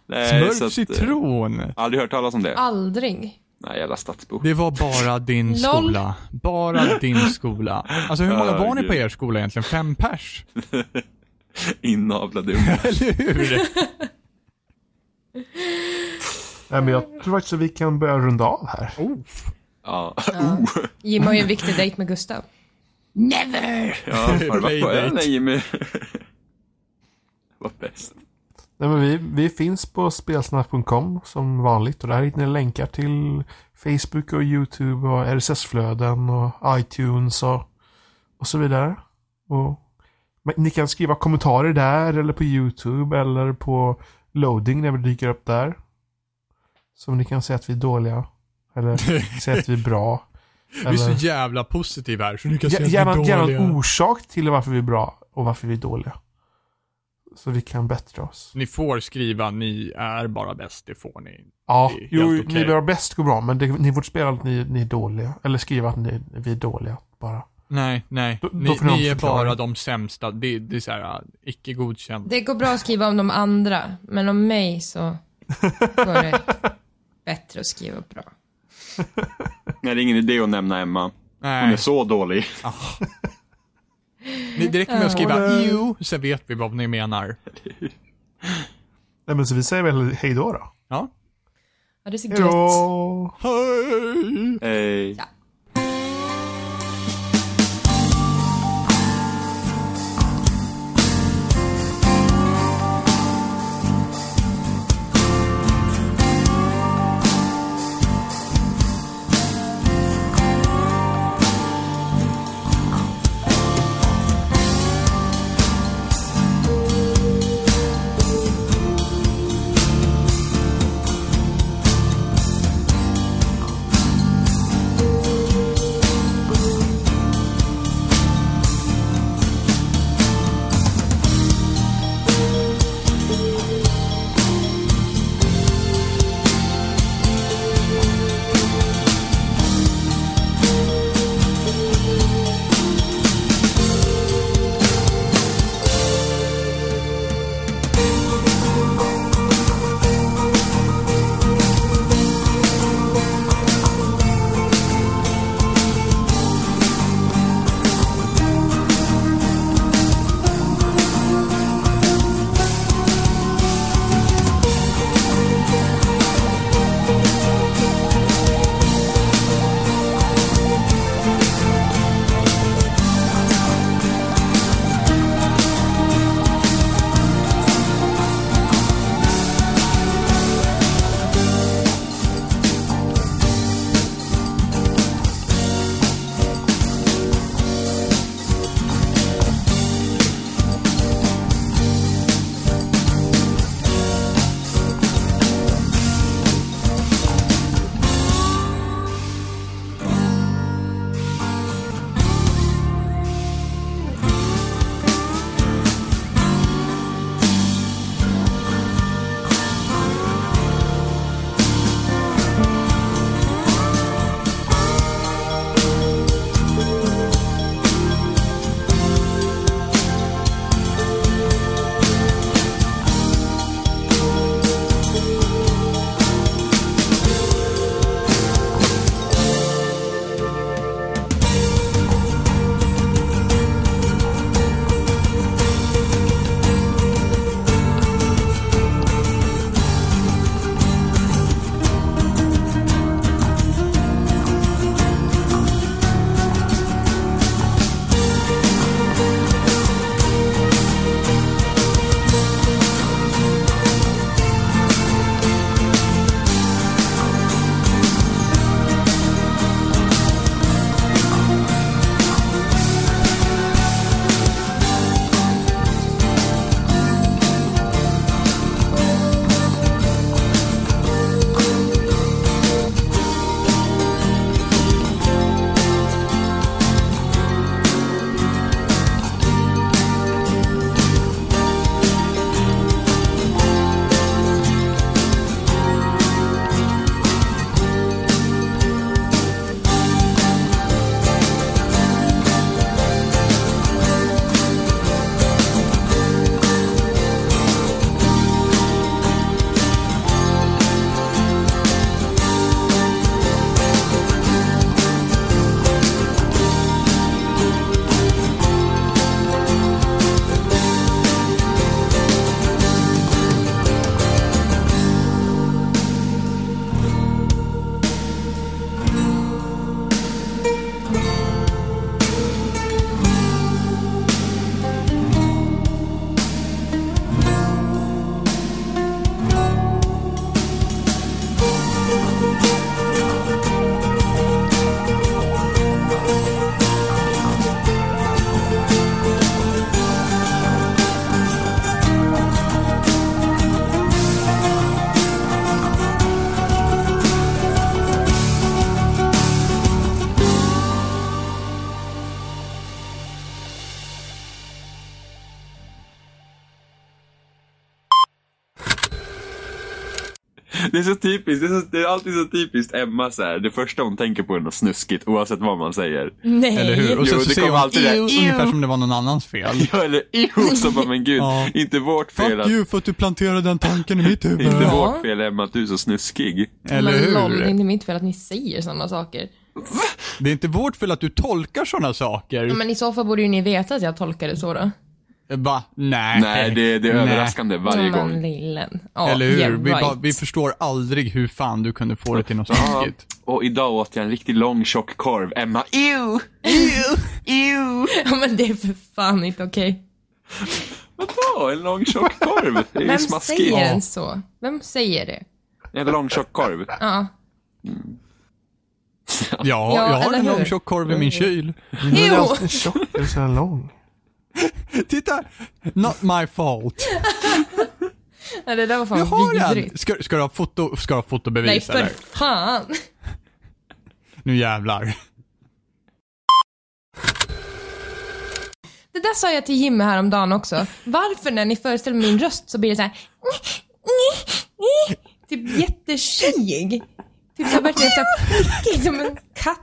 B: Nej, så
D: Smurf
B: att, eh,
D: citron!
B: Aldrig hört talas om det.
A: Aldrig.
B: Nej, jävla stadsbo.
D: Det var bara din skola. Bara din skola. Alltså hur
B: Ah,
D: många var ni på er skola egentligen? Fem pers?
B: Inavlade ungar.
D: Eller hur?
C: Nej, men jag tror faktiskt att vi kan börja runda av här.
B: Ja. Oh.
A: Jim har ju en viktig dejt med Gustav.
B: Ja, har du varit på
D: Playdate.
B: ön nej, Jimmy? Vad bäst.
C: Nej, men vi, vi finns på spelsnack.com som vanligt och där hittar ni länkar till Facebook och YouTube och RSS-flöden och iTunes och, och så vidare. Och, men ni kan skriva kommentarer där eller på YouTube eller på loading när vi dyker upp där. Som ni kan säga att vi är dåliga. Eller säga att vi är bra.
D: Du är
C: Eller-
D: så jävla positiv här så ni kan se
C: Ge-
D: att vi är
C: Gärna, gärna
D: dåliga.
C: en orsak till varför vi är bra och varför vi är dåliga. Så vi kan bättra oss.
D: Ni får skriva, ni är bara bäst, det får ni.
C: Ja,
D: Det är
C: jo,
D: helt okej.
C: ni bör bäst gå bra, men det, ni får inte spela att ni, ni är dåliga. Eller skriva att ni, vi är dåliga bara.
D: Nej, nej.
C: Då- då
D: ni
C: får ni
D: ni är
C: förklara.
D: bara de sämsta. Det, det är så här, äh, icke godkänt.
A: Det går bra att skriva om de andra, men om mig så går det bättre att skriva bra.
B: Nej, det är ingen idé att nämna Emma. Hon är
D: Nej.
B: så dålig.
D: Ni, det räcker med att skriva jo, sen vet vi vad ni menar.
C: Nej, men så vi säger väl hej då då.
D: Ja.
A: Ja, det är så
C: Hej
A: gött.
C: då!
D: Hej!
B: Eh, Det är så typiskt. Det är, så, det är alltid så typiskt Emma så här. Det första hon tänker på är något snuskigt oavsett vad man säger.
A: Nej.
D: Eller hur?
B: Jo,
D: Och sen så
B: det
D: säger
B: kommer
D: hon
B: alltid det här,
D: "Ew", ungefär som det var någon annans fel.
B: Ja, eller iho, så bara, men gud,
D: Ja.
B: inte vårt fel
D: Fuck
B: att,
D: you för att du planterade den tanken i mitt huvud.
B: inte
A: Ja.
B: vårt fel Emma att du är så snuskig.
D: Eller
A: men Noll, det är
D: hur?
A: inte mitt fel att ni säger sådana saker.
D: Det är inte vårt fel att du tolkar sådana saker. Eh,
A: Ja, men i så fall borde ju ni veta att jag tolkar det så då.
D: Va? Nej.
B: Nej, det, det är
D: Nej.
B: överraskande varje
A: Ja, men
B: gång.
A: Lillen. Ja,
D: Eller hur?
A: yeah,
D: vi,
A: right.
D: bara, vi förstår aldrig hur fan du kunde få det till något
B: Ja.
D: snuskigt.
B: Och idag åt jag en riktigt lång tjock korv. Emma, ew! Ew!
A: Ja, men det är för fan inte okej.
B: Vadå? En lång tjock korv? Det är ju
A: Vem
B: smaskigt.
A: säger ens så? Vem säger det?
B: En lång tjock korv.
A: Ja.
D: Ja,
A: Ja,
D: jag har
A: eller
D: en lång
A: hur? Mm.
D: tjock korv i min kyl.
C: Den är
A: Jo.
C: alltid tjock, är så här lång.
D: Titta! Not my fault.
A: Ja, det där var fan
D: Jag har den!
A: vidrigt.
D: Ska, ska, du ha foto, ska du ha
A: Nej,
D: fotobevis
A: för
D: eller?
A: fan.
D: Nu jävlar.
A: Det där sa jag till Jimmy häromdagen också. Varför när ni föreställer min röst så blir det så här. Typ jättetjig. Typ så här verkligen så här prickig som en katt.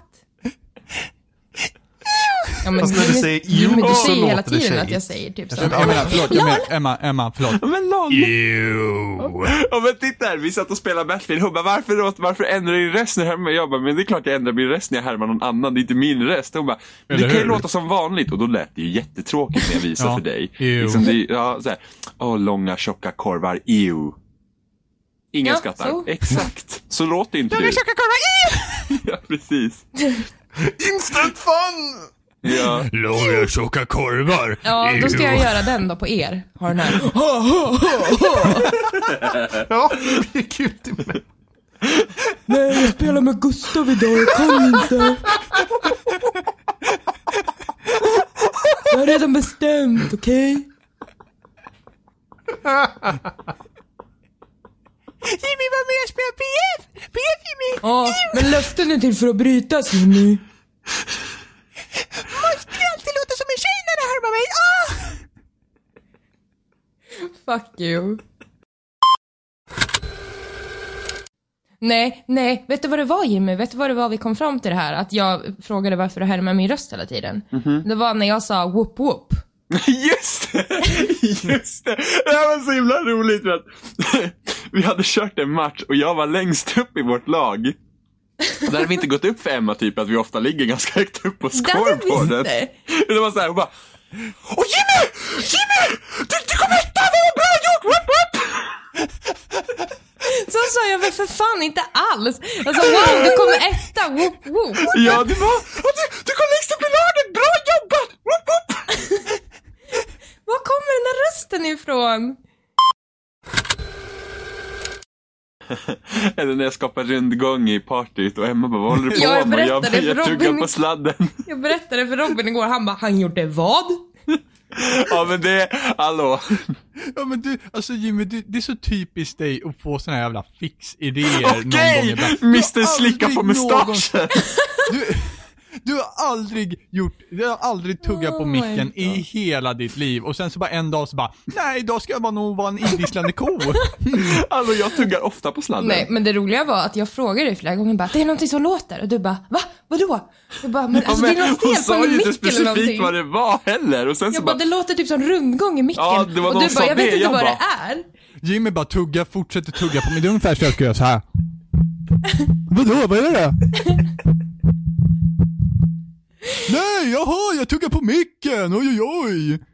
A: Ja, men
C: Fast när du
A: Jimmy-
C: säger
A: Jimmy,
C: "jo"
A: du
C: så
A: säger hela
C: låter det
A: tiden att
C: tjejigt.
A: jag säger typ så.
D: Jag menar, förlåt. Jag menar, Emma, Emma, förlåt.
B: Men lång!
D: Ew.
B: Ja men titta här, vi satt och spelade Battlefield. Hon bara, varför, då? varför ändrar du din röst när jag härmar? Jag bara, men det är klart jag ändrar min röst när jag härmar någon annan. Det är inte min röst. Hon bara, men det
D: Eller
B: kan ju
D: hur?
B: låta som vanligt. Och då lät det ju jättetråkigt när jag visade
D: Ja.
B: för dig.
D: Ew.
B: Liksom det, ja, så här, åh långa tjocka korvar, ew. Ingen
A: Ja,
B: skrattar.
A: så.
B: Exakt. Så låter inte du. Ja, precis.
C: Instant fun!
B: Ja.
D: Långa tjocka korvar.
A: Ja, då ska jag göra den då på er. Har den här.
C: Ja, det är kul till mig.
A: Nej, jag spelar med Gustav idag, jag kan inte. Jag har redan bestämt, okej?
D: Jimmy var med och spelade PF! PF Jimmy!
A: Ja, men löften är till för att brytas, Jimmy.
D: Du alltid låter som en tjej när du härmar mig. Ah!
A: Fuck you. Nej, nej, vet du vad det var Jimmy? Vet du vad det var vi kom fram till det här? Att jag frågade varför du härmar min röst hela tiden.
D: Mhm.
A: Det var när jag sa whoop whoop.
B: Just det! Just det! Det här var så himla roligt för att vi hade kört en match och jag var längst upp i vårt lag. Och Där hade vi inte gått upp för Emma typ att vi ofta ligger ganska högt upp på scoreboarden.
A: visste.
B: Det var såhär, hon bara Åh Jimmy! Jimmy! Du, du kom etta! Vad bra gjort! Whoop, whoop!
A: Så sa jag väl för fan inte alls. Jag sa wow, du kommer etta, whoop whoop.
B: Ja, det var... "Åh, Du, du kom längst upp i laget! Bra jobbat! Whoop, whoop!
A: Var kommer den där rösten ifrån?
B: Eller när jag skapar rundgång i partyt och Emma bara, vad håller du på
A: Jag
B: med? Och
A: berättade för
B: jag tuggar
A: Robin.
B: på sladden.
A: Jag berättade för Robin igår, han bara, han gjorde vad?
B: Ja men det, hallå.
D: Ja men du, alltså Jimmy, du, det är så typiskt dig att få såna här jävla fixidéer någon gång
B: Okej!
D: ibland. Du har
B: Mr Slicka på
D: aldrig någonsin-
B: mustaschen.
D: Du, du har aldrig gjort, du har aldrig tuggat på
A: Oh my
D: micken i hela ditt liv och sen så bara en dag så bara, nej idag ska jag bara nog vara en idisslande ko.
B: Alltså jag tuggar ofta på sladden.
A: Nej, men det roliga var att jag frågade dig flera gånger bara, det är någonting som låter. Och du bara, va? Vadå? Jag bara, men alltså det är något
B: hon
A: fel på
B: sa
A: en
B: ju
A: mick
B: inte
A: eller
B: specifikt
A: någonting.
B: vad det var heller. Och sen så
A: Jag bara,
B: bara,
A: det låter typ som rundgång i micken.
B: Ja, det var
A: och
B: någon
A: du
B: som
A: bara,
B: sa
A: jag
B: det.
A: vet inte
B: Jag
A: vad det
B: bara-
A: är.
D: Jimmy bara tugga, fortsätter tugga på mig. Det är ungefär så jag ska göra så här. Vadå, vad är det? Nej, jaha, jag tuggar på micken, oj oj oj.